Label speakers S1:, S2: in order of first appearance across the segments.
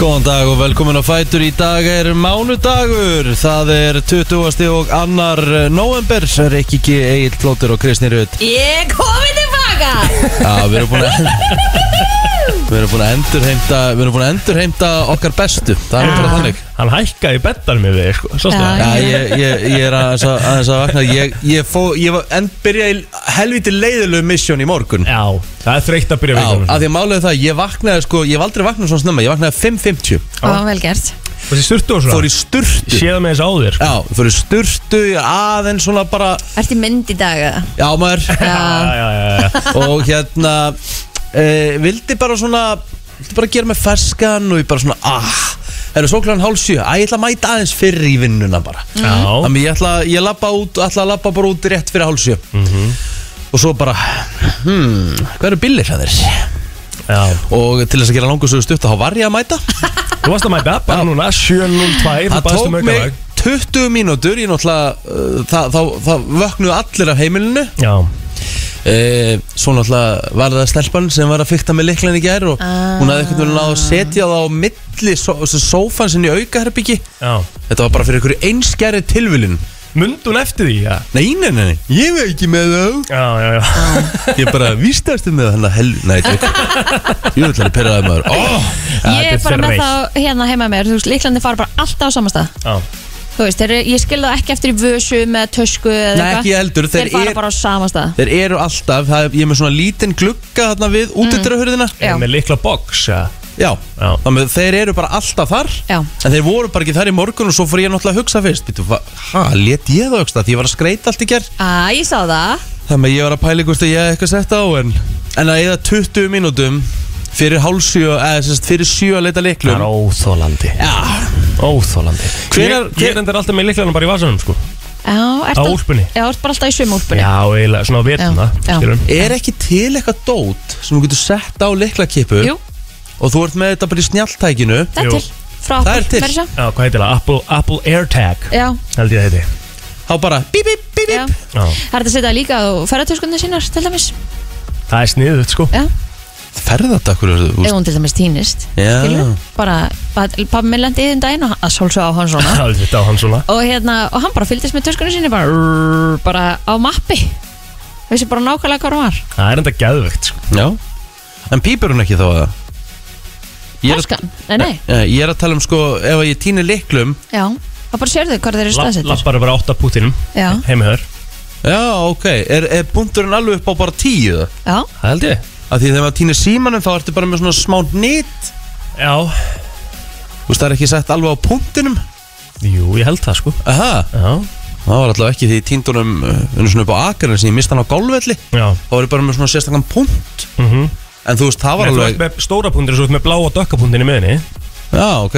S1: Góðan dag og velkomin á Fætur Í dag er mánudagur Það er 20. og annar november Rikki G, Egil Plótur og Kristni Rut
S2: Ég komið tilbaka
S1: Já, við erum búin að Við erum búin að endurheimta Við erum búin að endurheimta okkar bestu Það er nú bara þannig
S3: Hann hækkaði bettar með þig, sko, sástu
S2: Já.
S3: það?
S1: Já, ég, ég, ég er aðeins að, aðeins að vakna Ég, ég, fó, ég var, en byrjaði í helviti leiðilegu misjón í morgun Já,
S3: Já, það er þreytt að byrja
S1: af
S3: vikunum.
S1: því að málega það Ég vaknaði sko, ég var aldrei vaknað svona snemma Ég vaknaði 5.50
S2: Það var vel gert
S3: Það sé styrtu og
S1: Fór
S3: svona,
S1: í sturtu
S3: séða með þess áður.
S1: Já, fór í sturtu Aðeins svona bara
S2: Ertu í mynd í dag eða?
S1: Já, maður
S2: Já,
S3: Já, já, já, já.
S1: og hérna e, vildi bara svona vildi bara gera mig ferskan og ég bara svona ah, það er svoklan hálf sjö að ég ætla að mæta aðeins fyrir í vinnuna bara
S3: Já,
S1: þannig ég ætla, ég labba út ætla að labba bara út rétt fyrir hálf sjö og svo bara hmm, hvað eru billir það þér
S3: já.
S1: og til þess að gera langur svo stutt þá var ég að mæta
S3: Þú varst að mæta, bara núna, 7.02, þú
S1: það
S3: baðst
S1: tók
S3: um
S1: mig
S3: aukalag.
S1: 20 mínútur ég náttúrulega uh, það, þá, þá vöknuðu allir af heimilinu
S3: Já,
S1: e, Svo náttúrulega var það stelpan sem var að fykta með liklan í gær og
S2: Ah.
S1: hún hafði einhvern veginn náð að setja það á milli so, sófan sinni í aukaherbyggi
S3: já.
S1: Þetta var bara fyrir einhverju einskjæri tilvilin
S3: Mund hún eftir því, já.
S1: Nei, nei, nei, nei, ég veit ekki með þá
S3: Já, já, já.
S1: Ég bara vístastu með hann að hel... Nei, þetta er Jú, þetta er perraðið maður oh,
S2: Ég er
S3: þetta er
S2: bara með
S3: þreytt.
S2: þá hérna heima með mér Þú veist, líklandi fara bara alltaf á samastað
S3: Já,
S2: Þú veist, þeir, ég skil það ekki eftir í vösu með tösku eða
S1: Nei,
S2: eitthvað.
S1: ekki heldur, þeir
S2: Þeir fara
S1: er-
S2: bara á samastað
S1: Þeir eru alltaf, það, er- ég er með svona lítinn glugga þarna við útidröðurðina mm.
S2: Já,
S3: með likla box, já.
S1: Já,
S3: Já.
S1: þannig að þeir eru bara alltaf þar
S2: Já.
S1: En þeir voru bara ekki þar í morgun og svo fór ég náttúrulega að hugsa fyrst Býtu, hæ, let ég það hugsa því ég var að skreita allt í gerð
S2: Æ, ég sá það
S1: Þannig að ég var að pæla hvort að ég hef eitthvað sett á en En að eða 20 mínútum Fyrir hálsjö, eða sérst fyrir sjö að leita
S3: Það er
S1: leiklum
S3: óþólandi.
S1: Já,
S3: Óþólandi.
S1: Hvenær-
S3: Ég- Ég endur alltaf með liklanum bara í vasanum, sko.
S2: Já, ert
S3: Á
S2: al-
S3: úlpunni.
S2: Já, ert bara alltaf í svömu úlpunni
S3: Já, eiginlega, svona á veturna,
S2: Já, já.
S3: skilurðu.
S1: Er ekki til eitthvað dót sem þú getur sett á leiklakipu
S2: Jú,
S1: Og þú ert með þetta bara í snjáltækinu
S2: það er
S3: Jú.
S2: til Frá
S1: Það er
S2: okkur,
S1: til.
S2: meira að segja.
S3: Já, hvað heitir það? Apple- Apple AirTag,
S2: Já,
S3: held ég það heiti.
S1: Þá bara bíp, bíp, bíp,
S2: já
S1: bíp
S3: Já.
S2: Það er þetta að setja líka á ferðartöskunni sínar, til dæmis
S3: Það er sniðugt, sko.
S2: Já,
S1: Ferðatakur, þú
S2: ef hún til dæmis týnist
S1: Já.
S2: Skilurðu? Bara, pabbi minn lendi í þeim daginn og að sólsa á hann svona
S3: Það er þetta á hann svona.
S2: og hérna, og hann bara fylgdist með töskunni sinni bara, rrrr, bara á mappi vissi bara nákvæmlega hvað hún var
S3: Það er enda geðvegt sko.
S1: Já En pípur hún ekki þá að Ég er,
S2: Töskan, nei nei,
S1: að, ég er að tala um sko Ef að ég týni leiklum
S2: já og bara sérðu hvað þeir eru staðsettir
S3: Lappar bara átt af Putinum
S2: Já,
S3: Heimihör
S1: Já, ok Er, er búndurinn alveg upp á bara tíu það?
S2: já,
S3: Það held ég
S1: Af því þegar maður týnir símanum þá ertu bara með svona smá nýtt
S3: Já
S1: Þú veist það er ekki sett alveg á punktinum
S3: Jú, ég held það sko
S1: Aha,
S3: Já
S1: það var alltaf ekki því ég týndi honum Unnu svona upp á akarinn sem ég misti hann á gólvelli
S3: Já
S1: Þá var ég bara með svona sérstakann punkt
S3: mm
S1: En þú veist það
S3: Nei,
S1: var
S3: þú
S1: alveg
S3: ert með stóra pundir Svo ert með bláa dökkapuntin í miðinni
S1: Já, ok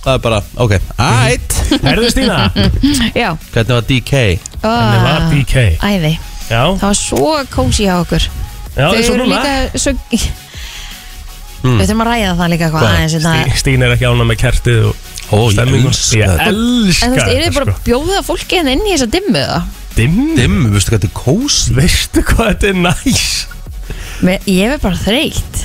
S1: Það er bara, ok Ætt
S3: Erðu Stína
S2: Ah.
S3: Henni
S2: já
S1: Hvernig var DK?
S3: var
S2: Ah,
S3: DK
S2: Æði,
S3: Já
S2: það var svo kósi á okkur
S3: Já,
S2: Þau
S3: eins og
S2: eru
S3: núna Hmm.
S2: líka svo Við þurfum að ræða það líka hvað
S1: Hvað?
S2: aðeins hérna.
S3: Stí- Stína er ekki ána með kertið og
S1: Ó, ég
S3: stemmingu
S1: elska
S3: Ég
S1: þetta
S3: elska
S2: En þú veist, eru þið
S3: þetta,
S2: bara
S3: sko.
S2: að bjóða fólki henni inn í þessa dimmu það?
S3: Dimm
S1: Dimm, veistu hvað þetta er kósi?
S3: Veistu hvað þetta er næs
S2: Mér- Ég er bara þreytt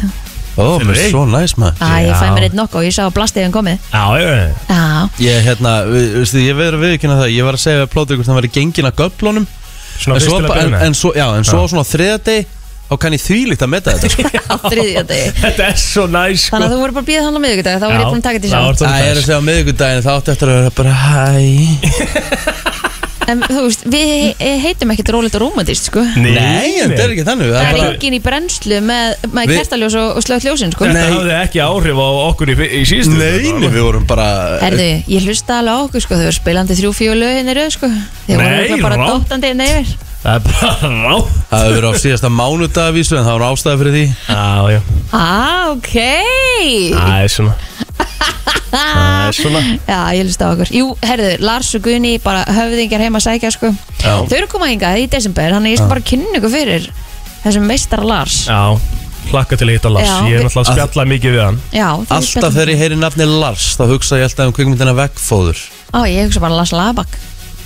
S1: Ó,
S3: Fyrir
S1: mér
S3: þig.
S1: er svo næs maður
S2: Æ, ég fæ
S3: Já.
S2: mér eitt nokku og ég sá að blastiðin komið
S3: Já, já, já
S2: Já,
S1: Ég, hérna, við- veistu, ég verður að viðkynna það Ég var að segja að plóta ykkur, það var í gengin að göflunum
S3: Svona
S1: en svo,
S3: fyrstilega
S1: bara- en,
S3: byrjuna
S1: en svo, já, en svo á svona þriðadeg þá kann ég þvílíkt að meta þetta sko.
S2: á þriðja degi
S3: Þetta er svo næs sko
S2: Þannig að þú voru bara að býða þannig á miðvikudag Þá var ég búin að taka þetta í sjálf
S1: Æ, ég er að segja á miðvikudaginn þá áttu eftir að vera bara hæ
S2: En þú veist, við he- heitum ekkert rólegt og rómatist sko
S1: Nei, en þetta er ekki þannig það
S2: Það
S1: er
S2: er
S1: bara,
S2: engin í brennslu með, með
S1: Við-
S2: kertaljós og, og slögt ljósin sko
S3: Þetta
S1: Nei.
S3: hafði ekki áhrif á okkur í, í síðustu viku,
S1: Neini,
S3: bara.
S1: við vorum bara
S2: Herðu, ég hlusta alveg á okkur sko Þau eru spilandi þrjú fjólu lögin eru sko Þau voru
S3: Nei,
S2: örugglega bara
S3: rangt.
S2: dottandi inn yfir
S3: Það er bara rá
S1: Það hefur verið á síðasta mánudagavísu en það var ástæði fyrir því
S3: Já, já,
S2: Ah, ok
S3: það er svona
S1: Ah,
S3: Það er svona
S2: Já, ég hlusta á okkur Jú, herðu, Lars og Gunni bara höfðingar heima að sækja sko
S3: Já.
S2: Þau eru koma hingað í desember Þannig að ég skal bara kynna ykkur fyrir Þessum meistara Lars
S3: Já, hlakka til að hitta Lars
S2: Já.
S3: Ég er náttúrulega að spjalla mikið við hann
S2: Já, þau
S1: Alltaf
S2: spjalla-
S1: þegar ég heyri nafni Lars þá hugsa ég alltaf um kvikmyndina veggfóður
S2: Á, ég hugsa bara Lars Labak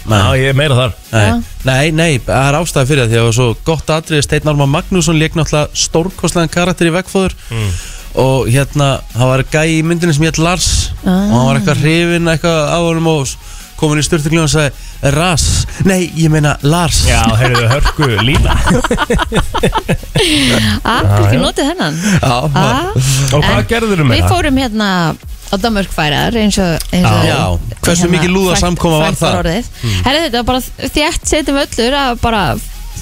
S3: Já,
S1: nei,
S3: ég er meira þar
S1: nei,
S2: já.
S1: nei, nei, það er ástæði fyrir það því að það var svo gott atrið Steinn Arma Magnússon leik náttúrulega stórkostlegan karakter í veggfóður og hérna, það var gæi í myndinu sem hétt Lars og hann var eitthvað hrifinn eitthvað á honum og komin í styrtingljóð og sagði Ras, nei, ég meina Lars
S3: Já, heyrðu, hörku lína
S2: Akkur
S3: já.
S2: ekki Ah, notið hennan
S1: Já,
S2: Ah,
S3: Og hvað
S2: En
S3: gerður með
S2: Við
S3: það?
S2: fórum hérna á Danmörkfærar eins og, eins og hérna,
S1: Já, hversu mikið lúða samkoma var það? Hmm.
S2: Mm. Herri þetta var bara þjætt setjum öllur að bara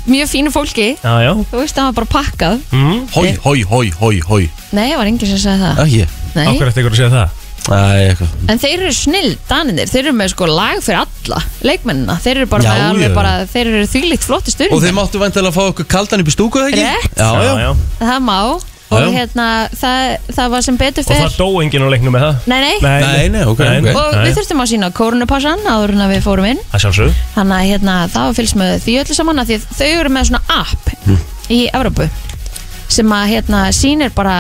S2: mjög fínu fólki
S3: Já, já
S2: Þú veist það var bara pakkað
S3: mm.
S1: Hói, hói, hói, hói, hói
S2: Nei, það var enginn sem sagði það
S1: Ekki,
S3: Á
S2: Nei.
S3: hverju eftir ykkur að segja það?
S1: Æ, eitthvað
S2: En þeir eru snill, daninir Þeir eru með sko lag fyrir alla leikmennina Þeir eru bara
S1: Já,
S2: með
S1: já.
S2: alveg bara Þeir eru þvílíkt flotti
S1: Og
S2: styrning
S1: þeir máttu vantilega að fá okkur kaldan upp í stúku, eða ekki?
S2: Rétt.
S1: Já, já,
S2: Það má
S1: Já, já.
S2: Og hérna, það, það var sem betur
S3: Og
S2: fyrr
S3: það dó enginn á leiknum með það?
S2: Nei, nei
S1: Nei, nei, ok, ok.
S2: Og við þurftum að sína kórunupassan áður en að við fórum inn
S3: Það sjálfsög
S2: Þannig að hérna, það var fylgst með því öllu saman af Því að þau eru með svona app
S3: Mm.
S2: í Evrópu Sem að hérna sýnir bara,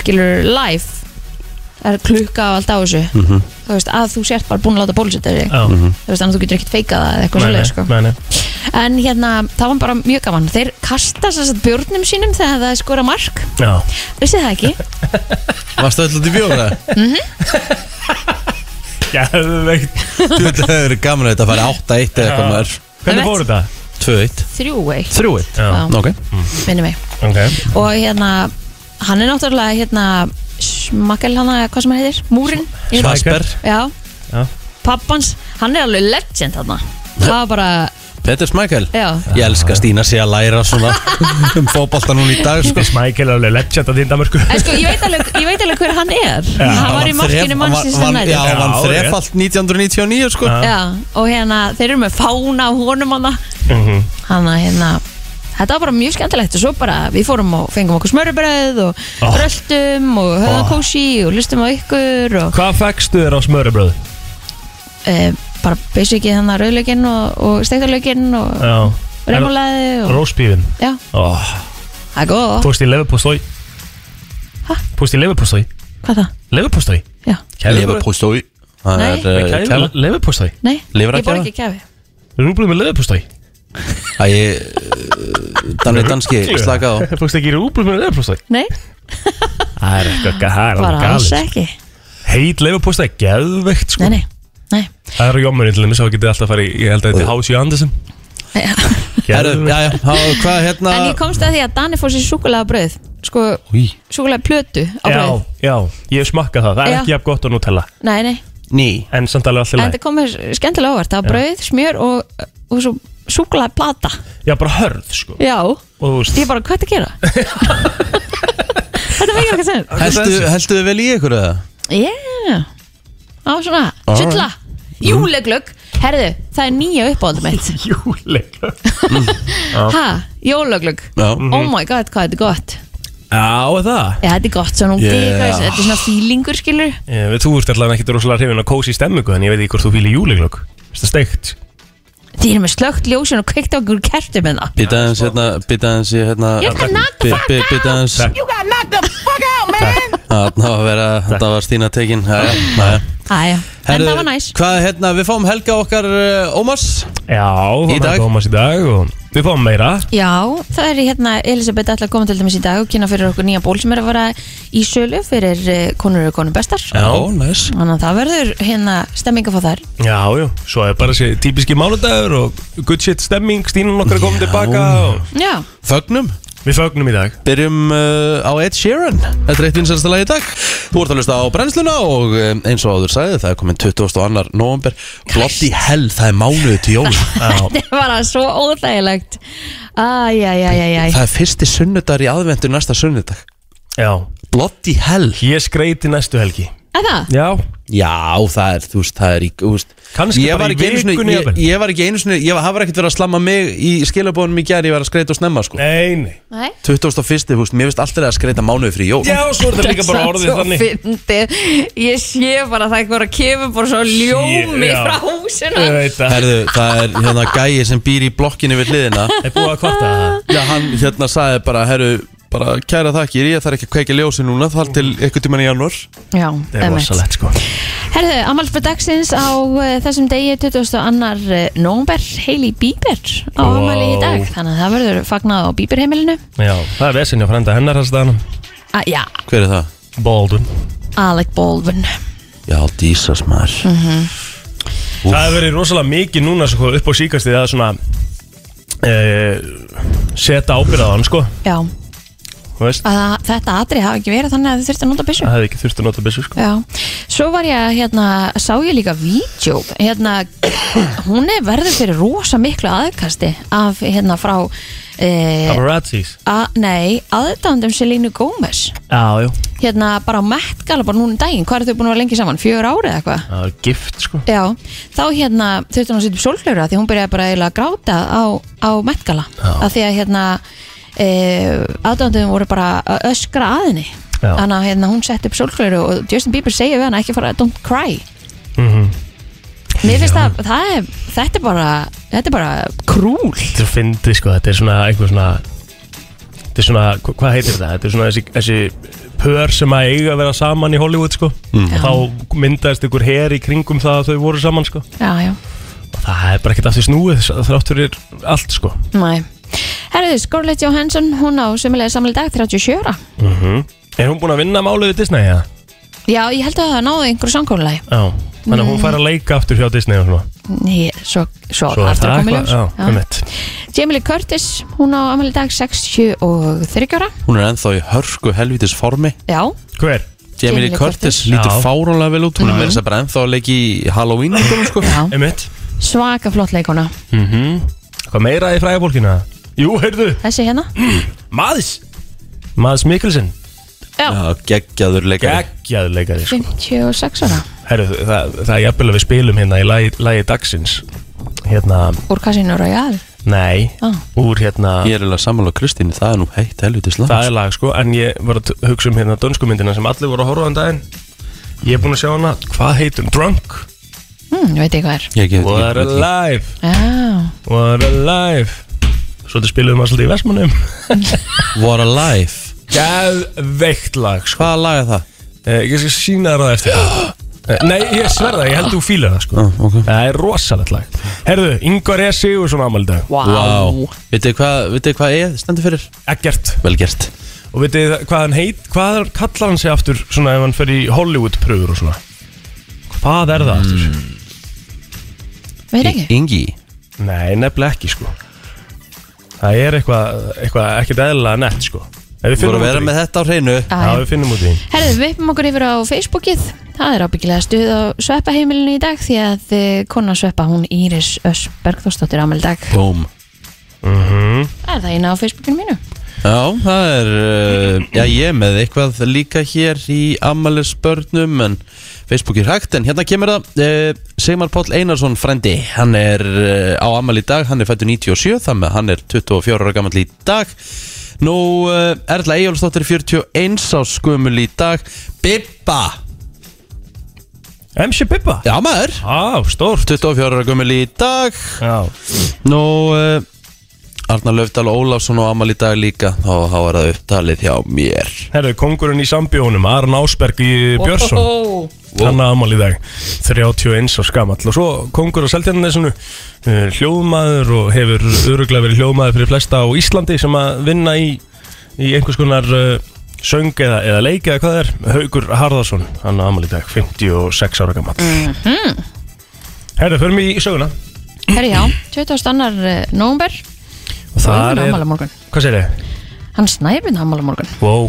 S2: skilur, live Það er klukka og allt á þessu Þú veist, að þú sért bara búin að láta bólusetja þig
S3: Mhm. Já
S1: Mhm.
S3: Nei,
S2: Þú veist, þannig að þú getur ekkert feikað það eða eitthvað
S3: nei,
S2: svolítið, sko
S3: nei, nei
S2: En hérna, það var bara mjög gaman Þeir kasta þess að björnum sínum þegar það er skora mark
S3: Já
S2: Vissið það ekki?
S1: Varstu öll út í bjóra?
S3: Gæðveikt
S1: Þú veit, það hefur verið gaman að þetta fara 8-1 eða
S3: Já.
S1: eitthvað maður
S3: Hvernig fór þetta?
S1: 2-1
S2: Þrjúvei,
S1: 3-1
S3: Já
S2: Já.
S1: Ok
S2: minnum mig
S3: Ok
S2: Og hérna, hann er náttúrulega hérna Smakkel hana, hvað sem hann heitir? Múrin?
S1: Svasper
S2: Já,
S3: Já.
S2: pappans Hann er alveg legend þarna Það var bara,
S1: Petur Smækjál
S2: já
S1: Ég elska Stína sé að læra svona um fótbolta núna í dag sko.
S3: Sko Smækil er alveg legend að þínda mörgu
S2: En sko, ég veit alveg, ég veit alveg hver hann er Hann var í markinu mannsins
S1: hann
S2: þannig
S1: Já, hann vann
S3: Já,
S1: þrefalt 1999 sko
S3: Já.
S2: Já, og hérna, þeir eru með fána á honum hana
S3: Mhm.
S2: hann að hérna Þetta var bara mjög skemmtilegt og svo bara við fórum og fengum okkur smörubröð og
S3: Oh.
S2: röltum og höfðum
S3: Oh.
S2: kósi og lustum á ykkur og
S3: Hvað fækstu þér á smörubröð?
S2: e, bara basicið þannig rauðlögin og, og steiktarlögin og
S3: Já
S2: reymulaði og
S3: Róspífin
S2: já,
S3: Ó,
S2: það er góð
S3: Fórst í lefupóstói
S2: Hæ?
S3: Fórst í lefupóstói
S2: hvað það?
S3: Lefupóstói
S2: Já,
S1: Leverpústói Það
S2: Nei.
S1: er uh, kæla
S3: Lefupóstói
S2: nei,
S1: Lifir
S2: ég
S1: ekki
S2: bor
S1: að
S2: ekki kefi
S3: Rúblum með lefupóstói
S1: Æ, Danni Danski, slaka á
S3: Fórst ekki í rúblum með lefupóstói
S2: Nei,
S3: Það er eitthvað ga- það er
S2: bara
S3: alveg
S2: alls
S3: galið. sko.
S2: ekki
S3: Heit lefupóstói, geðveikt sko
S2: Nei, nei, nei
S3: Það eru jommurinn til þeim, svo getið þið alltaf að fara í, ég held að þetta er Hási Andersen
S2: Já.
S1: Herru,
S3: Geðveikt.
S1: já, já, há- hvað hérna
S2: En ég komst að því að Dani fór sér súkulega bröð Sko,
S1: Í,
S2: súkulega plötu á
S3: Já,
S2: bröð
S3: já, ég hef smakkað það, það er
S2: Já.
S3: ekki jafn gott að Nutella
S2: Nei, nei,
S1: ný
S3: En samt alveg allir
S2: en
S3: læg
S2: þetta kom mér skemmtilega á óvart Það var brauð, smjör og, og svo súkulega plata
S3: Já, bara hörð, sko
S2: Já,
S3: Og þú veist,
S2: Ég bara, hvað er að gera? Þetta meikar ekki að segja
S1: Heldu, heldu þið vel í ykkur eða?
S2: Yeah Á svona, sulla Júleglögg, herðu, það er nýja uppáhaldum mitt
S3: júleika
S2: Ha, jóleglögg
S1: Já
S2: Oh my god, hvað þetta er gott
S3: Já, og það
S2: Já, þetta er gott, svona ungi,
S1: Yeah.
S2: yeah. þetta er svona fílingur skilur
S3: Ég veit, Þú ert allavega ekkert rosalega hrifin að kósi í stemmingu En ég veit ekki hvort þú fýlir júleglögg Það steikt
S2: Þið erum með slögt ljósin og kveikt okkur kertum en það
S1: Býta aðeins hérna, býta aðeins ég hérna
S2: Ég skal knock the
S1: bí-
S2: fuck
S1: bí- Býta aðeins
S3: Takk.
S4: You got knocked the fuck out, man.
S1: Þarna var að vera, þetta var Stína tekin Jæja, jæja
S2: Æja, en
S1: Herru,
S2: það var næs
S1: Hvað hérna, við fáum helga okkar uh, Ómars
S3: Já,
S1: Í dag.
S3: það komast í dag og Við fáum meira
S2: Já, það er hérna Elisabeth ætla að koma til dæmis í dag og kynna fyrir okkur nýja ból sem er að vara í sölu fyrir eh, konur og konur bestar
S1: næs
S2: Þannig að það verður hérna stemming að fá þær
S3: Já, já, svo er bara þessi típiski mánudagur Og good shit stemming, Stínan okkar er komin
S1: Já.
S3: tilbaka og...
S2: Já,
S1: Fögnum
S3: Við fögnum í dag
S1: Byrjum uh, á Ed Sheeran Þetta er eitt vinsælsta lag í dag Þú ert að hlusta á brennsluna og um, eins og áður sagði það er komin 22. november Bloody hell, það er mánuðu til jól
S2: þetta er bara svo óþægilegt Æjæjæjæjæj
S1: Það er fyrsti sunnudagur í aðvendu næsta sunnudag
S3: Já,
S1: Bloody hell
S3: ég skreiti næstu helgi
S2: Eða?
S3: Já,
S1: Já, það er, þú veist, það er í, þú veist
S3: Kannski
S1: ég
S3: bara
S1: var
S3: í
S1: ekki einu sinni-
S3: vikunni
S1: ég,
S3: jafnvel.
S1: ég var ekki einu sinni, ég var- það var ekkert verið að slamma mig í skilabónum í gær, ég var að skreita og snemma, sko
S3: nei, nei
S1: 21. þú veist, mér finnst alltaf að skreita mánuði fyrir jól
S3: Já, svo er þetta líka bara orðið þannig
S2: fyndið Ég sé bara að það eitthvað að kemur bara svo ljómi
S3: já.
S2: frá húsinu
S3: Ég veit að
S1: Herðu, það er hérna gæi sem býr í blokkinni við hliðina
S3: Það er búið að kvarta það
S1: Já, hann hérna sagði bara, herru, bara kæra þakkir, ég þarf ekki að kveika ljósi núna þar til eitthvað tíman í janúar
S2: Já,
S3: Það er
S2: emmitt.
S3: rosalegt sko
S2: Herðu, ammálsbyrð dagsins á uh, þessum degi 22. nómber eh, Hailey Bieber á
S3: Vá.
S2: ammali í dag þannig að það verður fagnað á Bieber heimilinu
S3: Já, það er vesinni á frænda hennar hans dagana
S2: ah, Já,
S1: Hver er það?
S3: Baldwin
S2: Alec Baldwin
S1: Já, dísas maður
S3: Það hefur verið rosalega mikið núna sko, upp á síkastið að svona uh, setja ábyrðaðan sko,
S2: Já,
S3: þú veist
S2: að það- þetta atri hafi ekki verið þannig að þið þurfti að nota byssu
S3: Það hefði ekki þurft að nota byssu sko
S2: Já, svo var ég að hérna, sá ég líka vídeo, hérna, hún er verður fyrir rosa miklu aðkasti af, hérna, frá, e,
S3: Paparazzis
S2: a, nei, aðdándum Selínu Gómez,
S3: Já, já,
S2: hérna, bara á Met Gala, bara núna um daginn, hvað er þau búin að vera lengi saman, fjör ári eða eitthvað?
S3: það er gift sko
S2: Já, þá hérna þurfti hún að setja upp sólflögra því hún byrjaði bara eiginlega að gráta á, á metgala að því að hérna e, aðdöndum voru bara að öskra að henni
S3: Já.
S2: þannig að hérna, hún setti upp sólflögra og Justin Bieber segja við hann ekki fara don't cry Mér finnst að það er, þetta er bara þetta er bara krúl
S3: Þetta er fyndið sko, þetta er svona einhver svona Þetta er svona, hva- hvað heitir þetta? Þetta er svona þessi, þessi pör sem að eiga að vera saman í Hollywood sko og þá myndaðist ykkur her í kringum það að þau voru saman sko
S2: Já, já,
S3: og það er bara ekkert aftur snúið s- þrátt fyrir allt sko
S2: næ Herðu, Scarlett Johansson, hún á sömulega samlega dag 37 ára.
S3: Er hún búin að vinna málið við Disney eða?
S2: Já, ég held að það náði einhverju samkónulegi
S3: Já Þannig að hún fær að leika aftur hjá Disney og svona
S2: Svo, svo,
S3: Svo er
S2: aftur
S3: það
S2: að koma í
S3: eitthvað,
S2: ljós
S3: já,
S2: Já.
S3: um mitt
S2: Jamie Lee Curtis, hún á ammali dag 63 ára
S1: Hún er ennþá í hörku helvitis formi
S2: Já,
S3: Hver?
S1: Jamie
S2: Jamie
S1: Lee
S2: Lee
S1: Curtis Mm.
S2: Curtis.
S1: lítur
S3: Já.
S1: fárónlega vel út Hún er meira þess að bara ennþá að leiki í Halloween myndunum, sko.
S2: já,
S3: Um mitt
S2: svaka flott leikona
S3: mm Hvað meira í fræga fólkina? Jú, heyrðu
S2: Þessi hérna
S3: Mads Mads Mikkelsen
S1: Já, geggjaður leikari
S3: Geggjaður leikari sko
S2: 56 ára
S3: Herru, það, það er jafnvel að við spilum hérna í lagi, lagi dagsins Hérna,
S2: Úr Casino Royale
S3: nei
S2: ah.
S3: Úr hérna,
S1: Ég er eiginlega sammála Kristínu, það er nú heitt helvitis langt
S3: það er lag sko En ég var að t- hugsa um hérna dönskumyndina sem allir voru að horfa á um daginn Ég er búinn að sjá hana, hvað heitum? Drunk
S2: hmm, Veit ég hvað er
S1: Ég get
S3: We're
S1: ekki
S3: alive,
S2: Já,
S3: we're alive Svo þetta spilum við maður svolítið í Vestmannum
S1: What a life
S3: Geðveikt lag sko
S1: Hvaða lag er það?
S3: eh, Ég skal sína þér það eftir Eh, Nei, ég sverða, ég held þú fílar það sko
S1: Ah, ok.
S3: Það er rosalegt lag Herðu, Ingvar E. Sigursson ámaldi
S2: vá
S1: Vá. Vitið þið hvað, vitið þið hvað ég stendur fyrir?
S3: Eggert
S1: Vel gert
S3: Og veitir þið hvað hann heit, hvað er- kallar hann sig aftur svona ef hann fer í Hollywood pröfur og svona? Hvað er það aftur?
S1: Hmm.
S2: Veit ekki
S1: Ingi
S3: Nei, nefnilega ekki sko. Það er eitthvað, eitthvað ekkert eðlilega nett sko. Ef við
S1: Þú voru að
S3: finnum út
S1: vera
S3: í
S1: með þetta á hreinu
S2: Æ.
S3: Já, við finnum út í því.
S2: Herðu, við uppum okkur yfir á Facebookið Það er ábyggilega stuð á sveppaheimilinu í dag því að eh, kona sveppa hún Íris Öss Bergþórsdóttir ámali dag
S1: Búm
S2: Það er það eina á Facebookinu mínu
S1: Já, það er, uh, já ég er með eitthvað líka hér í ammælisbörnum en Facebook er hægt en hérna kemur það, uh, Sigmar Páll Einarsson frændi, hann er uh, á ammæli í dag, hann er fættur 97 þannig að hann er 24 ára gammal í dag Nú, uh, Erla Eyjólfsdóttir 41 á skumul í dag Bibba,
S3: MC Pippa?
S1: já maður
S3: Á, stórt.
S1: 24 ára gömul í dag
S3: Já.
S1: Nú, uh, Arnar Löfdal Ólafsson á ammæli í dag líka og þá er það upptalið hjá mér
S3: Herðu, kongurinn í sambjónum, Aron Ásberg í Björnsson.
S2: Ó,
S3: Hann að amal í dag, 31 á skamall. Og svo kongur á Seltjarnarnesinu, eh, hljóðmaður og hefur öruglega verið hljóðmaður fyrir flesta á Íslandi sem að vinna í, í einhvers konar uh, söng eða, eða leik eða hvað það er. Haugur Harðarsson, hann að amal í dag, 56 ára gamall. Mm -hmm. Herra, förum í söguna.
S2: Herri já, 22. november
S3: Og
S2: Það er
S3: er,
S2: ámala morgun
S3: hvað segir þið?
S2: Hann snæfinn ámala morgun
S3: Wow,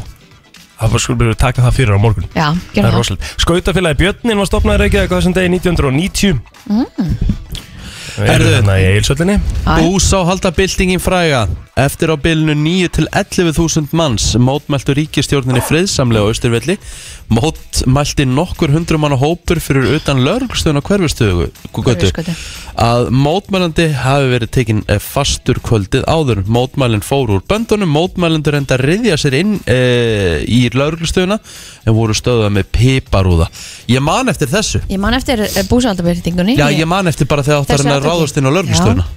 S3: það bara skulum við taka það fyrir á morgun.
S2: Já,
S3: Það
S2: gerðu
S3: er
S2: það
S3: rosalega. Skautafélagi Björnin var stopnaður ekki eða hvað þessum degi 1990. Mm.
S1: Herðu.
S3: Erðu þarna í Egilsöllinni?
S2: Æ.
S1: Bús á halda byltingin fræga Eftir á bylnu 9 til 11.000 manns Mótmæltu ríkistjórninni friðsamlega á Östurvelli Mótmælti nokkur hundrum manna hópur fyrir utan lörgstöðun á hverfistöðu
S2: Hverfisgötu.
S1: Að mótmælandi hafi verið tekin eh, fastur kvöldið áður Mótmælin fóru úr böndunum Mótmælendur enda riðja sér inn e, í lörgstöðuna En voru stöðað með piparúða Ég man eftir þessu
S2: Ég man eftir eh, búsaldabyrtingunni
S1: Já, ég man eftir bara þegar
S2: Þessu
S1: áttar hann að
S2: atviki.
S1: ráðast inn á lörgstöðuna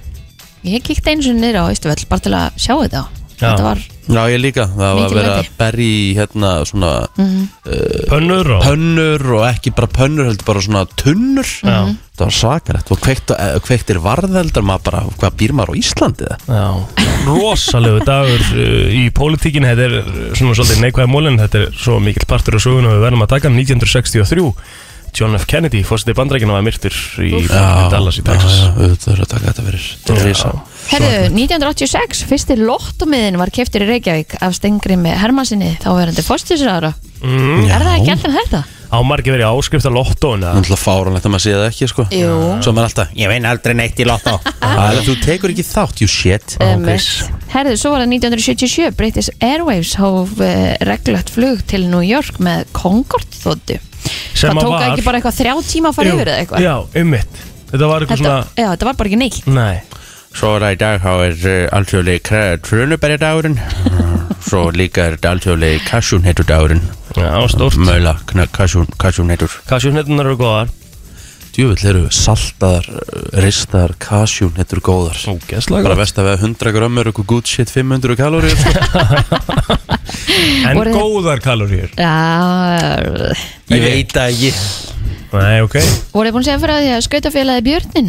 S2: Ég kíkti eins og niður á Ístuvöll bara til að sjá þetta þetta var
S1: Já, ég líka, það var
S2: Mikil
S1: verið að
S2: veldi.
S1: berja í hérna svona
S3: Pönnur og
S1: pönnur og ekki bara pönnur heldur bara svona tunnur
S3: Já.
S2: Mhm.
S1: það var sakarætt og kveikt, eh, kveiktir varðeldar maður bara, hvað býr maður á Íslandi það?
S3: Já, rosalegu dagur uh, í pólitíkinni, þetta er uh, svona svolítið neikvæða mólinn, þetta er svo mikill partur af söguna og við verðum að taka hann 1963 John F. Kennedy, fórsetið bandrækina var myrtur í Dallas í Texas
S1: já, við þurfum að taka þetta fyrir þetta er risa.
S2: Herðu, 1986, fyrsti lottomiðin var keftur í Reykjavík af Stengri með Hermansinni, þá verðandi fórstisraðara.
S3: mm,
S2: Er það ekki alltaf þetta?
S3: Á margir verið áskrift að lottóin
S1: Það er náttúrulega fáranlegt að maður sé það ekki sko
S2: Jú.
S1: Svo er maður alltaf, ég vinn aldrei neitt í lottó Það er að þú tekur ekki þátt, you shit
S2: Einmitt. Herðu, svo var það 1977, British Airways hóf uh, reglulegt flug til New York með Concorde þóttu.
S3: Sem
S2: það
S3: að
S2: tók
S3: var-
S2: ekki bara eitthvað þrjá tíma að fara yfir eða eitthvað.
S3: Já, ummitt, þetta var eitthvað
S2: Þetta,
S3: svona,
S2: já, þetta var bara ekki neitt.
S3: nei
S1: Svo er það í dag, þá er eh, alltjóðlega trunubæri dagurinn Svo líka er þetta alltjóðlega kassjún heitur dagurinn
S3: Já, stórt,
S1: Möla, kassjún, kassjún heitur
S3: kassjónettunar eru góðar
S1: Djúvill eru saltaðar, ristaðar, kassjún heitur góðar
S3: Ógeðslega
S1: Bara vest að vega 100 grömmur, eitthvað good shit 500 kalórið sko.
S3: En
S2: Voruð þið-
S3: góðar kaloríur
S2: Já,
S1: Ég veit að ég
S3: Nei, ok
S2: voruð þið búin að segja fyrir að því að skautafélagi Björnin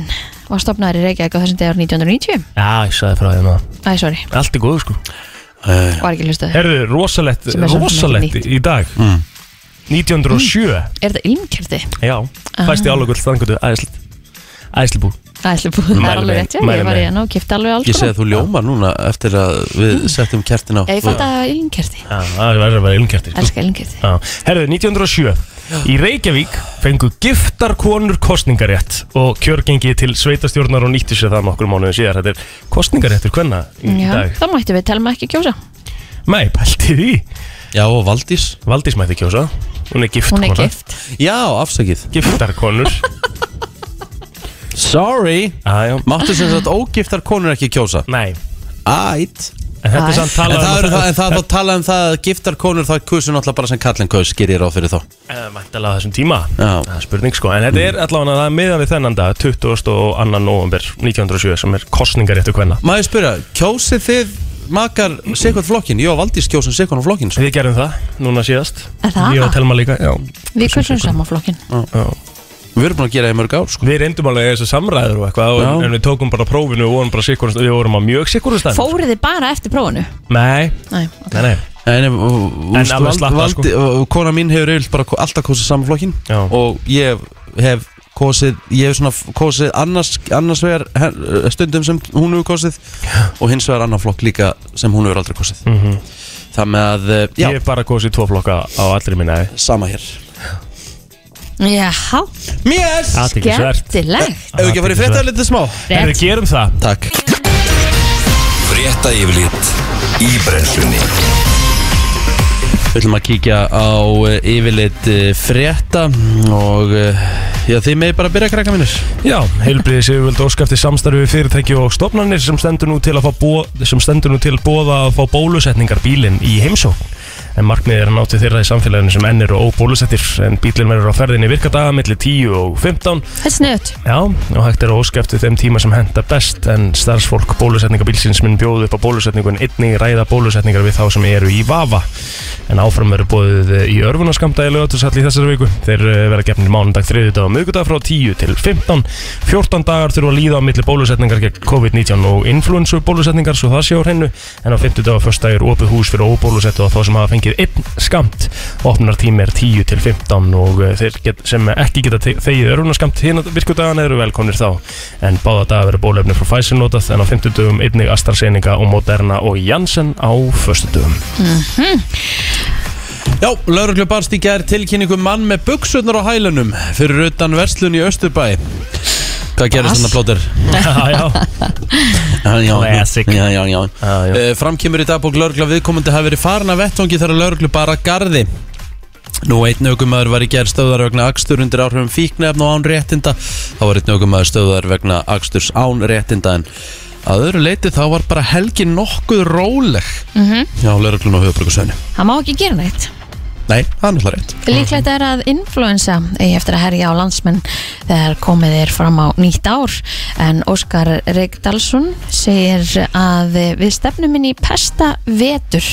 S2: var stopnaður í Reykjavík á þessum degur 1990?
S3: Já, ég sagði frá því maður
S2: Æ, sorry,
S3: Allt er góð, sko
S1: Eh,
S2: var ekki hlustað. Er,
S3: Herðu, rosalett,
S2: Sem er svo sem
S3: rosalett
S2: ekki
S3: í dag 1907
S2: er þetta ilmkjöldi?
S3: Já, fæst í álugur þangutu Æsli Æslibú
S2: Það er alveg- það er
S3: Mæli
S2: alveg
S3: með,
S2: rétt, já,
S3: mæli
S2: ég var í
S3: með.
S2: hann og kipta alveg alls
S1: Ég segi að þú ljómar núna eftir að við settum kertin á
S2: Ég fatt að ilmkerti,
S3: Já, það verður að vera ilmkerti sko.
S2: elska ilmkerti
S3: Já. Herðu, 1907 Í Reykjavík fengu giftar konur kostningarétt og kjörgengi til sveitastjórnar og nýtti sér það nokkur mánuðin síðar Þetta er kostningaréttur hvenna í
S2: Já,
S3: dag
S2: þá mættum við telma ekki kjósa
S3: Nei, pælti því
S1: Já, og Valdís
S3: Valdís mætti kjósa Hún er gift
S2: Hún er
S3: kona
S2: gift
S1: Já, afsakið
S3: Giftar konur
S1: Sorry
S3: Ah, Já, já
S1: Máttu sem sagt ógiftar konur ekki kjósa
S3: Nei,
S1: Ætt
S3: en þetta
S2: Æ.
S3: er samt
S1: En
S3: talað
S1: það
S3: um
S1: eru það, en það er þá talað um það að giftar konur það kusu náttúrulega bara sem kallin kaus gerir ráð fyrir þá
S3: Mæntalega þessum tíma
S1: Já.
S3: Það er spurning sko En þetta er allavega það er miðað við þennan dag 22. november 1907 sem er kostningaréttu hvenna
S1: Má ég spyrja, kjósið þið makar sekund flokkin? Jó, Valdís kjósum sekund flokkin sko.
S3: Við gerum það núna síðast
S2: Er það?
S3: Ég og Telma líka Já.
S2: Við kursum saman flokkin
S3: Já.
S1: Við erum búin að gera það í mörg ár sko.
S3: Við reyndum alveg þessu samræður og eitthvað
S1: Já.
S3: og, En við tókum bara prófinu og vorum bara sikkur Við vorum á mjög sikkur stand
S2: Fóruð þið bara eftir prófunu?
S3: Nei,
S2: Nei,
S3: nei, nei
S1: En, ef- og-
S3: En eh,
S1: úst,
S3: alveg slatta, sko.
S1: Valdi- og- og Kona mín hefur eiginlega bara ko- alltaf kosið saman flokkin
S3: Já.
S1: Og ég hef kosið Ég hef svona f- kosið annars, annars vegar her- stundum sem hún hefur kosið Og hins vegar annar flokk líka sem hún hefur aldrei kosið mm -hmm. Það með að, eh, já,
S3: Mhm. Ég hef bara kosið tvo flokka á allri minna
S1: sama hér
S2: Jáhá,
S1: Mér!
S3: Athyglisvert
S2: skemmtilegt
S1: Ef við ekki að fara í frétta litið smá
S3: En við
S2: Rétt.
S3: gerum það
S1: Takk
S5: Frétta yfirlit í brenslunni
S1: Við ætlum að kíkja á eh, yfirlit eh, frétta Og eh, já, þið meði bara að byrja krakka mínir
S3: Já, heilbriðis yfirvöld óskafti samstarfi við fyrirtæki og stofnanir sem stendur nú til að fá bó, sem stendur nú til bóða að fá bólusetningar bílinn í heimsókn en markmiðið er að náti þeirra í samfélaginu sem enn eru óbólusettir en bílinn verður á ferðinni virkadaga millir 10 og 15
S2: Þetta er snöðt
S3: Já, og hægt er að óskafti þeim tíma sem henda best en starfsfólk bólusetningabílsins mun bjóðu upp á bólusetningun einnig ræða bólusetningar við þá sem eru í vafa en áfram verður bóðið í örfunaskamta í lögatursall í þessari viku þeir eh, verða gefnir mánundag, þriðudag og miðgudag frá 10 til 15 14 dagar þurfa að líða á milli bólusetningar gegn COVID-19 og influensu bólusetningar svo það sé á hreinu en á 50 dag og fyrsta er opið hús fyrir óbólusettu og þá sem hafa fengið einn skamt opnar tími er 10 til 15 og eh, þeir get, sem ekki geta te- þegið örunaskamt hérna virkudagana eru velkomnir þá en báða daga verður bólefni frá Pfizer notað en á 50 dögum einnig AstraZeneca og Moderna og Janssen á förstu dögum
S1: Já, lauruglu barst í gerð tilkynningu um mann með buksurnar á hælunum fyrir utan verslun í Östurbæ Hvað gerir svona plóter?
S3: Já, já,
S1: Já, já,
S3: Classic.
S1: já, já, já.
S3: Já, Ah, já.
S1: Eh, Fram kemur í dagbók laurugla viðkomandi hafi verið farin af vettvangi þegar lauruglu bara garði Nú einn aukumæður var í gerð stöðar vegna akstur undir áhrifum fíknefn og án réttinda þá var einn aukumæður stöðar vegna aksturs án réttinda en að öðru leiti þá var bara helgin nokkuð róleg mm -hmm. Já, lauruglun á höfubrökusveinu
S2: Það má ekki gera neitt
S1: Nei, það er náttúrulega rétt
S2: Líklegt er að influensa eigi eftir að herja á landsmenn þegar komið er fram á nýtt ár en Óskar Reykdalsson segir að við stefnum inn í pesta vetur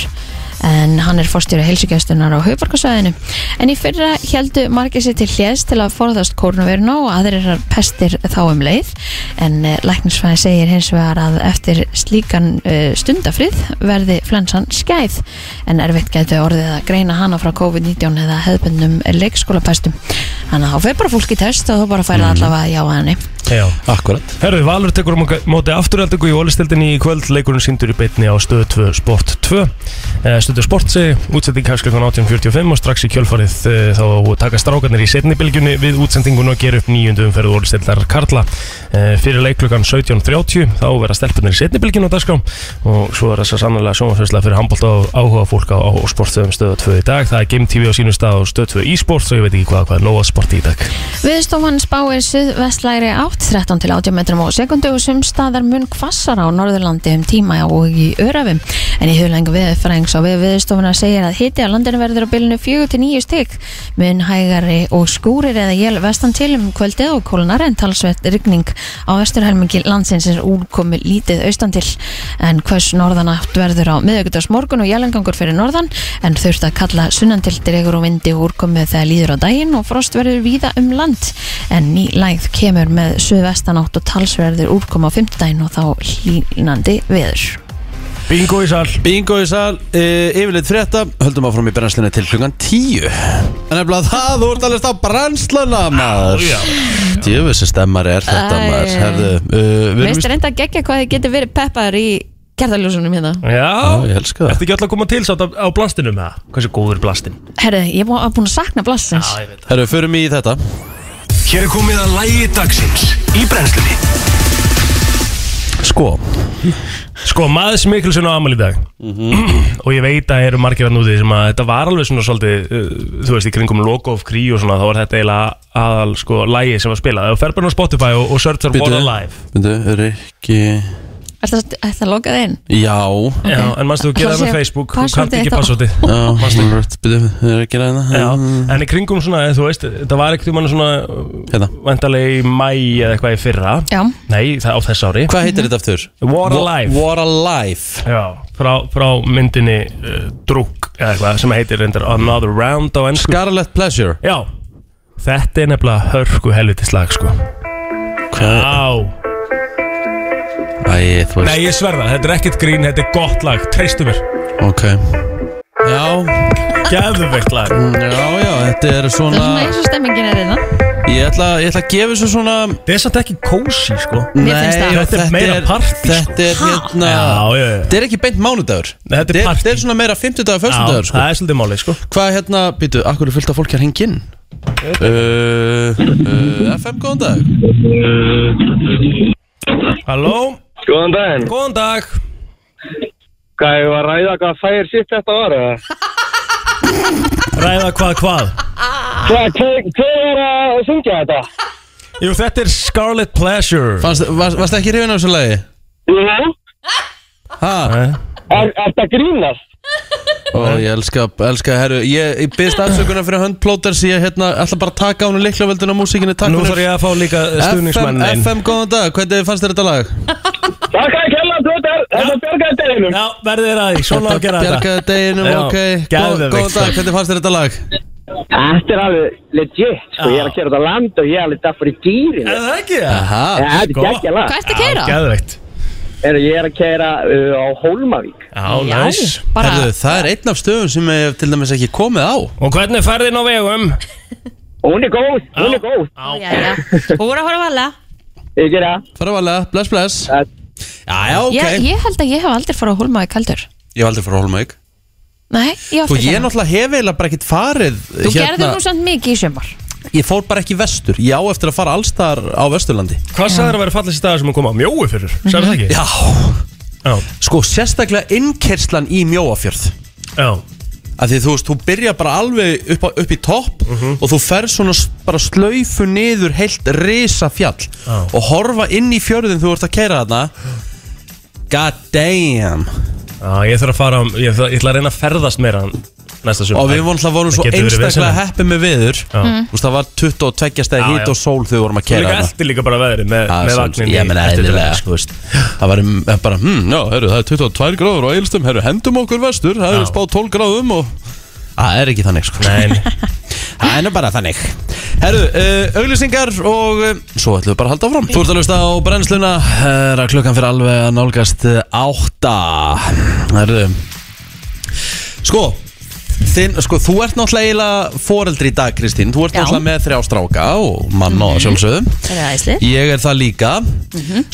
S2: en hann er fórstjóri heilsugjæstunar á höfuborgarsvæðinu en í fyrra heldu margir sér til hljés til að forðast kórnuveruna og aðrir pestir þá um leið en læknisfræði segir hins vegar að eftir slíkan uh, stundafrið verði flensan skæð en erfitt gætu orðið að greina hana frá COVID-19 eða hefðbundum leikskólapestum þannig að þá fer bara fólk í test og þá bara færa allavega já að henni
S3: Já.
S1: Akkurat
S3: Herðu, Valur tekur á móka- móti afturhaldingu í ólistildinni í kvöld, leikurinn síndur í beitni á stöðu 2 Sport 2 Eh, Stöðu Sport segi, útsending hefst klukkan 18.45 og strax í kjölfarið eh, þá taka strákarnir í setni bylgjunni við útsendingun og gera upp nýjundu umferðu ólistildar Karla Eh, Fyrir leiklugan 17.30 þá verða stelpunir í setni bylgjunni á dagskrá og svo er þess að sannlega sjónfjörsla fyrir handbólt og áhuga fólk á, á sportstöðum stöðu 2 í dag, það er Game TV á sínum stað og stöðu 2 e-sport, svo ég veit ekki hvað, hvað er nóga sporti í dag
S2: Viðstofan spáir suðvestlæri átt 13 til 80 metrum á sekundu og sem staðar mun kvassar á Norðurlandi um tíma og í Örafum. En í huglengu viðfrængs á við viðstofuna segir að hiti á landinu verður á bylunu 4 til 9 stygg mun hægari og skúrir eða jél vestan til um kvöldið og kólunar en talsvett rigning á vesturhelmingi landsins er úrkomi lítið austan til en hvers norðan átt verður á miðugudags morgun og jælengangur fyrir norðan en þurft að kalla sunnan til dregur og vindi og úrkomi þegar líður á daginn og frost verður víða um land en ný lægð kemur með suðvestanátt og talsverður úrkomi á fimmtudaginn og þá hlínandi veður.
S3: Bingo í sal
S1: Bingo í sal, e, yfirleitt frétta Höldum áfram í brennslinni til klungan 10 En eftir að það, þú ert alveg stá brennsluna maður Djöfussi stemmar er þetta
S2: Æ.
S1: maður Herðu, uh, við erum
S2: Veist reynda að gegja hvað þið getur verið peppaður í kertaljósunum hérna?
S3: Já,
S1: Já, ég elska það.
S3: Ertu ekki alltaf að koma til sátt á, á blastinu með það? Hversu góður er blastin?
S2: Herðu, ég var búin að sakna blassins.
S3: ég veit
S1: Herru, förum í þetta
S5: Hér er komið að lægi dagsins í brennslunni
S1: Sko,
S3: Sko, maður smikilsinn á amal í dag Og ég veit að eru margir að núti sem að þetta var alveg svona svolítið uh, Þú veist, í kringum logo of krí og svona Þá var þetta eiginlega aðal, sko, lægi sem var spilað Það fer bara á Spotify og, og search for Born Alive
S1: Bindu, Rikki
S2: Ertu að loka þið inn?
S1: Já
S3: Já, en mannstu þú
S2: Ætla
S3: gera
S2: að
S3: það með
S2: segja
S3: Facebook Þú
S2: passwordið
S3: kannt ekki
S2: þá.
S3: passvöldi
S1: Já, bindu, Rikki ræðina
S3: Já, en í kringum svona, þú veist, þetta var ekkert um hann svona
S1: Hérna.
S3: Vendalega í mæ eða eitthvað í fyrra
S2: Já.
S3: Nei, það á þess ári
S1: Hvað heitir þetta aftur?
S3: War Alive
S1: War Alive
S3: Já, frá, frá myndinni uh, Drúk, eða eitthvað, sem heitir reyndar Another Round á ennsku
S1: Scarlet Pleasure
S3: Já, þetta er nefnilega hörku helviti slag, sko
S1: Hvað?
S3: Á,
S1: Æ, þú veist
S3: nei ég sverða, þetta er ekkert grín, þetta er gott lag, treystu mér
S1: Ok Já, mm,
S3: Gæðuveikt lag
S1: já, já, þetta er
S2: Það er
S1: svona
S2: svona eins og stemmingin er hérna. innan.
S1: Ég ætla, ég ætla að gefa þessu svona
S3: Þetta er samt ekki kósi, sko
S2: Mér finnst það.
S1: og
S3: Þetta er meira partí, sko.
S1: Þetta er hérna
S3: Já, já, já.
S1: Þetta er ekki beint mánudagur
S3: Nei, þetta er partí.
S1: Þetta er svona meira 50 dagar, 50
S3: Já,
S1: dagar sko.
S3: það er svolítið málið, sko
S1: Hvað hérna, býtu, akkur er fullt af fólki að hengja inn? Uh, uh, FM, góðan dag
S3: Halló,
S6: Góðan daginn,
S3: góðan dag
S6: hvað ég var að ræða hvað fæðir sitt þetta var eða?
S3: Ræða hvað hvað
S6: Hvað, hver- hver er að syngja þetta?
S3: Jú, þetta er Scarlet Pleasure
S1: Fannst, varst, varst ekki hrifin af þessu lagi?
S6: Jú,
S1: Ha?
S3: Nei.
S6: er þetta grínast?
S1: Ó, ég elska, elska, herru Ég, ég byrst afsökunar fyrir höndplóters Ég hérna, ætla bara að taka á hún líklavöldin á músíkinni Takk
S3: Nú þarf ég að fá líka
S1: FM,
S3: stuðningsmannin
S1: FM, góðan dag, hvernig fannst þér þetta lag?
S6: Takk hérna, að kella Twitter, þetta björgaði deginum
S3: Já, verðið þér að því, svona á að gera þetta
S1: Bjargaði deginum,
S3: Já,
S1: ok Góð-
S3: geðveikt,
S1: Góðan dag,
S3: sko.
S1: hvernig fannst þér þetta lag?
S6: Þetta er alveg legit, sko, ég er að kera þetta land og ég er alveg það fyrir dýrin
S3: Er það ekki?
S1: Aha,
S6: Eh, Þetta er geggja lag,
S2: Hvað ert að keira?
S3: Gæðveikt
S6: Heyrðu, ég er að kera á Hólmavík
S3: Já, næs
S2: bara
S1: herru, það er einn af stöðum sem ég hef til dæmis ekki komið á
S3: Og hvernig ferðin á vegum?
S6: og hún er góð, hún er góð,
S2: já, já. Þú voru að horfa varlega
S6: ég gera það.
S1: Fara valega, bless, bless
S6: Það-
S1: Já, já, ok
S2: ég, ég held að ég hef aldrei farið á Hólmavík kaldur
S1: Ég var aldrei frá Holmavík
S2: Nei, ég hef
S1: Sko, ég
S2: það
S1: náttúrulega hef eiginlega bara ekkert farið hérna,
S2: Þú
S3: Hérna-
S2: gerður nú samt mikið í sjömbar
S1: Ég fór bara ekki vestur Ég á eftir að fara allstar á Vesturlandi
S3: Hvað sagður að vera fallast í dag sem að koma á mjói fyrir? Sagður það ekki?
S1: Já,
S3: Já,
S1: sko, sérstaklega innkerslan í Mjóafjörð
S3: já.
S1: Af því þú veist, þú byrja bara alveg upp, á, upp í topp og þú ferð svona s- bara slaufu niður heilt risa fjall
S3: Já.
S1: og horfa inn í fjörðin þú ert að keira þarna God damn
S3: já ég þarf að fara, á- ég, ætla- ég ætla að reyna að ferðast meira næsta sumar
S1: Og við vorum alltaf vorum
S3: Það
S1: svo
S3: getur verið
S1: einstaklega
S3: vesen.
S1: heppið með veður Þú veist, það var 22 stegi
S3: Já,
S1: hít
S3: já.
S1: og sól þegar við vorum að
S3: Þú
S1: kera
S3: líka eldi líka bara veðrið með, með vagnin
S1: Ég meina eðlilega, sko veist Það var um- eh, bara, hm, já, herru, það er 22 gráður á eilstum Herru, hendum okkur vestur, það
S3: Já.
S1: eru spáð 12 gráðum og Það er ekki þannig, sko
S3: Nein,
S1: Það er nú bara þannig Herru, uh, auglýsingar og uh, svo ætlum við bara að halda áfram Þú ert að hlusta á brennsluna Það er að klukkan fyrir alveg að nálgast eh, átta Herru Sko, þinn, sko þú ert náttúrulega eiginlega foreldri í dag, Kristín Þú ert
S2: Já.
S1: náttúrulega með þrjá stráka og manna og sjálfsögðum
S2: Það Mhm. er æsli
S1: Ég er það líka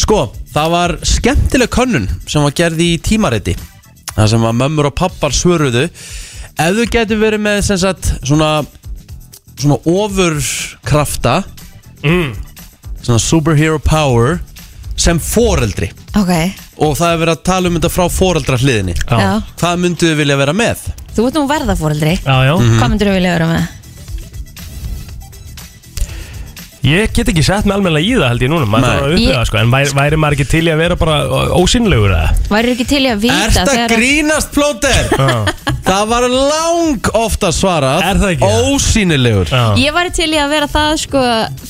S1: Sko, það var skemmtileg könnun sem var gerði í tímariti Það sem að mömmur og pappar svöruðu Ef þú getur verið með sem sagt, svona, svona ofurkrafta
S3: Mm.
S1: Svona superhero power sem foreldri
S2: Ok,
S1: Og það er verið að tala um þetta frá foreldrahliðinni
S3: Já.
S2: já
S1: Hvað mynduðu vilja vera með?
S2: Þú ert nú verðafóreldri
S3: já, já
S1: Mhm.
S2: Hvað myndir þú vilja vera með?
S3: Ég get ekki sett með almenna í það held ég núna Maður
S1: Nei.
S3: þarf að upplifa
S2: Ég-
S3: sko En væri, væri maður ekki til í að vera bara ó- ósýnilegur eða?
S2: Væri ekki til í að vita
S1: Ert að
S2: þegar
S1: grínast plóter? það var lang ofta svarað
S3: Er það ekki?
S1: Ósýnilegur
S3: Já.
S2: Ég væri til í að vera það sko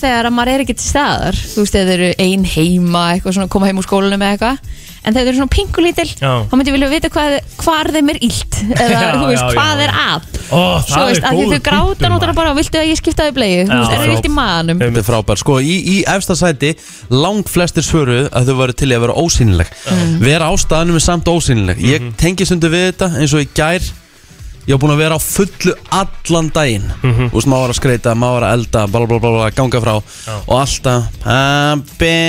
S2: þegar að maður er ekki til staðar Þú veist, þegar þau eru ein heima eitthvað svona koma heim úr skólanum með eitthvað En þegar þau eru svona pinkulítil
S3: Já.
S2: þá myndi ég vilja vita hvað, hvar þeim er illt eða
S3: Já,
S2: þú veist,
S3: já,
S2: hvað
S3: já.
S2: er að
S3: Ó, það
S2: Svo veist,
S3: er
S2: að því
S3: góður
S2: þau gráta
S3: punktur,
S2: náttúrulega
S3: maður.
S2: bara Viltu að ég skipta þau blegu? Þú
S3: Já,
S2: veist, það
S3: já.
S2: eru illt í maðanum
S1: Þetta er frábær, sko í, í efsta sæti langt flestir svöruð að þau varu til í að vera ósýnileg
S3: Mm.
S1: vera á staðanum er samt ósýnileg ég
S3: Mhm.
S1: tengi stundu við þetta eins og í gær ég var búin að vera á fullu allan daginn
S3: Mhm.
S1: þú veist maður var að skreita, maður var að elda bla bla bla bla, ganga frá og alltaf pabbi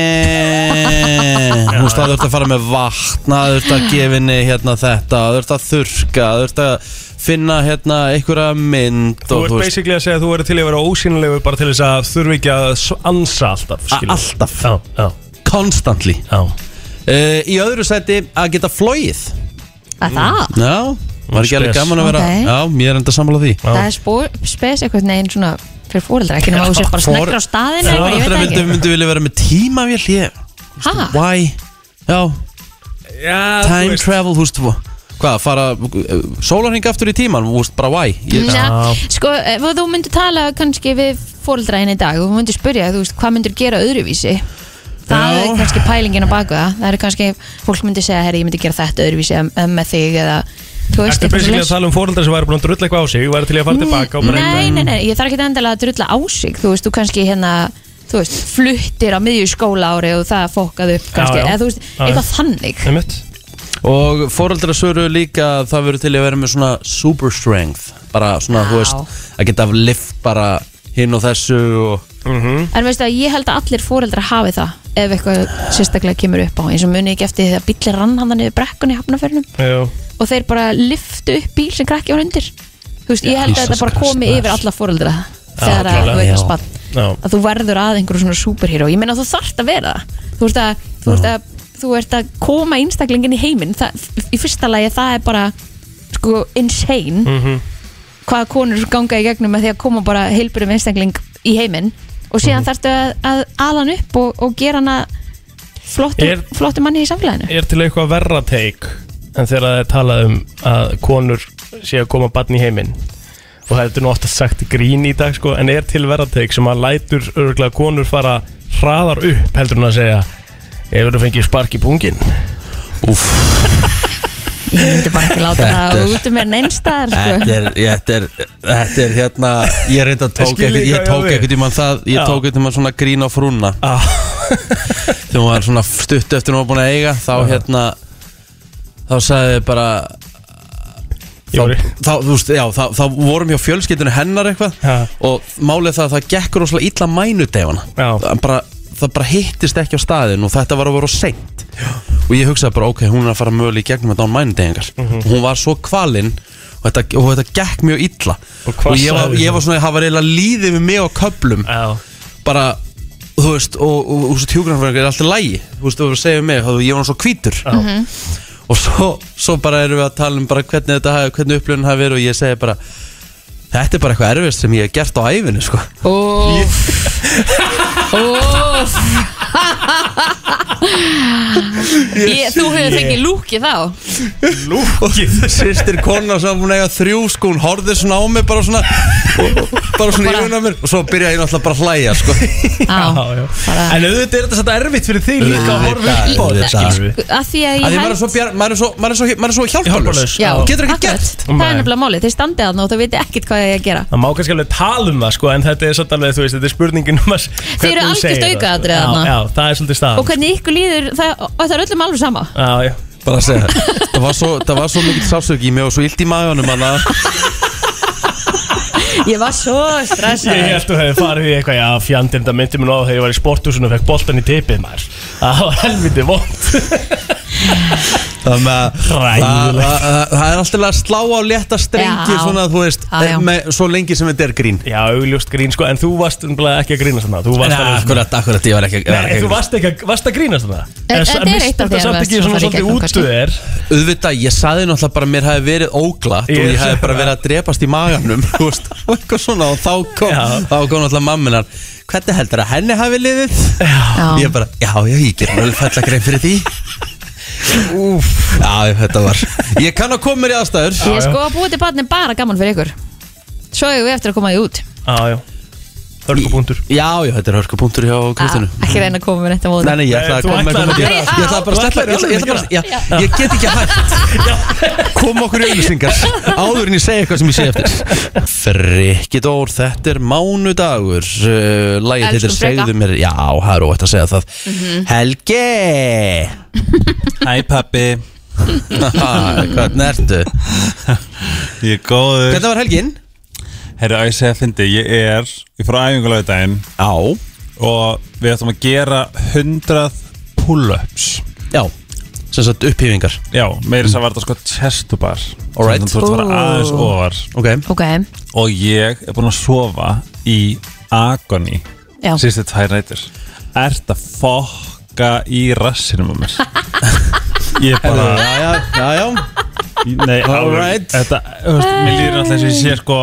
S1: þú veist það þurft að fara með vatna þurft að gefa henni hérna þetta þurft að þurka, þurft að finna hérna einhverja mynd
S3: Þú
S1: og
S3: ert
S1: veist-
S3: basically að segja að þú verður til í að vera ósýnilegur bara til þess að þurfi ekki að s- ansa alltaf
S1: A-
S3: skilur.
S1: alltaf.
S3: Já, já,
S1: constantly
S3: já
S1: Uh, í öðru sæti að geta flóið
S2: Að það?
S1: Já, var ekki alveg
S3: Spes.
S1: gaman að vera
S2: Ok.
S1: Já, mér er enda sammála því
S2: Það er spó- spes eitthvað neginn svona fyrir fóreldra ekki nema þú sér bara
S1: For-
S2: sneggur á staðinu eitthvað, ég
S1: Fóreldra
S2: veit
S1: myndu,
S2: það Ah.
S1: myndu vilja vera með tímavél ég
S2: ekki Ha?
S1: Why? Já,
S3: Já,
S1: time travel, þú veist Hvað, fara uh, sólarhing aftur í tíman, þú veist bara why ég,
S2: Ja, sko, ef þú myndir tala kannski við fóreldræðin í dag og þú myndir spyrja, þú veist, hvað myndir gera öðruvísi það
S1: Já.
S2: er kannski pælingin á baku það það er kannski, fólk myndir segja herri, ég myndi gera þetta öðruvísi em- em, með þig eða, þú veist,
S3: Ertu
S2: eitthvað
S3: basically
S2: svoleiðis.
S3: að tala um fóröldar sem væri búin að drulla eitthvað á sig væri til í að fara tilbaka og bara
S2: Nei, nei, nei, ég þarf ekki endilega að drulla á sig þú veist, þú kannski hérna þú veist, fluttir á miðju skóla ári og það fokkaði upp kannski,
S3: já.
S2: eða þú veist,
S3: Já,
S2: eitthvað þannig
S3: Einmitt.
S1: Og fóreldra svöru líka að það verður til að vera með svona super strength Bara svona, þú
S2: Já.
S1: veist, að geta lift bara hinn og þessu og
S3: Mm-hmm.
S2: en veistu að ég held að allir fóreldra hafi það ef eitthvað sérstaklega kemur upp á eins og muni ekki eftir því að bíli rann hann niður brekkunni í hafnaförnum
S3: Já.
S2: og þeir bara liftu upp bíl sem krakki var undir þú veist, ég held að þetta bara komi yfir alla fóreldra þegar að
S3: klárlega,
S2: þú
S1: já.
S2: er spann
S3: Já.
S2: að þú verður að einhverju svona superhero ég meina þú þarft að vera það þú ert að, þú ert að, þú ert að koma einstaklingin í heiminn það, í fyrsta lagi það er bara sko insane hvað konur ganga í gegnum með því að koma bara heilburum einstakling í heiminn og síðan þarftu að, að aðan upp og, og gera hana flottum,
S3: Er-
S2: flottum manni í samfélaginu
S3: Er til eitthvað verra teik en þegar það er talað um að konur sé að koma barn í heiminn og það er nú oftast sagt í grín í dag sko, en er til verra teik sem að lætur örgulega konur fara hraðar upp heldur hún að segja ef þú fengið spark í pungin
S1: Úff,
S2: ég myndi bara ekki láta það út um mér neinstaðar sko.
S1: Þetta er, þetta er, þetta er hérna Ég reynda að tók
S3: Skil
S1: ekkert
S3: líka,
S1: Ég tók
S3: já, við.
S1: ekkert í mann það Ég
S3: Já.
S1: tók ekkert í mann svona grín á frúna
S3: Já.
S1: Þegar hún var svona stutt eftir hún var búin að eiga Þá hérna Þá sagði ég bara
S3: Ég var í-
S1: þá, þá, þú veist, já, þá, þá vorum hjá fjölskyldinu hennar eitthvað
S3: Ha.
S1: og málið það að það gekk rosalega illa mænudefana
S3: Já.
S1: það bara, það bara hittist ekki á staðin og þetta var að vera seint og ég hugsaði bara ok, hún er að fara mögulega í gegnum þetta án mænudegingar
S3: Mhm.
S1: og hún var svo kvalinn og þetta, og þetta gekk mjög illa
S3: Og hvað
S1: ég, var,
S3: sagði
S1: ég
S3: þú?
S1: var svona, það var eiginlega líðið við mig á köplum
S3: Já.
S1: bara þú veist, og, og, og, og hjúgrannfræðingar er alltaf lægi þú veist, þú verður að segja við mig, þá- ég var svo hvítur og svo, svo bara erum við að tala um bara hvernig þetta, hafi- hvernig upplifun hafi verið og ég segi bara þetta er bara eitthvað erfist sem ég hef gert á æfinu sko.
S2: Óf Óf Ég, þú hefur fengið lúki þá
S1: Sýstir kona sem hún eiga þrjú sko Hún horfði svona á mig bara svona og, og, Bara svona í
S2: Bara-
S1: raun á mér Og svo byrjaði ég náttúrulega bara að hlæja sko
S2: Á,
S3: já.
S2: bara-
S3: En auðvitað er þetta satt erfitt fyrir þig líka að horfa
S1: Auðvitað,
S3: upp á þetta
S1: auðvitað.
S3: skilur við.
S2: að sko, því að ég
S1: Að því maður
S2: held
S1: er svo, bjar- maður er svo, maður er svo, maður er svo hjálparlaus
S3: Hjálparlaus,
S2: Já,
S1: Og getur ekki
S2: akkurat.
S1: gert
S2: Það er
S3: Nei.
S2: nefnilega málið, þeir standið að og það viti ekkert hvað ég að gera
S3: Það má kannski alveg tala um það sko En þetta er satt alveg, þú veist, þetta er spurningin um að
S2: Þið eru
S3: hvernig þú
S2: algjört
S3: segir það,
S2: aukaatriði
S3: sko.
S2: þarna.
S3: Já, já, það er svolítið
S2: Og
S3: staðan
S2: hvernig ykkur líður, það, og það er öllum alveg sama
S3: Já, já
S1: Bara að segja það. það var svo, það var svo mikill sásöki Mér var svo illt í maganum hana
S2: Ég var svo stressað
S3: Ég held að þú hefði farið í eitthvað, já, fjandinn, það myndi mér nú á þegar ég var í sporthúsinu og fekk boltan í tipið, maður. Það var helviti vond.
S1: Þannig að það-
S3: Hræðilegt.
S1: það- það- það er alltaf að slá á létta strengi
S2: Já.
S1: Svona þú veist
S2: Já, já.
S1: með, Svo lengi sem þetta er grín
S3: Já, augljóst grín, sko, en þú varst umlega ekki að grínast þarna. Þú varst alveg svona-
S1: Akkurat, akkurat, ég var ekki,
S3: sko, Nei, en þú varst ekki að, varst að grínast þarna.
S2: En- en þetta er eitt af því að varst
S3: að varst
S2: að
S3: svona
S2: fara í
S3: svolítið
S2: gegnum, kannski.
S3: útuð er.
S1: auðvitað, ég saði náttúrulega bara að mér hafi verið óglatt og
S3: Ég-
S1: ég hafi bara verið að drepast í maganum þú veist, og eitthvað svona og þá kom,
S3: Já.
S1: þá kom náttúrulega mamminar hvernig heldur að henni hafi liðið?
S2: Já.
S1: Ég bara, já, já, ég ger mjög falla grein fyrir því Úf. Já, þetta var Ég kann að koma mér í aðstæður
S2: Ég sko að búið til barni bara gaman fyrir ykkur Svo hefur við eftir að koma því út
S3: Já, já. Hörgubúndur.
S1: Já, já, þetta er hörkupunktur hjá Kristjánu
S2: Ah, Ekki reyna að koma með þetta
S1: Nei,
S2: móðum
S1: nei, ég ætla
S3: Nei,
S1: að
S3: þú
S1: koma
S3: ætlar
S1: eitthvað út í
S2: að-
S1: Ég ætla bara að
S3: Já.
S1: sleppa Ég ætla, ég ætla bara
S3: Já.
S1: að já, Ég get ekki hægt Koma okkur í auðlýsingar Áður en ég segja eitthvað sem ég sé eftir Frikkidór, þetta er mánudagur Uh, Lagið þetta er
S2: Elskum Frikka. Mhm.
S1: segðu mér Já, það er óvægt að segja það Helgi Hæ pappi Hvernig ertu?
S7: Ég er góður
S1: Hvernig var helgin?
S7: Herru, að ég segja að fyndi Ég er í frá æfingulegudaginn
S1: Á
S7: Og við ætlum að gera 100 pull-ups
S1: Já, sem sagt upphýfingar
S7: Já, meira þess að var þetta sko testubar
S1: Alright.
S7: Þannig að þú ert að fara aðeins ofar
S1: Ok,
S2: Ok,
S7: Og ég er búinn að sofa í agoni
S2: já
S7: Sýstu tvær nætur Ert að fokka í rassinum á mér Ég er bara
S1: já, já, já, já
S7: Nei, alveg,
S1: Alright.
S7: Þetta, þú veist, mér líður alltaf eins og ég sé sko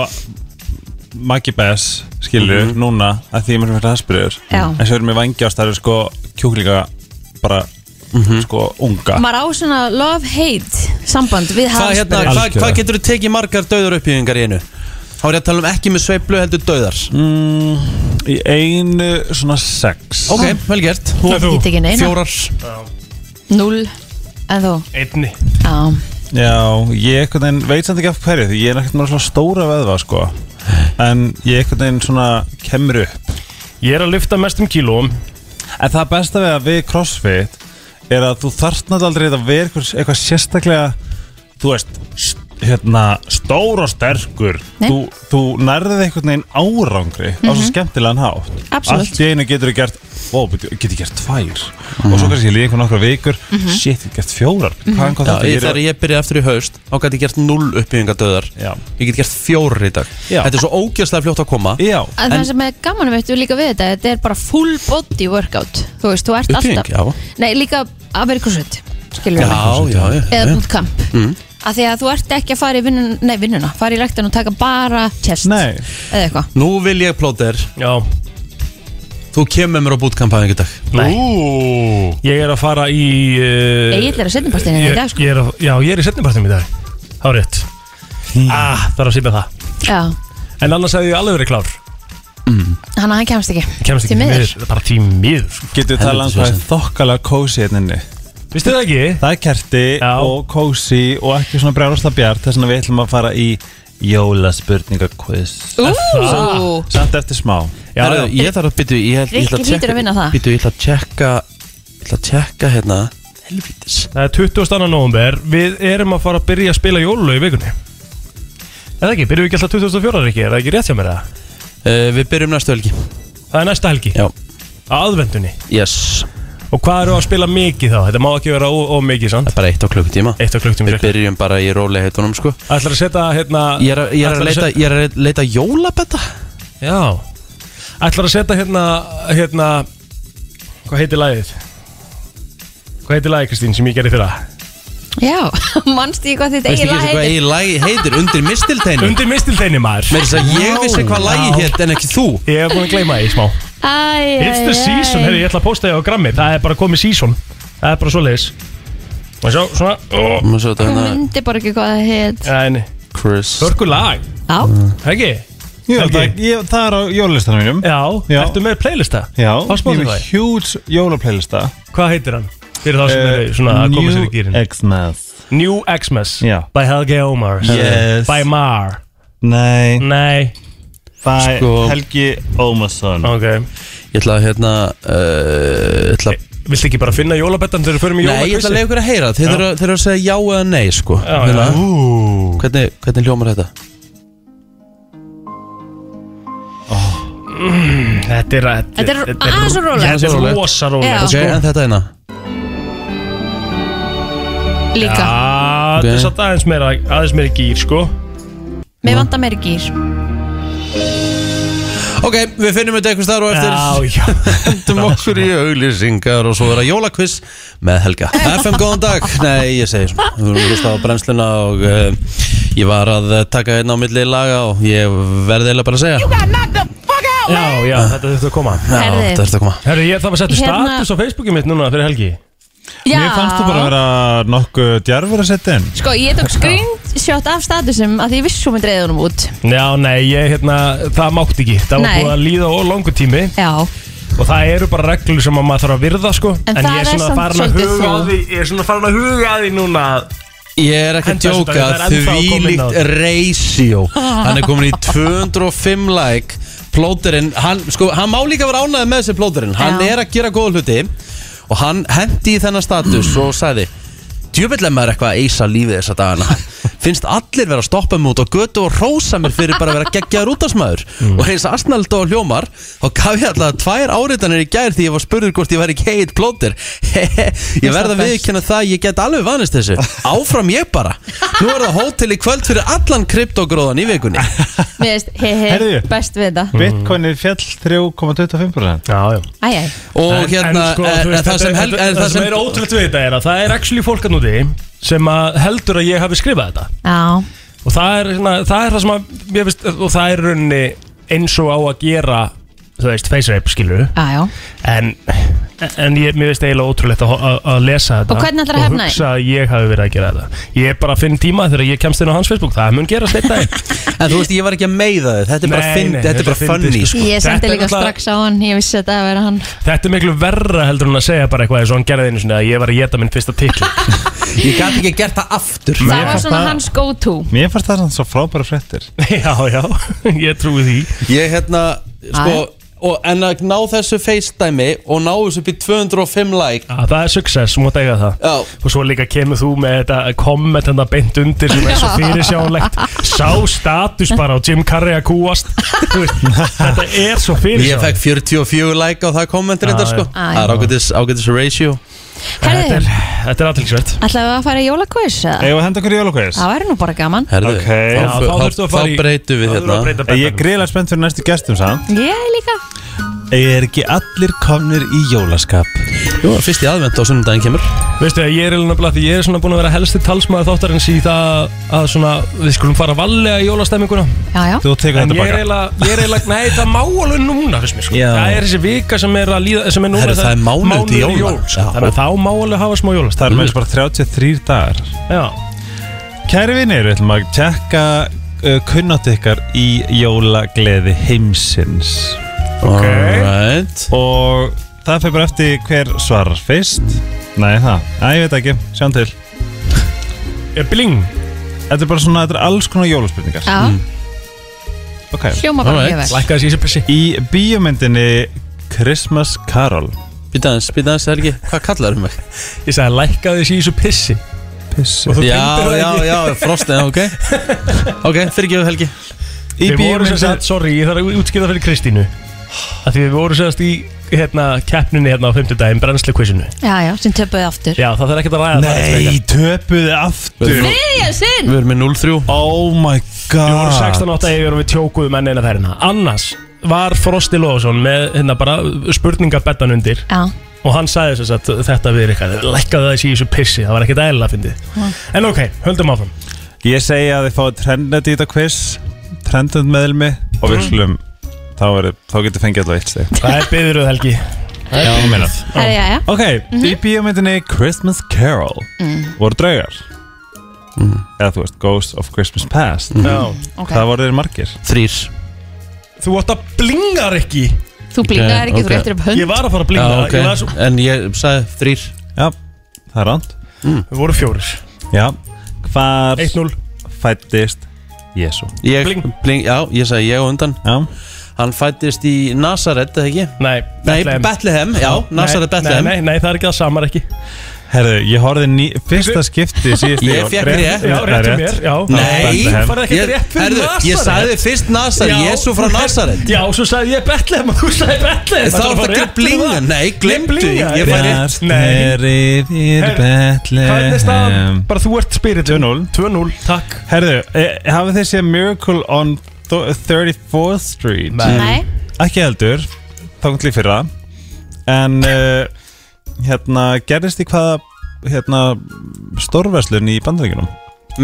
S7: Maggi Bess, skilur, núna að því ég er mér fyrir haspyrjur
S2: Já.
S7: en svo erum við vangi ástæður sko kjúklinga bara, sko, unga
S2: Maður á svona love-hate samband við
S1: Hvað
S2: hans
S1: hérna,
S7: Alls
S1: hva, hva
S7: kjöra.
S1: getur þú tekið margar döðar upphýfingar í einu? Þá er ég að tala um ekki með sveiflu heldur döðar
S7: mm, Í einu svona sex
S1: Ok, vel gert
S2: Ég get ekki tekið neina.
S1: Fjórar
S2: Null En þú
S3: Einni.
S2: Já,
S7: Já, ég einhvern veginn veit samt ekki af hverju því ég er ekkert með svona stóra veðva sko en ég einhvern veginn svona kemur upp
S3: Ég er að lyfta mestum kílóum.
S7: En það besta við að við CrossFit er að þú þarft náttúrulega aldrei að vera eitthvað, eitthvað sérstaklega þú veist, st hérna stór og sterkur
S2: Nei. Mhm.
S7: þú, þú nærðið einhvern veginn árangri á svo skemmtilegan hátt
S2: Absolutt.
S7: allt í einu getur þú gert ó, beti, getur ég gert tvær
S2: Mhm.
S7: og svo kannski líka einhvern nokkra vikur shit, ég hef gert fjórar hvað er hvað
S1: Já,
S7: þetta
S1: ég,
S7: er-
S1: þegar ég byrjaði aftur í haust þá gæti ég gert 0 upphýfingar döðar
S7: Já.
S1: Ég get gert fjórar í dag
S7: Já.
S1: Þetta er svo ógjastlega fljótt að koma
S7: Já,
S2: En, það sem er gaman um veitu líka við þetta Þetta er bara full body workout Þú veist, þú ert
S1: Uppbygging,
S2: alltaf Nei, líka Amerikusut Skilur við
S1: Já, já, já, já.
S2: Eða bootcamp Af því að þú ert ekki að fara í vinnun, nei, vinnuna Fara í rektan og taka bara chest
S7: Nei.
S2: Eða eitthvað
S1: Nú vil ég plóter
S3: Já.
S1: Þú kemur mér á bootcamp að einhver dag
S3: Ú. Ég er að fara í... Uh,
S2: Egill er á seinni partinum í
S3: Ég-
S2: dag, sko.
S3: ég er að- Já, ég er í setnipartinu í dag. Það er rétt. Ah, það er að sýpa það.
S2: Já,
S3: En annars hefði ég alveg verið klár.
S2: hann að hann kemst ekki
S3: Kemst ekki
S2: Því miður.
S3: miður. sko. Bara tímið.
S7: getur við talað um
S1: Helviti
S7: hvað er
S1: vesen.
S7: þokkalega kósi hérna inni
S3: Vistu það ekki?
S7: Það er kerti
S3: Já.
S7: og kósi og ekki svona brjálasta bjart þess vegna við ætlum að fara í jólaspurningakviss
S2: Ú,
S7: Samt eftir smá
S3: Já,
S1: Herru,
S3: já.
S1: Ég þarf að byttu Ég, held- ég ætla
S2: Rikki hlýtur að vinna það.
S1: Byttu, ég ætla að tjekka Ég ætla að tjekka hérna Helvítis
S3: Það er 22. november, við erum að fara að byrja að spila jólu í vikunni Er það ekki? Byrjum við ekki alltaf 2004 ekki? Er það ekki rétt hjá mér það?
S1: uh, Við byrjum næstu helgi
S3: Það er næsta helgi,
S1: Já
S3: á aðvendunni
S1: Yes
S3: Og hvað eru að spila mikið þá? Þetta má ekki vera ómikið, sant?
S1: Það er bara eitt á klukkutíma
S3: Eitt á klukktum
S1: Við
S3: Það
S1: byrjum bara í róleihetunum sko
S3: ætlar að setja hérna
S1: Ég er, að- ég er að
S3: ætlarðu
S1: leita, ég er að leita jólabetta
S3: set- Já Ætlar að setja hérna, hérna Hvað heitir lagið? Hvað heitir lagið, Kristín, sem ég gerði fyrra?
S2: já, mannst ég hvað þitt
S1: Veist ekki
S2: eigin lag
S1: eins og hvað
S2: heitir
S1: eigin lagi heitir Undir mistilteinu
S3: Undir mistilteinu maður
S1: Mér þess að ég vissi hvað lagi hétt en ekki þú
S3: Ég hef búin að gleyma því smá
S2: Æ, æ,
S3: It's the
S2: æ.
S3: season, herri, ég ætla að posta því á grammi Það er bara komið season Það er bara svo leiðis Og sjá, svona ó,
S1: Má sjá þetta
S2: Hún
S1: hérna
S2: myndi bara ekki hvað það heit
S3: Nei,
S1: Chris
S3: hörku lag,
S2: Já,
S3: ekki?
S7: Ég held
S3: Helgi.
S7: að ég, það er á jólulistanum mínum
S3: Já,
S7: Já.
S3: ertu með playlista?
S7: Já,
S3: Á Spotify?
S7: Ég Eh, er huge jólaplaylista
S3: Hvað heitir hann? Fyrir þá sem eru svona að koma sér í gýrin
S7: X-Math
S3: New Xmas
S7: Já.
S3: By Helgi Ómars
S7: Yes.
S3: By Mar Mm.
S7: Nei,
S3: Nei
S7: by
S1: Sko-
S7: Helgi Ómarsson
S3: Ok
S1: Ég ætla að hérna uh, ætla,
S3: Viltu ekki bara finna jólabettan þegar við förum
S1: Nei,
S3: í
S1: ég ætla að
S3: jólakvissi?
S1: leiða ykkur að heyra Þeir
S3: Já.
S1: eru að, þeir eru að segja já eða nei sko.
S3: Já,
S1: Hérna.
S3: já.
S1: Hvernig, hvernig hljómar þetta?
S3: Þetta er
S2: Þetta er aðeins og rólegt.
S3: Þetta er rosa rólegt
S2: Já.
S1: Ok, en þetta hérna
S2: líka
S3: Já, þetta er
S1: Ok.
S3: satt aðeins meira, aðeins meira gýr sko
S2: Mér vantar meiri gýr
S1: Ok, við finnum þetta eitthvað starf og eftir
S3: já
S1: Hendum okkur í auglýsingar og svo vera jólakviss með Helga FM, góðan dag Nei, ég segi svona Við vorum hlust á brennsluna og uh, ég var að taka einn á milli laga og ég verði eiginlega bara að segja Já,
S4: got knocked the fuck out,
S3: Já,
S4: man.
S3: já, þetta þurftu að koma
S1: þetta
S2: Herði.
S1: er þetta að koma
S3: Herru, ég, það var settur
S2: Hérna-
S3: status á Facebooki mitt núna fyrir helgi
S2: Já,
S7: Mér fannst þú bara að vera nokkuð djarfur að setja inn
S2: Sko, ég tók screenshot af statusum að því ég vissi svo með dreðunum út
S3: Já, nei, ég, hérna, það mátti ekki Það var
S2: Nei.
S3: búið að líða og langu tími
S2: Já,
S3: Og það eru bara reglur sem að maður þarf að virða sko
S2: En það
S3: ég
S2: er
S3: svona
S2: samt
S3: farin að
S2: svolítið þú.
S3: huga að því Ég er svona farin að huga að því núna að-
S1: Ég er ekki að
S3: Enda þessu
S1: djóka
S3: dag, það er ennþá að koma inn á
S1: þvílíkt
S3: þetta.
S1: ratio Hann er komin í 205 like Plóterinn, hann, sko, hann má líka vera ánæðið með þessi plóterinn Hann
S2: Já.
S1: er að gera góða hluti Og hann hendi í þennan status og sagði Djöfell er maður eitthvað að eisa lífið þessa dagana Finnst allir vera að stoppa mig út á götu og rósa mér fyrir bara að vera geggjaður útasmaður Og eins og Asnald og hljómar Þá gaf ég alltaf tvær áritanir í gær því ég var spurður hvort ég væri Kate Plóter Ég verð að viðkjanna það, ég get alveg vanist þessu Áfram ég bara Nú er það hótel í kvöld fyrir allan kryptogróðan í vikunni
S2: mér veist, hehe,
S7: Heyrðu.
S2: best við
S3: Mm.
S2: þetta
S7: Bitcoinið fjall 3,25%
S3: Já, já
S2: Æ, æ,
S1: Og hérna,
S3: sko,
S1: eh,
S3: þú veist,
S1: eh, það
S3: þetta-
S1: sem hel-
S3: þetta-
S1: eh,
S3: það sem er ótrúlega við þetta er að það er actually fólk að núti sem að heldur að ég hafi skrifað þetta
S2: já
S3: og það er, svona, það, er það sem að mér finnst, og það er í rauninni eins og á að gera þú veist, face rape skilur
S2: Já, já,
S3: en, en ég, mér finnst eiginlega ótrúlegt að, að, að lesa þetta
S2: Og hvernig ætlarðu að hefna þín?
S3: hugsa að ég hafi verið að gera þetta ég bara finn tíma þegar ég kemst inn á hans Facebook það mun gerast einn daginn
S1: En þú veist, ég var ekki að meiða þið Þetta er bara,
S3: Nei,
S1: fyndi-
S3: nei,
S1: þetta er bara
S3: þetta er fyndið,
S1: funny
S3: sko.
S1: sko.
S2: ég
S3: Þetta
S2: sendi
S3: er
S2: líka
S3: náttúrulega-
S2: strax á hann Ég vissi þetta að vera hann
S3: þetta er miklu verra heldur en að segja bara eitthvað eins og hann gerði einu sinni að ég var að geta minn fyrsta titl
S1: Ég gat ekki gert það aftur
S2: Það var
S7: fannst
S2: svona
S7: það-
S2: hans go-to
S7: Mér fannst það svona svo frábæra fréttir
S3: já, já, ég trúi því
S1: Ég hérna, sko og, En að ná þessu FaceTime Og ná þessu upp í 205 like
S3: Já, Ah, það er success, þú mátt eiga það
S1: Já.
S3: Og svo líka kemur þú með þetta komment hérna beint undir sem er svo fyrirsjánlegt Sá status bara á Jim Carrey að kúast Þú veist, Þetta er svo
S1: Ég fekk
S3: fyrirsjánlegt
S1: 44 like á það kommentir þetta
S3: Já,
S1: sko
S3: já.
S2: Já,
S1: Það er
S2: já.
S1: ágætis, ágætis ratio
S3: Þetta er,
S2: Herðu,
S3: þetta er aðtilsvert
S2: ætlaðu að fara í jólakvæs?
S7: Eða að henda okkur í jólakvæðis
S2: Það væri nú bara gaman
S1: Herðu,
S7: Ok.
S1: þá,
S7: Já,
S1: þá, þá, þá breytum við hérna
S7: Eh, Ég er greiðlega spennt fyrir næstu gestum samt
S2: Ég líka
S7: Ég er ekki allir komnir í jólaskap
S1: Jú, fyrst í aðvent á sunnudaginn kemur
S3: Veistu að ég er eiginlega blað því ég er svona búin að vera helsti talsmaður þáttarins í það að svona við skulum fara valega í jólastemminguna
S2: Já, já,
S7: Þú tekur
S3: En ég
S7: þetta
S3: er
S7: baka
S3: eiginlega, ég er eiginlega, nei það má alveg núna fyrst mér sko
S1: Já.
S3: Það er þessi vika sem er að líða, sem er núna
S1: Herru, það er mánuður til
S3: mánuður
S1: jóla.
S3: sko.
S1: Já.
S3: Þannig að þá má alveg hafa smá jólast
S7: Það er með þessu bara 33 dagar
S3: Já
S7: Kæri vinir, við ætlum að tjekka uh, kunnátt ykkar í jólagleði heimsins
S1: Alright
S7: Og það fyrir bara eftir hver svarar fyrst Nei, það, Æ, ég veit ekki, sjáum til
S3: Er Eh, bling
S7: Þetta er bara svona, þetta er alls konar jólaspurningar Mm.
S2: já
S7: Ok
S2: Hljóma bara
S1: Alright.
S2: mjög vel
S3: Lækkaði síðan pissi
S7: Í bíómyndinni Christmas Carol
S1: Býta aðeins, býta aðeins, Helgi Hvað kallar um mig?
S3: Ég sagði lækkaði síðan pissi
S7: Pissi
S3: Og þú
S1: Já,
S3: glemdir það
S1: já,
S3: ekki.
S1: já, frostin, ok Ok, fyrirgefu Helgi
S7: Í
S3: Við vorum sem sagt,
S7: bíómyndinni
S3: sorry, ég þarf að útskýra það fyrir Kristínu að Því við vorum sem sagt í hérna keppninni hérna á 50 daginn brennslu kvissinu
S2: Já, já, sem töpuði aftur
S3: Já, það þarf ekkert að ræða það
S7: Nei, töpuðu aftur
S2: Þriðja sinn
S1: Við erum með 0-3
S7: Oh my
S3: Við vorum 16
S7: god
S3: átta yfir og við tjókuðum enn eina ferðina Annars var Frosti Lóðsson með hérna bara spurningabettan undir
S2: Já,
S3: og hann sagði sem sagt þetta við Rikard lækkaði það síðan pissi, það var ekkert eðla að fyndið En ok, höldum áfram
S7: Ég segi að þið fáið trendnet í þetta quiz Mhm. Trendnet meðlmi Og við slum Þá, verið, þá getur fengið alltaf eitt steg
S3: Það er byðuruð Helgi Það er ekki meinað
S2: Herri, já, já.
S7: Ok, í bíómyndinni Christmas Carol voru draugar eða þú veist, Ghosts of Christmas Past
S3: Já.
S2: Ok.
S7: það voru þeir margir
S1: Þrýr
S3: Þú átt að blinga, Rikki
S2: Þú blingaðir ekki,
S1: ok.
S2: þú réttir upp hönd
S3: Ég var að fara
S1: Já,
S3: að blinga
S1: ok
S3: Ég var svo
S1: En ég sagði þrýr
S7: Já, það er rand
S3: Við vorum fjórir
S7: Já, hvar
S3: 1-0
S7: fættist Jésu
S1: Ég,
S3: Bling.
S1: bling, já, ég sagði ég á undan
S7: Já,
S1: Hann fættist í Nazaret, eða ekki?
S3: Nei,
S1: Nei,
S3: Bethlehem.
S1: Bethlehem, já, Nazaret
S3: Nei,
S1: Bethlehem
S3: Nei, nei, nei, það er ekki það samar ekki
S7: herðu, ég horfði ný, fyrsta skipti síðust
S1: Ég fékk rétt.
S3: Já, rétt um mér, já
S1: Nei,
S7: Bethlehem.
S3: farið ekki
S1: Ég-
S3: rétt fyrir
S1: Herðu,
S3: Nasaret
S1: Ég sagði fyrst Nazaret, Jésu frá Nazaret
S3: Já, svo sagði ég Bethlehem og þú sagði Bethlehem
S1: Þá er þetta ekki að blinga Nei, glemdu,
S3: blingaði.
S1: ég færi
S3: Rétt.
S7: Bjart
S3: Nei.
S7: er yfir
S3: Herðu, Hvernig er staðan?
S7: Bethlehem
S3: Bara þú ert spirit
S7: 2-0.
S3: 2-0, takk
S7: Herðu, e, hafið þið séð Miracle on Th- 34th Street?
S2: Nei,
S7: Ekki heldur, þákvæmt líf fyrra En uh, hérna, gerðist í hvaða hérna, stórverslun í bandaríkjunum?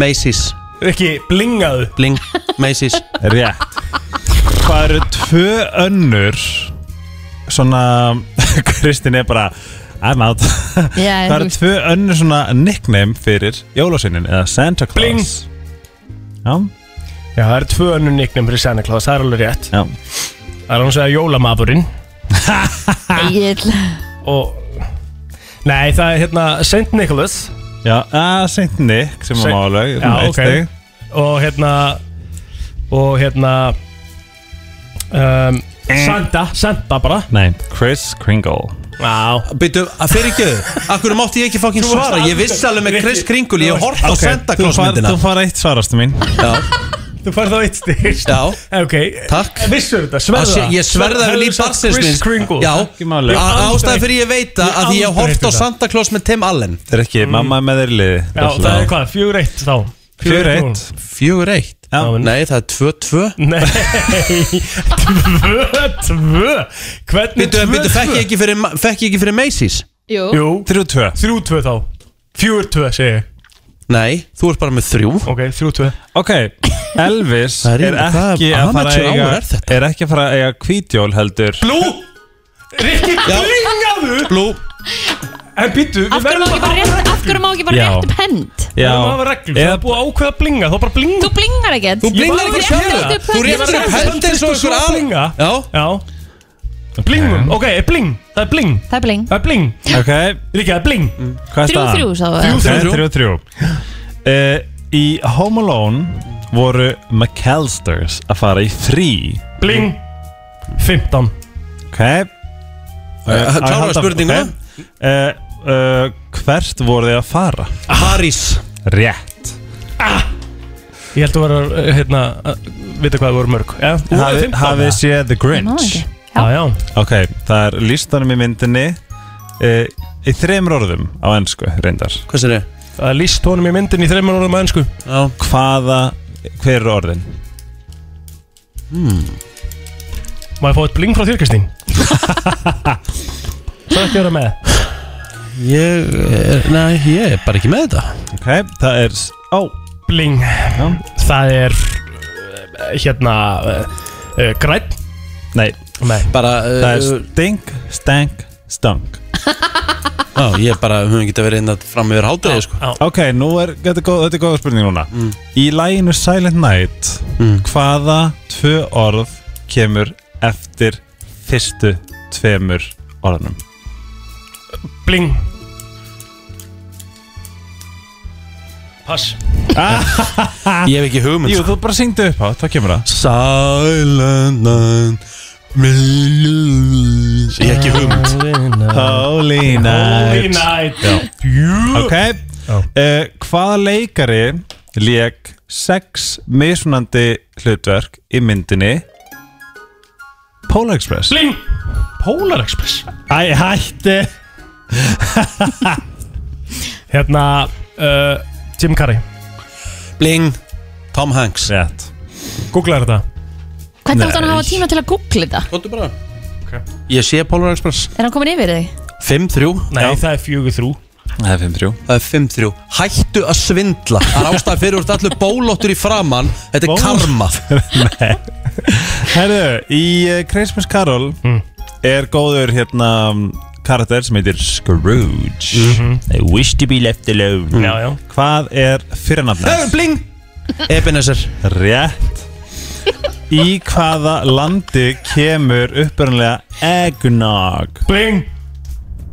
S1: Macy's,
S3: Rikki, blingaðu
S1: bling, Macy's
S7: Rétt Hvað eru tvö önnur svona Kristinn er bara I'm out
S2: já,
S7: Það
S2: þú
S7: eru
S2: veist
S7: tvö önnur svona nickname fyrir jólasveinin eða Santa Claus
S3: Bling.
S7: Já,
S3: Já, það eru tvö önnur nicknum fyrir Santa Claus, það er alveg rétt
S7: já
S3: Það er hann að segja jólamafurinn
S2: Ég ætla
S3: og Nei, það er hérna St. Nicholas
S7: Já, að Saint Nick sem
S3: Saint-
S7: var málaug
S3: Já, ok. og hérna og hérna um, Santa, Santa bara
S7: Nei, Chris Kringle
S3: Já,
S1: Byrju, að fyrir ekki Akkur mátti ég ekki fokkin
S3: Þú varst
S1: svara Ég
S3: aldrei-
S1: vissi alveg með Chris Kringul Ég horfði á Santa
S7: þú
S1: Claus
S7: far-
S1: myndina
S7: Þú far eitt svarastu mín
S1: Já,
S3: þú færð þá eitt stíl
S1: já
S3: Ok,
S1: Takk
S3: vissur þetta,
S1: Að
S3: sverða
S1: sé- Ég sverða við
S3: Hefðu
S1: líf
S3: sagt
S1: barsins
S3: Chris
S1: minns
S3: Kringle
S1: Já,
S7: Ekki máli.
S1: Á-
S3: Ég aldrei-
S1: ástæðan fyrir ég veit að
S3: Ég
S1: að ég
S3: aldrei
S1: horfði á
S3: þetta.
S1: Santa Claus með Tim Allen
S7: Það er ekki, mamma er með þeir liði
S3: Mm. Já, það er hvað, fjögur eitt þá
S7: Fjör
S3: núll.
S7: eitt
S1: Fjögur eitt
S7: Já.
S1: Nei, það er tvö tvö
S3: Nei, tvö, tvö
S1: Byrju,
S3: Hvernig tvö,
S1: byrju, fekk
S3: tvö?
S1: ég ekki fyrir, fekk ég ekki fyrir Macy's?
S2: Jú,
S3: Jú,
S7: Þrjú tvö
S3: þrjú tvö þá Fjögur tvö, segi ég
S1: Nei, þú ert bara með þrjú
S3: Ok, þrjú tvö
S7: Ok, Elvis
S1: Það
S7: er,
S1: er yfir- hvað
S7: ekki að fara að
S1: amateur
S7: eiga
S1: ára er þetta?
S7: Er ekki að fara að eiga kvítjól heldur
S3: Blú Rikki, blingaðu
S1: Blú,
S3: En býttu,
S2: af hverju
S3: við
S2: má
S3: verðum
S2: ekki bara rétt af hverju má ekki bara
S7: Já.
S2: rétt upp hönd
S7: Já,
S3: Það var reglum, það er
S7: eða,
S3: búið að ákveða að blinga, þá bara blinga
S2: Þú blingar ekkert
S1: þú blingar
S3: var
S1: ekki
S3: að
S1: sjálf
S3: gera
S2: það.
S1: Þú réttir upp hönd eins og
S3: Svo
S1: einhver
S3: að blinga.
S1: annar Já,
S3: Já Blingum, ok, bling, það er bling
S2: Það er bling
S3: Það er bling,
S7: ok,
S3: líka það er bling
S7: hvað
S2: Þrjú,
S7: er staðan?
S2: þrjú, sá
S3: Þrjú,
S7: Þrjú, þrjú, þrjú uh, Í Home Alone voru McAllisters að fara í frí
S3: Bling 15
S7: Ok
S1: kláraðu Eh, spurninguna.
S7: uh, uh, Hvert voru þið að fara?
S1: Harris
S7: Rétt
S3: Ég held að vera, uh, hérna, að vita hvað það voru mörg Já, þú voru
S7: Hafið
S3: 15
S7: hafi séð The
S2: Já,
S7: Grinch
S3: Já, já,
S7: Ok, það er listanum í myndinni uh, Í þreymur orðum á ennsku reyndar
S1: Hvað sér ég?
S3: það er líst honum í myndin í þreymur orðum að ennsku
S1: Já,
S7: Hvaða, hver er orðin?
S3: Má ég fá eitt bling frá þér, Kristín? Það er ekki að vera með
S1: ég er, nei, ég er bara ekki með þetta
S7: Ok, það er s- Ó,
S3: Bling
S7: já,
S3: Það er, uh, hérna, uh, uh, græn
S7: nei
S3: Nei
S1: Bara,
S7: Það er
S1: uh,
S7: stink, stank, stunk
S1: já, ég er bara, við höfum getað verið inn að fram yfir hátæði, sko
S3: Já,
S7: Ok, nú er, þetta er góð, þetta er góð spurning núna Í læginu Silent Night Hvaða tvö orð kemur eftir fyrstu tveimur orðunum?
S3: Bling Pass
S1: Ég hef ekki hugmynd,
S7: Jú,
S1: sko
S7: þú bara syngdu upp á, það kemur það
S1: Silent night Ég hef ekki hugmynd
S7: Holy
S3: Holy night Jú.
S7: Ok uh, Hvaða leikari leik sex mismunandi hlutverk í myndinni Polar Express
S3: Bling Polar Express
S7: Æ, hætti
S3: Hérna uh, Jim Carrey
S1: Bling, Tom Hanks
S7: Rétt
S3: Googlaðu þetta
S2: Hvernig átt hann að
S7: Nei.
S2: hafa tíma til að googla þetta?
S1: Kóttu bara Ég sé Polar Express
S2: Er hann komin yfir þig?
S1: 5-3
S3: Nei, það er fjögur þrú
S7: Það er 5-3
S1: Það er 5-3 Hættu að svindla Það er ástæð fyrir Þú ert allir bólóttur í framann Þetta er
S7: Ból-
S1: karma
S3: Mm.
S7: Herðu, í uh, Christmas eh, Carol er góður hérna karakter sem heitir Scrooge
S3: Mhm.
S7: I wish to be left alone
S3: Já, já
S7: Hvað er fyrirnafnið?
S1: Bling Ebenezer
S7: Rétt Í hvaða landi kemur upprunalega eggnog?
S3: Bling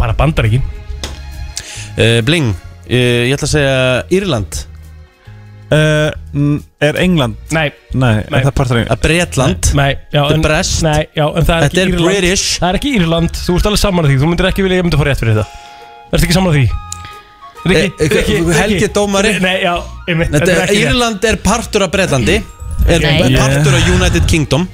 S3: Bara bandar ekki
S1: uh, Bling uh, Ég ætla að segja Írland
S7: Uh, n- er England?
S3: Nei,
S7: Nei,
S3: Nei.
S7: er það partur England?
S1: að Bretland
S3: nei já,
S1: The Brest.
S3: Nei, já, en það
S1: Þetta
S3: er
S1: er
S3: ekki Írland
S1: British.
S3: Það er ekki Írland, þú ert alveg saman að því Þú myndir ekki vilja, ég myndi fá rétt fyrir þetta Ertu ekki saman að því?
S1: Eh,
S3: Rikki,
S1: eh,
S3: Rikki, Rikki.
S1: Helgi dómari.
S3: Nei, já, einmitt
S1: Þetta
S3: þetta er
S1: er,
S3: ekki rétt.
S1: Írland er partur af Bretlandi Er
S2: Nei.
S1: er partur af United Kingdom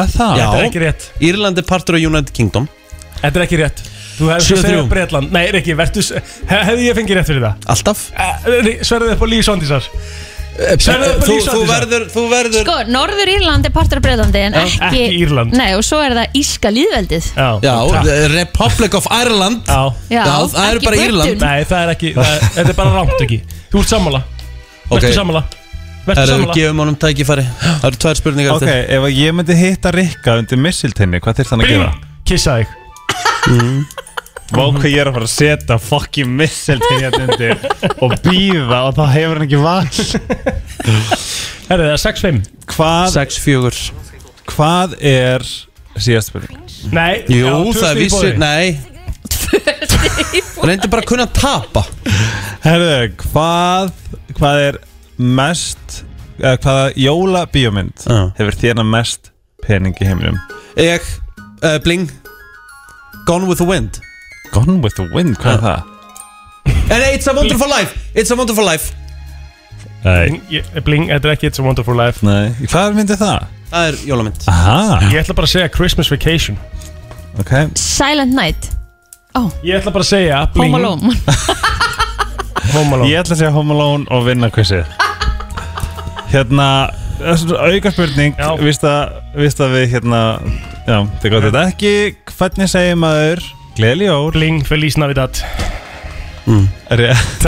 S7: Að það?
S1: Já.
S3: Þetta er ekki rétt
S1: Írland er partur af United Kingdom
S3: Þetta er ekki rétt Þú hefði
S1: Sjö
S3: svo segja
S1: þrjú.
S3: Bretland Nei, Rikki, vertu s- he- Hefði ég fengið rétt fyrir það?
S1: Alltaf
S3: Eh, Sverðu upp á Lís Ondísar Sverðu upp á
S1: Eh, Þú,
S3: Lís
S1: þú
S3: Ondísar
S1: verður, þú verður
S2: Sko, Norður Írland er partur af Breitlandi en ekki,
S3: ekki Írland.
S2: Nei, og svo er það Írska líðveldið
S1: Já,
S3: takk.
S1: the Republic of Ireland
S3: Já
S2: Já,
S1: það eru
S2: ekki
S1: bara
S2: Britain.
S1: Írland.
S3: Nei, það er ekki, það er, þetta er bara rámt ekki Þú ert sammála,
S1: Ok,
S3: verður sammála
S1: það
S3: Verður
S1: eru
S3: sammála
S1: gefum honum tækifæri Það eru tvær spurningar
S7: Ok,
S1: eftir
S7: ef að ég myndi hitta Rikka undir missiltinni, hvað þurft hann að gera?
S3: Bing, kissa þig
S7: Vá hvað ég er að fara að setja fucking missiltinni hérna undir og býða og þá hefur hann ekki vall
S3: Herðu, það er 6-5
S7: Hvað,
S1: Sex fjögur
S7: hvað er síðast spurning?
S3: Nei,
S1: Jú,
S3: já, tvö
S1: það er
S3: stig í
S1: vissi,
S3: boði.
S1: nei Reyndu bara að kunna að tapa
S7: Herðu, hvað, hvað er mest, eða hvaða jólabíómynd
S1: Já.
S7: hefur þérna mest pening í heiminum?
S1: Ég, uh, Bling Gone with the Wind
S7: Gone with the Wind, hvað er það?
S1: Eh, Nei, It's a Wonderful Life It's a Wonderful Life
S7: Nei,
S3: Bling, ég- Bling, þetta er ekki It's a Wonderful Life
S7: nei, hvað er myndið það?
S1: Það er jólamynd
S7: Aha,
S3: Ég ætla bara að segja Christmas Vacation
S7: ok
S2: Silent Night,
S3: Ég ætla bara að segja Bling,
S2: Home Alone
S3: Home Alone.
S7: Ég ætla að segja Home Alone og vinna quizið Hérna auka spurning
S3: Já.
S7: víst að, víst að við hérna Já, þið gott þetta ekki Hvernig segir maður Gleðli jól
S3: Bling, Feliz Navidad
S7: Rétt.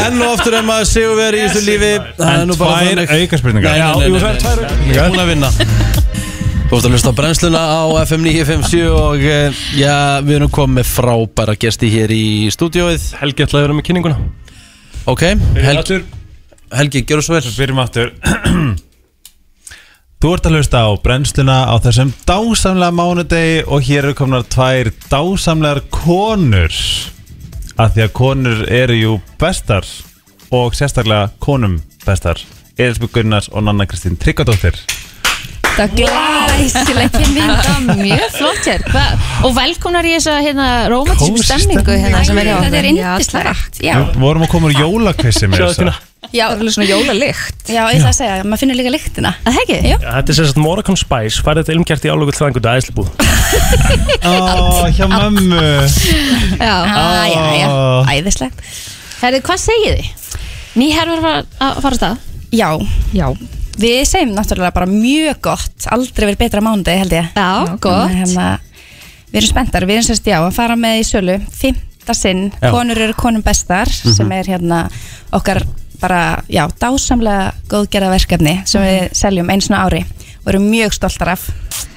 S1: Enn og aftur en maður séu verið í þessu lífi Það er
S7: En
S1: nú bara
S7: tvær
S1: þannig.
S7: auka spurningar
S1: Já,
S3: jú, það er tvær
S1: Ég er búin að vinna Þú ert að hlusta á brennsluna á FM 957 og eh, já, við erum komið með frábæra gesti hér í stúdióið
S3: Helgi ætla að vera með kynninguna
S1: Ok, Hel Helgi, gjör svo vel
S7: Byrjum aftur Þú ert að hlusta á brennsluna á þessum dásamlega mánudegi og hér eru komnar tvær dásamlegar konur af því að konur eru jú bestar og sérstaklega konum bestar Elisbjörg Gunnars og Nanna Kristín Tryggardóttir
S2: Það er glæsileg kynning Það er mjög flott hér Hva? Og velkomnar í þessa hérna, romantísum
S7: Kósí
S2: stemmingu hérna, sem er hjá
S8: Þetta
S2: okkur.
S8: er
S2: Já,
S8: indislegt Já,
S7: Við vorum að koma úr jólakvissi með
S3: Sjáðu
S7: þessa
S3: þína
S8: já,
S9: Það er alveg svona jólalikt
S8: já, ég ætla að segja, maður finnur líka lyktina
S2: Það er ekki?
S8: Jú.
S3: Já, Þetta er sem sagt Moracom Spice Færið þetta ilmkjart í álöku til þangut aðeinslubúð
S7: Ó, hjá mömmu
S2: Já.
S8: ah, já, já,
S7: Ah.
S8: æðislegt
S2: Herðu, hvað segið þið? Nýherfur var að fara af stað
S8: Já,
S9: Já
S8: við segjum náttúrulega bara mjög gott Aldrei verið betra mánuði held ég
S2: Já, gott
S8: Þannig að hérna, Við erum spenntar, við erum sérst já að fara með í sölu Fymta sinn,
S3: Já.
S8: konur eru konum bestar sem er hérna okkar bara, já, dásamlega góðgerða verkefni sem við seljum einu svona ári og erum mjög stoltar af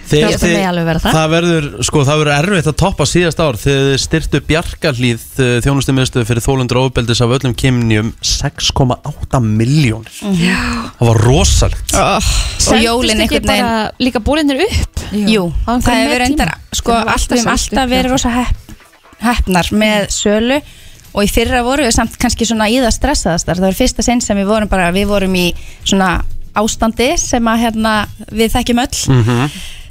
S2: Já, það megi alveg vera það.
S1: það verður, sko, það verður erfitt að toppa síðast ár þegar þið styrtu bjarkarlíð þjónustu miðstöðu fyrir þólundur óbeldis af öllum kynjum 6,8 miljónir
S8: Mhm.
S1: Það var rosalegt
S8: oh, og jólin
S2: ekki
S8: einhvern veginn
S2: bara líka bólinir upp?
S8: Jú,
S2: Á einhverjum
S8: það hefur
S2: mettíma.
S8: reyndar sko,
S9: Þetta var
S8: allt, við
S9: alltaf
S8: hefum
S9: selt
S8: alltaf
S9: upp,
S8: verið
S9: já.
S8: rosa hepp, heppnar með sölu og í fyrra voru við samt kannski svona í það stressaðastar, það var fyrsta sinn sem við vorum bara, við vorum í svona ástandi sem að hérna við þekkjum öll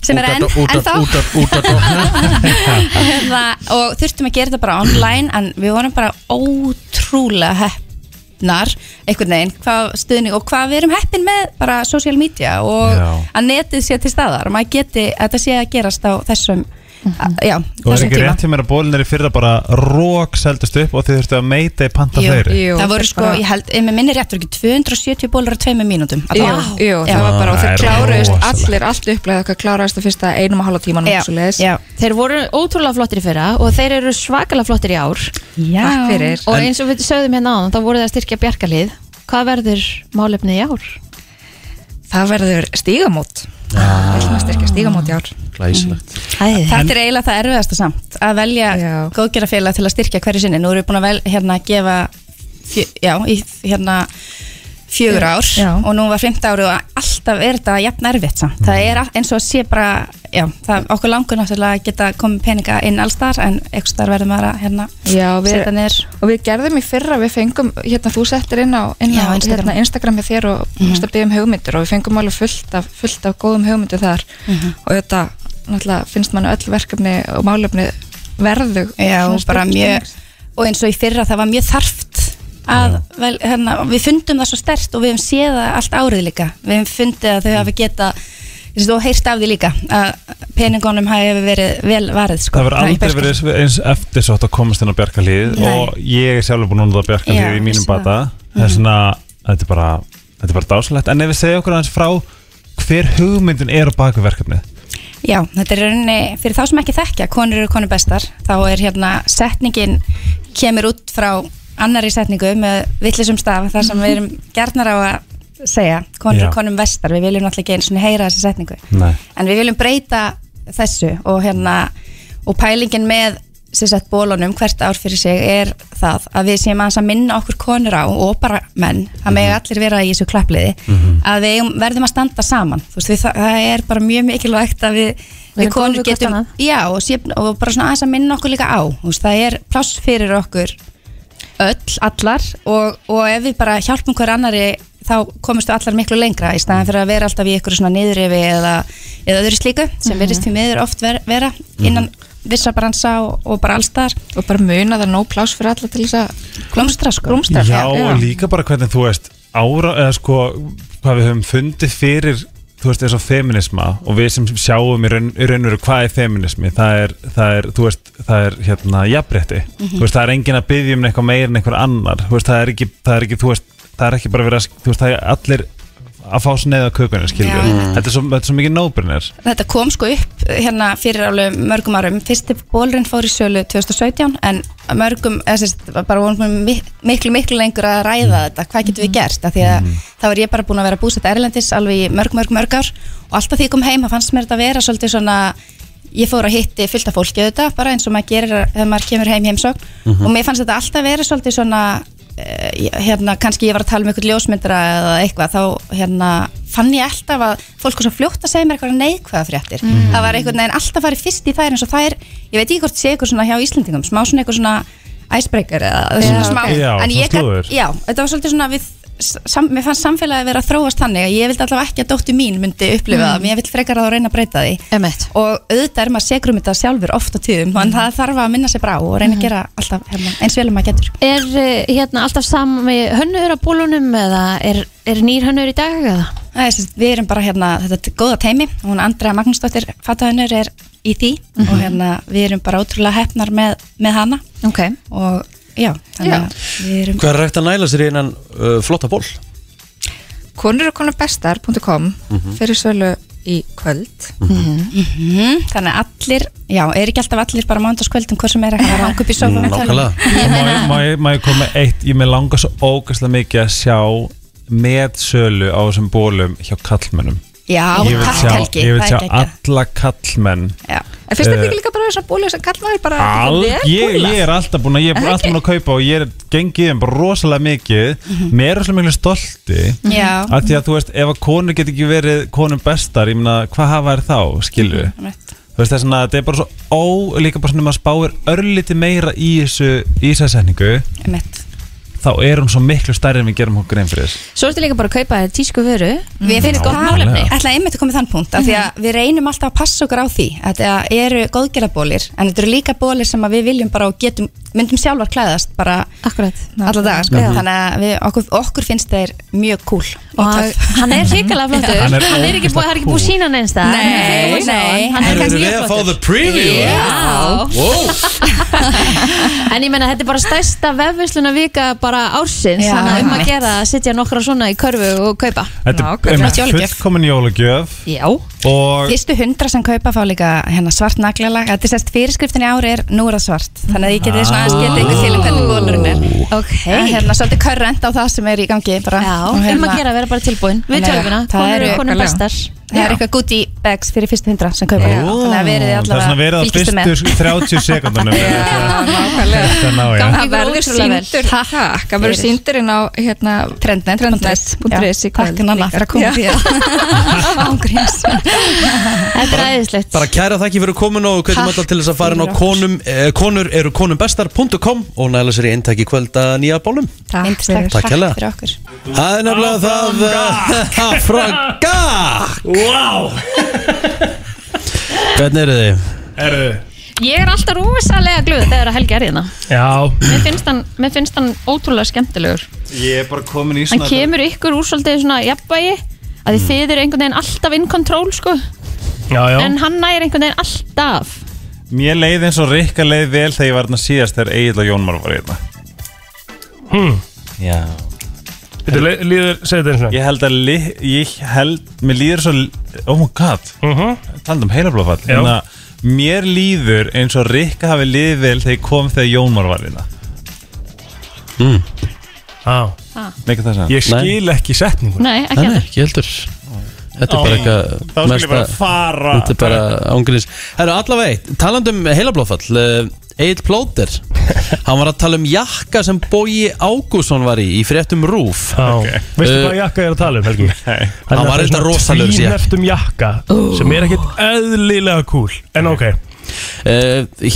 S8: sem er enn, enn þá hérna, og þurftum að gera þetta bara online en við vorum bara ótrúlega heppnar einhvern veginn, hvað stuðning og hvað við erum heppin með bara social media og
S7: Já.
S8: að netið sé til staðar og maður geti að þetta sé að gerast á þessum
S9: Mhm.
S8: já,
S7: Og er
S8: þessum
S7: ekki
S8: tíma
S7: rétt hjá mér að bólin er í fyrra bara rók seldust upp og þið þurftu að meita í panta
S8: Jú,
S7: fleiri
S9: Jú,
S8: það voru
S9: þetta er
S8: sko,
S9: bara-
S8: ég held, ef mér minni rétt voru ekki 270 bólar á tveimur mínútum
S9: Jú, jú, það var bara og
S7: Það
S9: þau
S7: er
S9: kláruðist
S7: rosalegt.
S9: allir, allt upplegað okkar kláruðist á fyrsta einum og halva tíman og svo leiðis
S8: já,
S2: Þeir voru ótrúlega flottir í fyrra og þeir eru svakalega flottir í ár
S8: já.
S9: Takk fyrir
S2: og eins og við sögðum hérna áðan þá voru það að styrkja bjarkarlið Hvað verður málefnið í ár?
S9: Það verður stígamót Við erum að styrkja stígamót í ár
S1: Glæsilegt
S8: Þetta er eiginlega það erfiðasta samt að velja góðgerðarfélag til að styrkja hverju sinni Nú erum við búin að vel, hérna, gefa fjö, já, í, hérna, fjögur
S9: Já.
S8: ár
S9: Já.
S8: og nú var fymta ári og alltaf er þetta jafn erfitt samt Það
S9: Mm.
S8: er all- eins og sé bara, já, það, okkur langur náttúrulega að geta komið peninga inn alls þar en eitthvað þar verðum maður að hérna,
S9: Já,
S8: setja
S9: við,
S8: niður
S9: og við gerðum í fyrra við fengum, hérna þú settir inn á, inn á
S8: Já, Instagram. Mhm.
S9: Hérna, Instagram með þér og mm -hmm. byggum hugmyndir og við fengum alveg fullt af, fullt af góðum hugmyndir þar
S8: Mhm.
S9: og þetta, náttúrulega finnst mann öll verkefni og málefni verðu
S8: Já,
S9: svona
S8: og bara
S9: stórt
S8: mjög
S9: tónlist.
S8: og eins og í fyrra það var mjög þarft að vel, hérna, við fundum það svo stert og við hefum séð það allt árið líka við hefum fundið að þau hafi geta og heyrt af því líka að peningunum hafi verið vel varið sko,
S7: Það verður aldrei verið eins eftirsótt að komast inn á bjarkalíð
S8: Nei.
S7: og ég er sjálfur búin að nota bjarkalíð
S8: Já,
S7: í mínum
S8: vissi það.
S7: bata það er svona, þetta er bara þetta er bara dásalegt, en ef við segja okkur aðeins frá hver hugmyndin er á baku verkefnið
S8: Já, þetta er í rauninni, fyrir þá sem ekki þekkja konur eru konur bestar, þá er hérna setningin kemur út frá annari setningu með vittlisum staf þar sem við erum gerðnar á að segja,
S7: Já.
S8: konur eru konum vestar við viljum náttúrulega ekki eins og heyra þessa setningu
S7: Nei.
S8: en við viljum breyta þessu og hérna, og pælingin með sem sagt bólunum hvert ár fyrir sig er það að við séum aðeins að minna okkur konur á og bara menn það megi allir vera í þessu klappliði að við eigum- verðum að standa saman þú veist, við, það, það er bara mjög mikilvægt að við, við
S2: Vera góð
S8: konur
S2: við hvert
S8: getum
S2: annað.
S8: já, og, sé, og bara svona aðeins að minna okkur líka á þú veist, það er pláss fyrir okkur öll, allar og, og ef við bara hjálpum hver annari þá komumst við allar miklu lengra í staðan fyrir að vera alltaf í ykkur svona niðurrifi eða, eða öðru slíku sem verðist því miður oft ver, vera innan vissa bransa og, og bara allstar
S9: og bara muna það er nóg pláss fyrir alla til þess að
S8: blómstra sko
S9: blómstra
S7: Já, og líka bara hvernig þú veist ára, eða sko, hvað við höfum fundið fyrir, þú veist, eins og feminisma og við sem sjáum í raun í raun og veru hvað er feminismi, það er, það er þú veist, það er hérna jafnrétti þú veist, það er engin að byggja um eitthvað meira en einhver annar, þú veist, það er ekki, það er ekki þú veist, það er ekki bara verið að, þú veist, það er allir að fá sér neða kökunni, skilur
S8: Já.
S7: þetta er svo, þetta er svo mikið nóbrinir
S8: Þetta kom sko upp hérna fyrir alveg mörgum árum. Fyrsti bólurinn fór í sölu 2017 en mörgum, eða sérst, bara vonum við mik- miklu, miklu lengur að ræða þetta. Hvað getum við gert? Af því að þá er ég bara búin að vera búsett erlendis alveg í mörg, mörg, mörg ár og alltaf því ég kom heim að fannst mér þetta vera svolítið svona ég fór að hitti fylgta fólki auðvitað bara eins og maður gerir þegar maður kemur heim í heimsókn
S7: Mhm.
S8: og mér fannst þetta alltaf vera svolítið svona eh, hérna, kannski ég var að tala um einhvern ljósmyndara eða eitthvað, þá hérna fann ég alltaf að fólk var svo fljótt að segja mér eitthvað neikvæða fréttir, það var einhvern veginn alltaf farið fyrst í þær eins og þær ég veit ekki hvort sé eitthvað svona hjá Íslendingum, smá svona eitthvað svona icebreaker eða svona smá
S7: Já,
S8: en
S7: svona
S8: ég gat-
S7: slúður.
S8: já, þetta var svolítið svona við Sam, mér fannst samfélagi vera að þróast þannig að ég vildi allavega ekki að dóttu mín myndi upplifa það mér vill frekar að reyna að breyta því
S2: Emmett
S8: og auðvitað er maður segur um þetta sjálfur oft á tíðum, mm. en það þarf að minna sér brá og reyna að gera alltaf hérna, eins vel um maður getur
S2: Er eh, hérna alltaf sami hönnur á bólunum eða er, er nýr hönnur í dag eða?
S8: Nei, sem sagt, Við erum bara hérna, þetta er góða teimi hún Andrea Magnúsdóttir fatahönnur er í því og hérna við erum bara ótrúlega hefnar með, með hana
S2: Ok
S8: og já, þannig að við erum
S1: Hvað er rægt að næla sér í einan uh, flotta ból?
S9: konurkonubestar.com fyrir sölu í kvöld
S8: mm, þannig að allir, já, er ekki alltaf allir bara mándaskvöldum hvort sem er að hanga upp í sofa um með tölvuna?
S1: Nákvæmlega
S7: Og má ég- má ég- má ég koma með eitt, ég með langar svo ógæslega mikið að sjá meðsölu á þessum bólum hjá kallmönnum
S8: Já,
S7: ég vil
S8: takk
S7: sjá,
S8: Helgi,
S7: ég vil
S8: það
S7: sjá
S8: er ekki ekki
S7: alla kallmenn
S8: Já,
S9: en finnst þetta
S7: Eh,
S9: ekki líka bara þess að búli þess að kalla þér bara
S7: Al, ég,
S9: sko.
S7: ég er alltaf búin að ég er bara alltaf búin að kaupa og ég er gengið um bara rosalega mikið með rosalega miklu stolti
S8: Já,
S7: af því að þú veist, ef að konur get ekki verið konum bestar, ég meina, hvað hafa þær þá skilu,
S1: Mhm.
S8: einmitt.
S7: þú veist það er svona þetta er bara svo ó, líka bara svona ef maður spáir örliti meira í þessu í þessu setningu,
S8: einmitt
S7: þá er hún svo miklu stærri en við gerum okkur einn fyrir þess
S2: Svo ertu líka bara að kaupa þér tísku vöru
S8: Við finnum
S7: gott
S8: gott
S7: málefni.
S8: málefni Ætla einmitt að koma í þann punkt af því að við reynum alltaf að passa okkur á því að það eru góðgerðabólir en þetta eru líka bólir sem að við viljum bara og getum myndum sjálfar klæðast bara
S2: Akkurat
S8: alla daga sko.
S2: Já.
S8: þannig að við, okkur, okkur finnst þeir mjög cool og
S2: Og
S8: töff
S2: hann er hrikalega flottur
S7: Hann
S2: Hann
S7: er
S2: er, ekki búið, það er ekki búið að sína hann einsta
S8: Nei, nei.
S2: Hann er kannski mjög flottur
S1: the preview?
S2: Já
S1: Wow.
S2: En ég meina þetta er bara stærsta vefvisluna vika bara ársins
S8: Já,
S2: Þannig að um að
S8: einmitt.
S2: gera að setja nokkra svona í körfu og kaupa
S7: Þetta er einmitt
S8: jólagjöf.
S7: fullkomin jólagjöf
S2: Já
S7: og
S8: Fyrstu hundra sem kaupa fá líka hérna, svart naglalag Þetta er sérst fyrirskriftin í ári er nú er það svart Þannig að ég geti svona aðeins getið ykkur til um hvernig bólurinn er
S2: Ok
S8: En hérna svolítið körrend á það sem er í gangi bara.
S2: Já,
S8: Og
S2: um að
S8: hérna-
S2: gera að vera bara tilbúin Við
S8: Þannig að
S2: tölvuna,
S8: það
S2: konur
S8: eru-
S2: eru konum
S9: Nákvæmlega.
S2: bestar
S8: það er eitthvað goodie bags fyrir fyrstu hundra sem kaupa
S9: Já,
S8: þannig að verið þið
S7: Það er svona verið
S8: allavega
S7: að
S8: fylgist með
S7: fyrstu 30 sekundunum Þetta ná ég
S9: Það verður síndur Takk, það verður síndur inn á hérna,
S8: trendnet,
S9: trendnet.is í kvöld
S8: takk nanna fyrir að koma því ángríns
S2: Þetta er æðislegt
S1: Bara kæra þakki fyrir komin og hvernig maður til þess að fara inn á
S8: fyrir
S1: konum, eh, konur eru konumbestar.com og næla sér í eintaki kvöld að nýja bólum
S8: Yndislegt.
S1: Takk hérlega.
S8: fyrir okkur
S1: Það er nefnilega það eh, Afranga
S3: Wow
S1: Hvernig eru þið?
S3: Erðu
S2: Ég er alltaf rosalega glöð þegar að Helgi er hérna
S3: Já
S2: Mér finnst hann, mér finnst hann ótrúlega skemmtilegur
S7: Ég er bara komin í
S2: Hann
S7: svona
S2: kemur ykkur úr svolítið svona jafnvægi að þið þið eru einhvern veginn alltaf in control sko
S3: Já, já
S2: en hann næri einhvern veginn alltaf
S7: Mér leið eins og Rikka leið vel þegar ég var hérna síðast þegar Egil og Jónmar var hérna
S3: Hmm.
S7: Já
S3: Þetta líður, segðu þetta eins og
S7: Ég held að li, ég held, mér líður svo Oh my god,
S3: Mhm.
S7: talað um heilablóðfall
S3: Já.
S7: Þannig að mér líður eins og Rikka hafi liðið vel þegar ég kom þegar Jónmar var hérna
S3: Já
S7: Mikið það sem
S3: Ég skil ekki setningu
S2: Nei, ekki
S1: Nei,
S2: hann
S1: nei, ekki heldur Þetta er bara
S7: Þá
S1: eitthvað
S7: skil ég bara fara
S1: Þetta er bara ángurins Það eru allavega, talandum um heilablóðfall Egil Plóter Hann var að tala um jakka sem Bói Ágússon var í Í fréttum Rúf
S3: Já, veistu
S1: Uh,
S3: hvað jakka ég er að tala um, Helgi? Nei,
S1: Hann var reyndar rosalegur í þessu jakka.
S3: Tvínertum jakka sem er ekkit eðlilega cool En ok
S1: uh,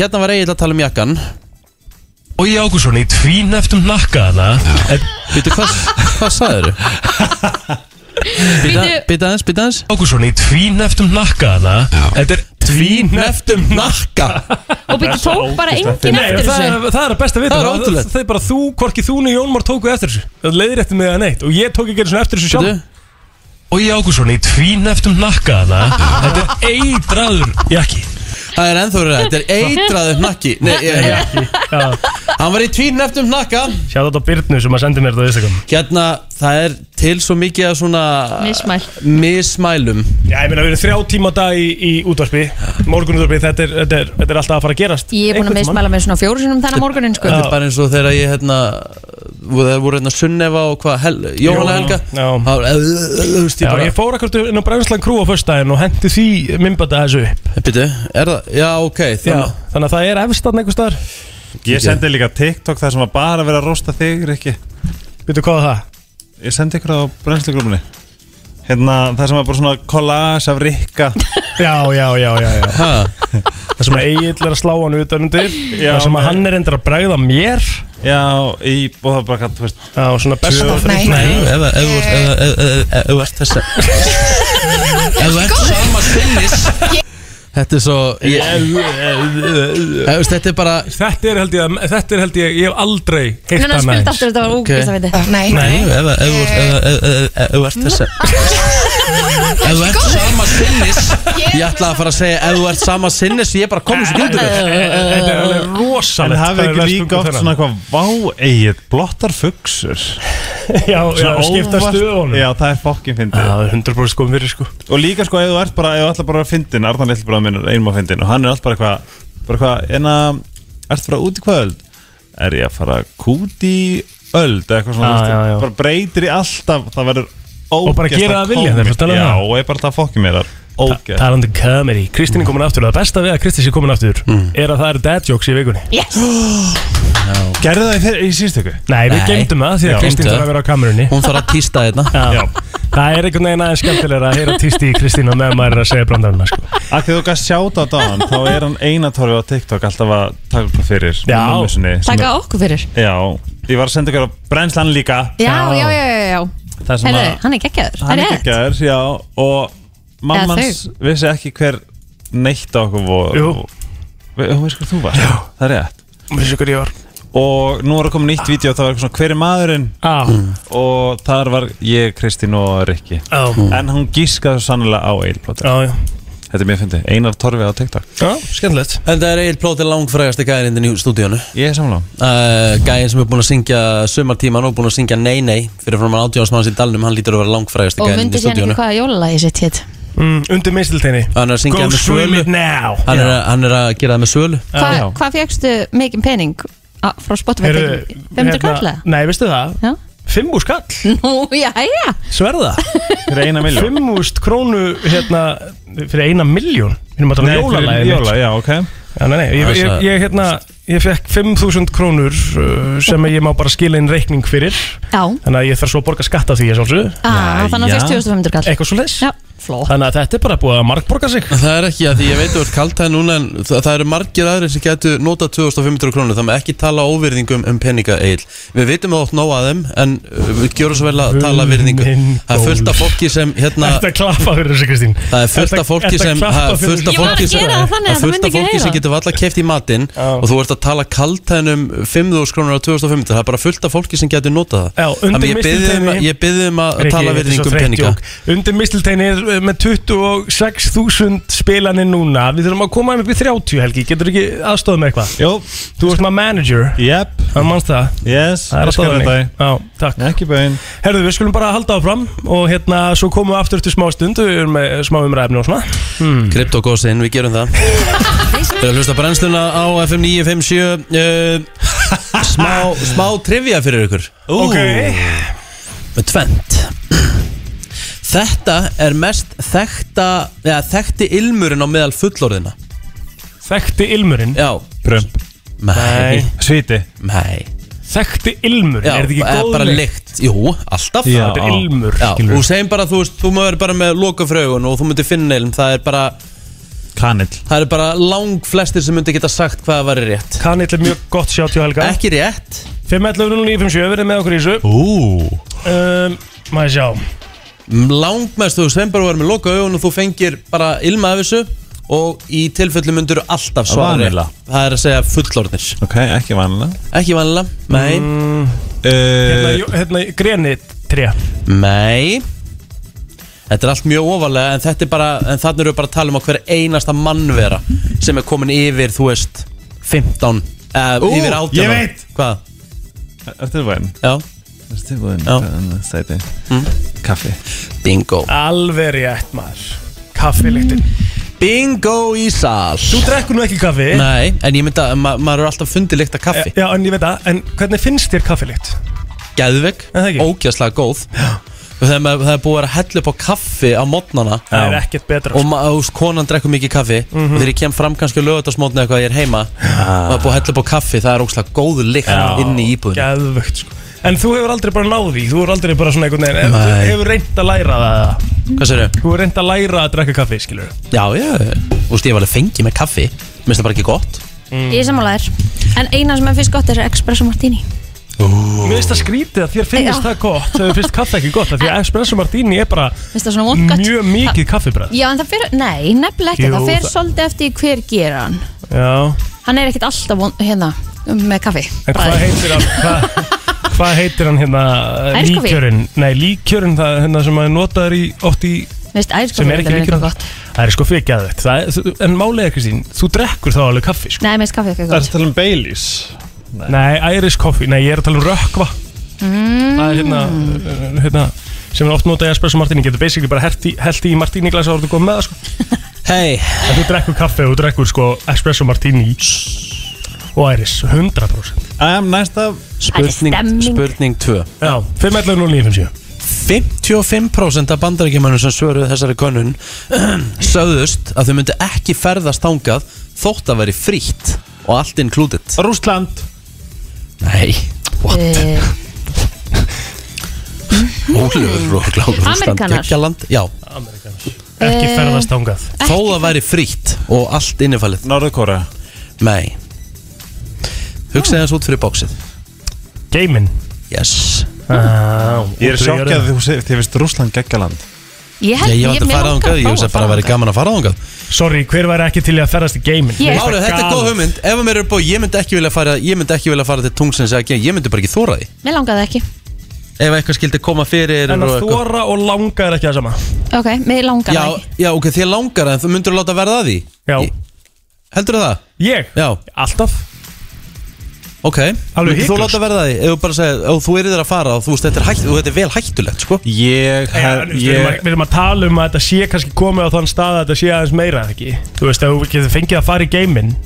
S1: Hérna var Egil að tala um jakkan
S5: Og ég ágússon í tvíneftum nakkaðana
S1: Býtu, Eh, hvað, hvað sagður? Býta aðeins, býta aðeins
S5: Ágússon í tvíneftum nakkaðana Þetta er
S1: Tvíneftum nakka
S2: og byrja tók bara enginn
S3: Nei,
S2: eftir
S3: það
S2: þessu
S3: er, það er að besta að
S1: Það
S3: vita
S1: er ótrúlegt.
S3: Það er bara þú, hvorki þú niður Jónmar tóku eftir þessu Það leiðir eftir mig að neitt Og ég tók ekki einu svona eftir þessu
S1: Býtu,
S3: sjálf
S5: Og ég ágússon í tvíneftum nakkaðana Þetta er eitraður jakki
S1: Það er ennþá verið Þetta er eitraður nakki Nei, ég, ég,
S3: Já,
S1: Hann var í tvíneftum nakka
S3: sjá þetta á Byrnu sem að sendi mér þetta á Instagram
S1: Hérna, það er til svo mikið að svona
S2: Mismæl.
S1: Mismælum
S3: Já, ég meina, við erum þrjá tíma á dag í, í útvarpi Morgun útvarpi, þetta er, þetta, er, þetta er alltaf að fara að gerast
S2: Ég er búin að
S3: Einhvern tímann.
S2: mismæla með svona fjóru sinum þennan morgunin sko
S1: Þetta er bara eins og þegar ég hérna Það voru hérna Sunnefa og hvað hel, Jóhanna Helga
S3: Já.
S1: Það var, eh, eh, Þú veist ég
S3: Já,
S1: bara
S3: ég fór akkur inn á Brænslan Crew á föstudaginn og hendi því mymbata þessu upp
S1: Býtu, Eh, er það? Já, ok
S3: Já,
S1: þannig-
S3: þannig að það er efstarn einhver staðar
S7: Ég sendi líka TikTok þar sem að bara vera að rosta þig, Rikki
S3: Veitu hvað er það?
S7: Ég sendi ykkur á brennslugrumunni Hérna, það sem er bara svona collage af Rikka
S3: Já, já, já, já, já.
S1: Ha,
S3: Það sem að Egil er að slá hann utan undir
S7: Já,
S3: Það sem að
S7: nei.
S3: hann er endur að bregða mér
S7: Já, í, og það er bara, hvað, þú veist
S3: Já, svona besta
S7: Tvö-
S3: frí-
S1: Nei, ef ef- ef- ef- ef- ef- ef- ef þú ert þess að Ef þú ert sama sinnis Þetta er svo ég, ef, veist, Þetta er bara
S3: Þetta er held ég, að- þetta er held ég, ég hef aldrei heitt
S2: Núna spilt aftur þetta var úkist að viti
S1: Nei, ef ef- ef þú ert- ef- ef- ef- ef þú ert þess að Ef þú ert sama sinnis Ég ætla að fara að segja Ef þú ert sama sinnis Ég er bara komið svo gildur
S3: Þetta er alveg
S7: En
S3: rosalegt
S7: hafið
S3: hvað er
S7: ekki
S3: verst
S7: líka
S3: um
S7: oft
S3: þennan.
S7: svona eitthvað vá eigið blottar fugsur
S3: Já, já, skipta stöðunum
S7: Já, það er fokkin
S3: Já,
S7: fyndið
S3: það er 100% sko fyrir sko
S7: Og líka sko, ef þú ert bara, ef þú ætlar bara að fyndin Arðan Lill bara minn er einum á fyndin Og hann er alltaf bara eitthvað, bara eitthvað En að, ertu bara út í kvöld? Er ég að fara kút í öld? Eða eitthvað svona,
S3: Já,
S7: þú veist,
S3: já, já.
S7: Bara breytir í alltaf, það verður
S3: Og bara gera
S7: ógeðslega
S3: það að vilja, þeir eru að
S7: kómískt.
S3: tala um
S7: Já,
S3: það.
S7: og ég bara það fokkin mér þar Ógeð
S3: Talandi um comedy Kristín er komin aftur og það besta við að Kristín sé komin aftur
S1: Mm.
S3: er að það eru dad jokes í vikunni
S7: Gerðu það í, þeir- í síðustu ykkur?
S3: Nei, við
S1: Nei.
S3: geymdum það því
S7: Já.
S3: að Kristín
S1: Geymdu
S3: þarf að vera á kamerunni
S1: Hún þarf að týsta hérna
S3: Já. Það er einhvern veginn aðeins skemmtilega að heyra týsti í Kristín og meðan maður er að segja brandaruna sko.
S7: Af því þú gæst sjáta á dagann Þá er hann einatorfi á TikTok alltaf að taka upp fyrir
S3: Já.
S7: mömmusinni sem
S2: Takka okkur fyrir
S7: er- Já, ég var að senda ykkur á brennslan líka
S2: Já, já, já, já, já
S7: Það sem
S2: Herðu,
S7: að
S2: hann er geggjaður
S7: hann er
S2: rétt.
S7: geggjaður Já, og
S2: Eða
S7: mammans vissi ekki hver neitt á okkur voru
S3: Jú.
S7: Ve- Þú veist hvað þú var Já. Það er rétt
S3: Vissi hver ég var
S7: Og nú var að koma nýtt vídeo og það var eitthvað svona hver er maðurinn
S3: Á,
S1: Mm.
S7: og þar var ég, Kristín og Rikki
S3: á,
S1: Mm.
S7: En hún gískaði sannlega á eilplótur
S3: á, Mm. já
S7: Þetta er mér fyndið, Einar Torfi á TikTok
S3: Já, skemmtilegt
S1: En það er Egil Plóter langfrægasti gæðin í stúdíónu
S7: Ég er samlega
S1: uh, Gæðin sem er búinn að syngja Sumartíman og búinn að syngja Nei Nei Fyrir frá mann átjóðansmanns í dalnum Hann lítur að vera langfrægasti
S2: Og
S1: gæðin
S2: myndi
S1: í
S2: sér ekki
S1: stúdíónu
S2: hvaða jólalagi sitt hétt
S3: mm, Undir misilteini
S1: Hann er að syngja
S3: Go
S1: það með
S3: swim
S1: svölu
S3: it now
S1: hann er, að, hann er að gera það með svölu
S2: Hva,
S7: já.
S2: Hvað fegstu mikinn pening á- frá Spotify?
S3: Heyrðu, hérna-
S2: 500 kallar?
S3: Nei, veistu það
S2: Já.
S3: Fimm úr skall,
S2: Nú, já, já
S3: sverða
S7: Fyrir eina miljón
S3: Fimm úrst krónu hérna Fyrir eina miljón Við erum að tala um jólalæðin
S7: jóla, já, ok
S3: Já, nei, nei, ég,
S1: Það er
S3: ég,
S1: það-
S3: ég, hérna, ég fekk 5.000 krónur uh, sem ég má bara skila inn reikning fyrir
S2: Já,
S3: þannig að ég þarf svo að borga skatt af því að sjálfsögðu
S2: ah, þannig að fyrst 2500 kall
S3: eitthvað svo leis
S2: Já, flott
S3: þannig að þetta er bara búið að markborga sig
S1: Það er ekki að því ég veit að þú ert kaltæð núna en það, það eru margir aðrir sem getur notað 2500 krónur þannig að ekki tala óvirðingum um peninga eil Við vitum að þú átt nóg að þeim en uh, við gjörum svo vel að tala virðingu
S3: Minn
S1: Það er fullt af
S3: góður.
S1: fólki sem hérna
S3: Þetta klappa fyrir þessu Kristín
S1: Það er fullt af fólki
S3: Ertu að
S1: sem
S3: klappa
S1: það er fullt
S3: fyrir
S1: af
S2: Ég var að
S1: fólki sem-
S2: gera það
S1: það
S2: þannig að
S1: er
S2: það
S1: fullt af
S2: myndi ekki
S1: fólki
S2: heyra.
S1: sem getur alltaf keft í matinn
S3: Já.
S1: og þú ert að tala kaltæðinum 5.000 krónur á 2500 það er bara fullt af fólki sem getur notað
S3: Já,
S1: það
S3: undir
S1: Þannig að ég bið um að-
S3: mistilteini-
S1: ég byrði um að
S3: Riki,
S1: tala
S3: þetta er svo
S1: virðingum
S3: þreytt
S1: peninga
S3: jók. Undir mistiltein er uh, með 26.000 spilanir núna Við þurfum að koma um upp í 30 helgi Getur ekki aðstofað með eitthvað?
S7: Jú,
S3: Þú ert maður manager
S7: jep,
S3: Það mannst það
S7: yes
S3: Það er
S7: ég skal
S3: alltaf
S7: þetta í.
S3: þannig Já, takk
S7: Ekki bæinn
S3: Herðu, við skulum bara halda áfram Og hérna, svo komum við aftur til smá stund Við erum með smá umræfni og svona
S1: Kryptogósin, við gerum það Við erum að hlusta á brennsluna á FM 957 uh, smá, smá trivia fyrir ykkur
S3: Ok
S1: Með tvent Þetta er mest þekta, eða, þekkti ilmurinn á meðal fullorðina
S3: Þekkti ilmurinn
S1: Já
S7: Prump
S1: Nei,
S7: Svíti
S1: nei
S3: Þekkti ilmurinn,
S1: Já,
S3: er þetta
S1: eh,
S3: ekki góð
S1: bara
S3: lykt?
S1: lykt Jú, alltaf
S7: Já.
S3: Þetta er ilmur,
S1: Já,
S3: skilur
S1: og segjum bara, þú veist, þú maður bara með loka frögun og þú myndir finna ilm, það er bara
S7: Kanill
S1: það er bara lang flestir sem myndi geta sagt hvað það var rétt
S3: Kanill er mjög gott sjátt hjá Helga
S1: Ekki rétt
S3: 5.11.957 verið með okkur í þessu
S7: Ú
S3: um, Maður sjá
S1: langmest þú sveim bara verður með loka augun og þú fengir bara ilma af þessu og í tilfellu myndur alltaf svara rétt.
S7: Vanilega.
S1: það er að segja fullorðnir
S7: Ok, ekki vanlega
S1: ekki vanlega, nei,
S7: Mm.
S1: Eh.
S3: Hérna,
S7: uh,
S3: jú- hérna greni 3
S1: nei þetta er allt mjög ofalega en, þetta er bara, en þannig eru bara að tala um að hver einasta mannvera sem er komin yfir þú veist 15 eða
S7: Ú,
S1: yfir 18
S7: ég
S1: ára.
S7: veit.
S1: hvað,
S7: Ertu tilbúinn?
S1: já,
S7: Ertu tilbúinn?
S1: Já.
S7: Hvað Sæti
S3: Mm.
S7: Kaffi
S1: bingo
S3: Alveg rétt maður Kaffiliktin
S1: Mm. bingo í sal
S3: Þú drekkur nú ekki kaffi Eh,
S1: nei, en ég mynda, ma maður er alltaf fundið líkt að kaffi
S7: Eh,
S3: Já, en ég veit það, en hvernig finnst þér kaffilikt?
S1: geðvegg,
S3: Er það ekki?
S1: ógjastlega góð og þegar maður, það er búið að vera að hella upp á kaffi á mótnana
S3: Það er ekkert betra sko.
S1: og ma- og konan drekkur mikið kaffi og þegar ég kem fram kannski á lögatarsmótni eitthvað ég er heima og það er búið að hella upp á kaffi það er ógjastlega góð lykt inn í íbúðinu
S3: Gæðvögt sko En þú hefur aldrei bara náð því, þú hefur aldrei bara svona einhvern veginn Þú
S1: Nei.
S3: hefur reynd að læra það eða?
S1: hvað sér þau?
S3: Þú hefur reynd að læra að drekka kaffi, skilur
S1: Já, já, þú veist ég var alveg fengið með kaffi mér finnst það bara ekki gott
S2: Ég er sammálaðir En eina sem er fyrst gott er Espresso Martini
S3: Mér finnst það skrítið að þér finnist
S2: Já.
S3: það gott Þegar finnst kaffi ekki gott, af því að espresso martini er bara
S2: Finnst það svona vond gott
S3: mjög mikið kaffibræð
S2: Já, en það fyrir, nei, nefnilega ekki
S3: Jú,
S2: Það fyrir
S3: það-
S2: svolítið eftir því hver gera hann
S3: Já,
S2: Hann er ekkert alltaf von, hérna með kaffi
S3: En hvað
S2: Bragðið.
S3: heitir hann hvað, hvað heitir hann hérna eh,
S2: Ærkufín.
S3: líkjörinn? Nei, líkjörinn það hérna sem maður notaður í oft í
S2: Mér finnst æriskaffi
S3: sem er ekki
S2: reyndar
S3: líkjörinn
S2: gott
S3: Það er sko fyrir gæðvett Það er- þú- En málið er Kristín, þú drekkur þá alveg kaffi sko.
S2: Nei, mér finnst kaffi ekki
S7: Það er að
S2: gott
S7: tala um Baileys
S3: Nei, Iris koffi, nei ég er að tala um rökkva Það er hérna, eh, hérna sem er oft notað í espresso martini getur basically bara hert í- held í martini glasa og þú komið með það sko
S1: Hei,
S3: En þú drekkur kaffi og þú drekkur sko espresso martini og Iris, 100%
S7: um, Næsta
S1: spurning,
S2: stemming.
S1: spurning 2
S3: Já, 5.11.09.57
S1: 55% af bandarækjumannum sem svöruðu þessari konun sögðust að þau myndi ekki ferðast þangað þótt að veri frítt og allt included
S7: Rúsland
S1: Nei, what?
S2: Eh,
S1: Ólöfur og gláður
S2: Amerikanar.
S1: Kekjaland, já,
S3: Ekki
S2: Eh.
S3: ferðast ángað
S1: þó að veri frítt og allt innifalið
S7: Norðurkóra
S1: Nei Hugsaði hans út fyrir bóksið
S3: Geimin
S1: Yes
S3: ah,
S7: Ég er sjokkið að þú segir Þið finnst Rúsland geggjaland
S3: um-
S2: Ég
S1: Já,
S2: held,
S1: ég var þetta að
S2: mér
S1: fara
S2: langar
S1: þangað, ég
S2: fá
S1: hugsaði bara að veri
S2: þangað.
S1: gaman að fara þangað
S3: Sorry, hver væri ekki til í að ferðast í geimin?
S2: Ég.
S3: Mér finnst
S1: Máru,
S3: það
S1: þetta er góð
S3: galið.
S1: hugmynd, ef að mér er búið, ég myndi ekki vilja fara ég myndi ekki vilja fara til tungsins eða ekki, ég myndi bara ekki þóra því
S2: Mér langaði ekki
S1: ef eitthvað skildi koma fyrir
S3: En
S1: og
S3: að
S1: eitthvað.
S3: þóra og langa er ekki það sama
S2: Ok, mér langaði
S1: já,
S2: ekki
S1: já, ok, þér langar en þú myndur að láta verða að því
S3: Já.
S1: Heldur það?
S3: Ég?
S1: Já,
S3: Alltaf
S1: ok Myndir Þú
S3: hiklaust.
S1: láta verða að því, ef þú bara segir ef þú erir þér að fara og þú veist þetta er, hætt, og þetta er vel hættulegt sko.
S3: En,
S7: Ég hef
S3: þú veist, Við erum að-
S7: Ég
S3: við erum að tala um að þetta sé kannski komið á þann stað að þetta sé aðeins meira ekki Þú veist, ef þú getur fengið að fara í geimin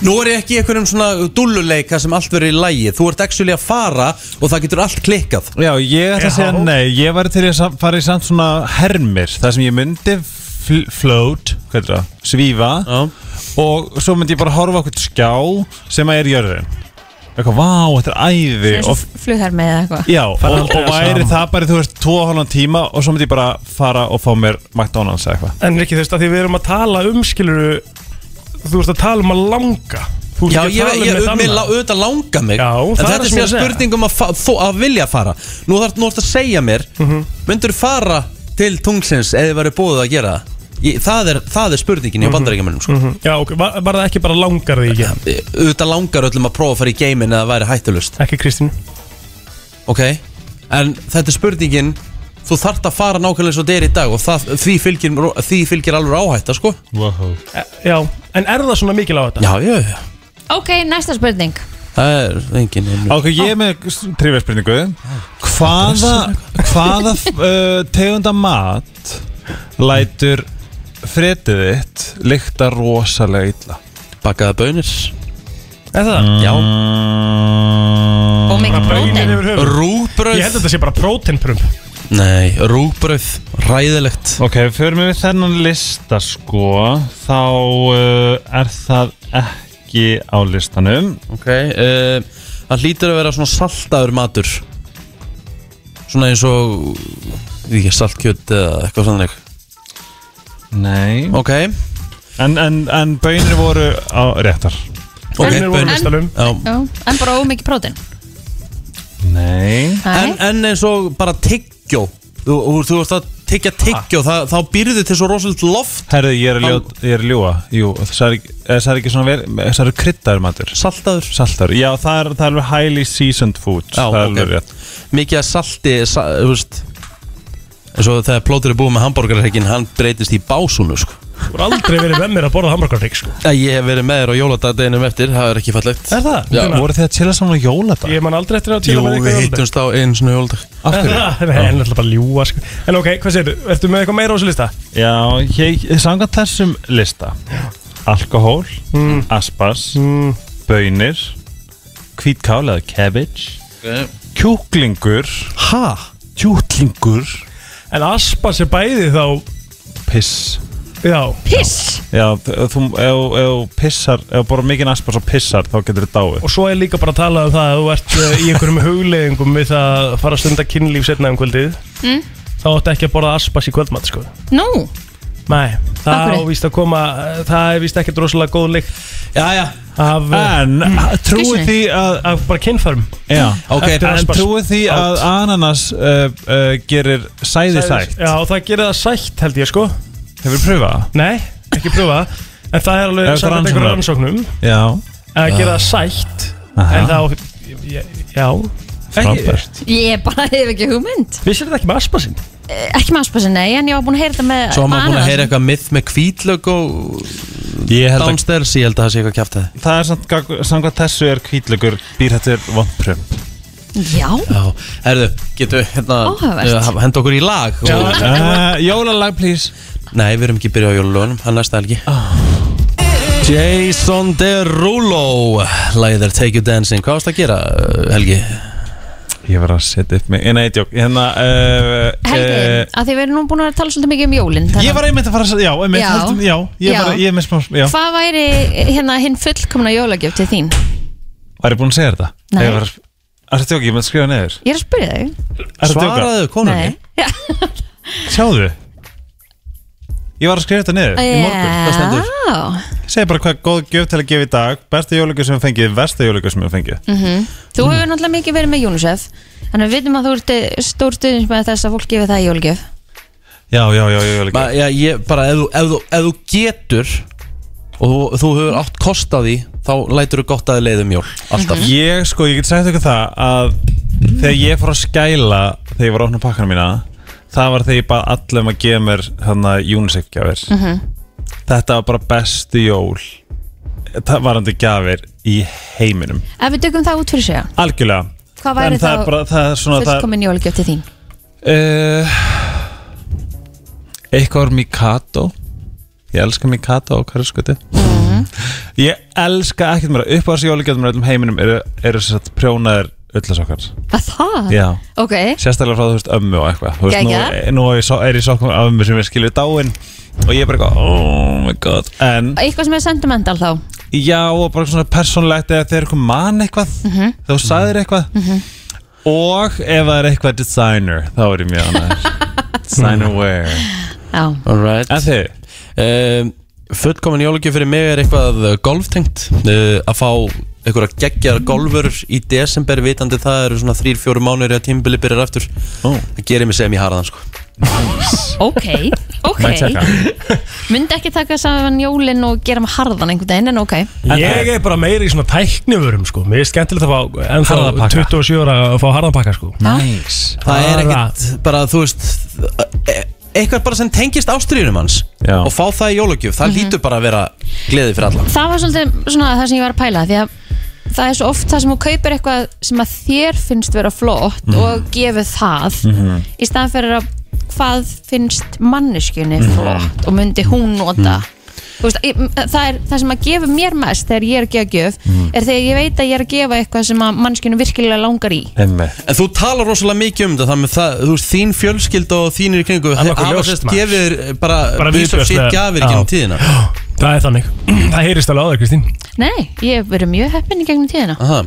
S1: Nú er ég ekki í einhverjum svona dulluleika sem allt verður í lægi Þú ert actually að fara og það getur allt klikkað
S7: Já, ég ætla að segja nei Ég væri til í að sam- fara í samt svona hermir Það sem ég myndi fl float hvað er það, Svífa Og svo myndi ég bara horfa okkur skjá Sem að er jörðin Eitthvað, vá, þetta er æði
S2: eins
S7: og,
S2: og flugherr með eitthvað
S7: Já, og,
S3: Fara aldrei
S7: og væri
S3: saman.
S7: það bara, þú veist, tvo og hálfan tíma Og svo myndi ég bara fara og fá mér McDonalds eða eitthvað
S3: En ekki þú veist að því við erum að tala um skiluru Þú veist að tala um að langa Þú
S1: Já,
S3: veist
S1: ég, ég,
S3: ekki að tala um
S1: ég
S3: með
S1: mig
S3: þannig
S1: la- auðvitað langa mig
S3: Já,
S1: En
S3: það
S1: þetta
S3: er það
S1: er svona
S3: sem ég er að segja.
S1: spurning um að, fa- þó- að vilja fara Nú þarf nú ertu að segja mér mm
S3: Mhm.
S1: Myndur fara til tungsins eða þið væri búið að gera það Ég- Það er, það er spurningin
S3: Mhm.
S1: hjá bandaríkjamennum sko.
S3: Já, ok, var, var það ekki bara langar því ekki?
S1: Auðvitað langar öllum að prófa að fara í geimin eða það væri hættulust
S3: Ekki Kristín
S1: Ok, en þetta er spurningin Þú þart að fara nákvæmlega svo deyri í dag og það, því, fylgir, því fylgir alveg áhætta sko
S3: E, Já, en er það svona mikil á þetta?
S1: Já, já, já
S2: Ok, næsta spurning
S1: Það er engin einu
S7: Ok, ég er með trivjarspurningu Hvaða, hvaða uh, tegunda mat Lætur fretið þitt Lykta rosalega illa
S1: Bakaða bönir
S3: Er það? Mm.
S1: Já
S2: Og mikið
S3: Böngin
S2: prótein
S3: yfir höfuð
S1: Rúbröð
S3: Ég held að þetta sé bara prótenprum
S1: Nei, rúbröð Ræðilegt
S7: Ok, fyrir mig við þennan lista sko Þá uh, er það ekki á listanum
S1: Ok uh, Það hlýtur að vera svona saltaður matur Svona eins og Ég veit ekki saltkjöt eða eitthvað sannleik
S7: Nei
S1: Ok
S7: En, en, en bönir voru á réttar
S1: Ok,
S3: Böngin voru
S1: bönir
S3: listanum
S1: Já.
S2: Já, En bara of mikið prótein
S7: Nei
S1: en, en eins og bara tyggjó Þú, þú, þú veist að tyggja tyggjó
S7: Ah.
S1: það, Þá býrðu til svo rosalit loft
S7: Herðu, ég er að ljó- ég er að ljúa Jú, það er, ekki- eh, það er ekki svona vel Það eru kryddaður matur
S1: Saltaður
S7: Saltar, já það er, það er alveg highly seasoned food
S1: Já,
S7: Það er
S1: ok.
S7: alveg rétt
S1: mikið að salti sa, þú veist eins og þegar plótur er búið með hambúrgarreikin hann breytist í básúnu sko.
S3: Þú er aldrei verið með mér að borða hamburgarrygg sko
S1: Æ, ég hef verið með þér á jóladagdeginum eftir það er ekki fallegt
S3: Er það?
S1: Já.
S3: Gunnar,
S7: Voru þið að chilla saman á jóladag?
S3: Ég man aldrei eftir
S1: Jú,
S3: að tíla með
S1: við hittumst á einu svona jóladag
S7: Af
S3: Það
S7: hverju?
S3: er alltaf bara að ljúa sko En ok, hvað segir þú? Ertu með eitthvað meira á þessu lista?
S7: Já, ég, samkvæmt þessum lista Alkohól, aspas,
S3: Mm.
S7: bönir, hvítkál eða cabbage Kjúklingur,
S1: ha?
S7: kjúklingur,
S3: En aspas er bæði þá
S7: piss
S3: Já,
S2: Piss
S7: Já, þ- ef þú, ef ef þú pissar, ef þú borðar mikinn aspas og pissar þá getur þið dáið
S3: og svo er líka bara að tala um það að þú ert eh, í einhverjum hugleðingum við það að fara að stunda kynlíf setna um kvöldið
S2: Mm.
S3: þá áttu ekki að borða aspas í kvöldmatt sko
S2: Nú,
S3: Nei,
S2: Af
S3: það
S2: hverju?
S3: á víst að koma eh, það er víst ekkert rosalega góð lykt
S1: já, já,
S3: af,
S1: Ah.
S3: eh,
S7: En trúið
S2: Skvísunni.
S7: því að
S3: af bara kynfærum
S7: Já,
S1: ok, en-
S3: Eftir
S7: En
S3: aspas.
S7: trúið því að ananas uh, uh, gerir sæði sætt
S3: Já, og það gerir það sætt held ég sko
S7: Hefur þið pröfað það?
S3: Nei, ekki pröfa það. en það er
S7: Ef
S3: alveg
S7: það
S3: samkvæmt
S7: rannsóknar.
S3: einhverjum rannsóknum
S7: Já
S3: að gera það sætt en þá, já
S7: Frábært
S2: ég bara hef ekki hugmynd
S3: Vissir þetta ekki með aspasinn?
S2: Eh, Ekki með áspassin, nei, en ég var búin að heyra þetta með
S1: svo var maður búin að
S2: ananas.
S1: heyra eitthvað myth með kvítlög og
S7: Ég held að
S1: downstairs ég held að það sé eitthvað kjátt að
S7: það er samt gag- samkvæmt þessu er kvítlögur býr þetta er vondpröfum
S2: Já,
S1: já, herðu, getum við hérna
S2: Áhugavert.
S1: eh, henda okkur í lag og,
S7: uh, Jólalag please
S1: nei, við erum ekki byrjað á jólalögunum, hann næsta helgi Jason Derulo lagið er Take You Dancing, hvað varst að gera eh, Helgi?
S7: Ég var að setja upp mig Ég neitt jók Hérna uh,
S2: Helgi,
S3: Eh,
S7: uh,
S2: að því við erum nú búin að tala svolítið mikið um jólin
S7: Ég var einmitt að fara að setja Já, einmitt
S2: Já.
S7: Heldum, já Ég var
S2: Já.
S7: ég er með smá Já
S2: Hvað væri hérna hinn fullkomna jólagjöf til þín?
S7: Var ég búin að segja þetta?
S2: Nei.
S7: Ég var að Er þetta jók? Ég með skrifa neður
S2: Ég er að spyrja þau
S7: Er þetta jók?
S1: Svaraðu konunni
S2: Já.
S7: Sjáðu Ég var að skrifa þetta neður Í morgun
S1: hvað stendur?
S2: Já,
S7: Segð bara hvað góð gjöf til að gefa í dag Besta jólagur sem við fengið Versta jólagur sem við fengið
S2: Mhm. þú hefur náttúrulega mikið verið með UNICEF Þannig að við vitum að þú ert stór stuðins með þess að fólk gefi það í jólgjöf
S7: Já, já, já, já,
S1: Ma, já, ég, bara ef þú, ef þú, ef þú getur og þú, þú hefur átt kost á því þá lætur þú gott að þið leiðum jól alltaf
S7: Ég sko, ég get sagt ykkur það að þegar ég fór að skæla þegar ég var að opna pakkana mína það var þegar ég bað allum að gefa mér hana, UNICEF gjafir
S2: Mhm.
S7: Þetta var bara bestu jól það varandi gjafir í heiminum
S2: Ef við dökum það út fyrir segja
S7: Algjörlega
S2: Hvað væri
S7: En það
S2: þá
S7: er bara, það er svona það,
S2: fullkomin jólgjöf til þín?
S7: Eh, uh, Eitthvað var Mikado Ég elska mig kata og karlskötu Ég elska ekkert mér upp á þessu jólugjöldum öllum heiminum eru, eru sér satt prjónaðir öllasokkar
S2: Að það?
S7: Já
S2: Ok,
S7: Sérstaklega frá þú veist ömmu og eitthvað Þú veist,
S2: Geggjað.
S7: nú, nú er ég so- er ég sokkum af ömmu sem ég skilju dáin Og ég er bara eitthvað, oh my god En
S2: eitthvað sem er sentimental þá
S7: já, og bara svona persónlegt Eða þeir eru eitthvað mann eitthvað Þú sagðir eitthvað Og ef það er eitthvað designer Þá er ég mjög annars Designer wear
S2: Já,
S1: Alright
S7: En þið?
S1: um, Fullkomin jólugjöf fyrir mig er eitthvað uh, golftengt uh, Að fá einhverja geggjar golfur í desember vitandi það eru svona 3-4 mánuður að tímbili byrjar aftur
S7: Ó.
S1: Það gerir mig sem ég harðan sko
S2: ok, ok
S7: Mæ tjekka.
S2: Myndi ekki taka saman jólin og gera með harðan einhvern veginn En ok,
S3: Ég er bara meiri í svona tæknivörum sko Mér er skemmtilegt að fá En þá
S7: Harðan pakka.
S3: 27 ára að fá harðanpakka sko
S7: Nice
S1: Það er
S3: Bara-
S1: ekkert bara þú veist e- eitthvað bara sem tengist ástriðunum hans
S7: Já.
S1: og fá það í jólugjöf, það lítur bara að vera gleði fyrir alla
S2: það var svolítið svona það sem ég var að pæla Því að það er svo oft það sem þú kaupir eitthvað sem að þér finnst vera flott
S7: Mhm.
S2: og gefur það í staðan fyrir að hvað finnst manneskjunni
S7: Mhm.
S2: flott og myndi hún nota Þú veist, ég- það, er, það sem að gefa mér mest þegar ég er að gefa gjöf
S7: Mhm.
S2: er þegar ég veit að ég er að gefa eitthvað sem að manneskjunni virkilega langar í
S7: Einmitt.
S1: En þú talar rosalega mikið um þetta þannig að það, þú veist, þín fjölskyld og þínir í kringu
S3: er nokkuð
S1: hafa
S3: ljóst,
S1: sérst
S3: maður.
S1: gefið þér bara,
S3: Bara
S1: bara vísa sitt
S3: viðbjóðslega-
S1: gafir
S3: Já.
S1: ekki um tíðina
S3: Það er þannig Það heyrist alveg á þér Kristín
S2: Nei, ég hef verið mjög heppin í gegnum tíðina
S7: Ah.
S1: Aha.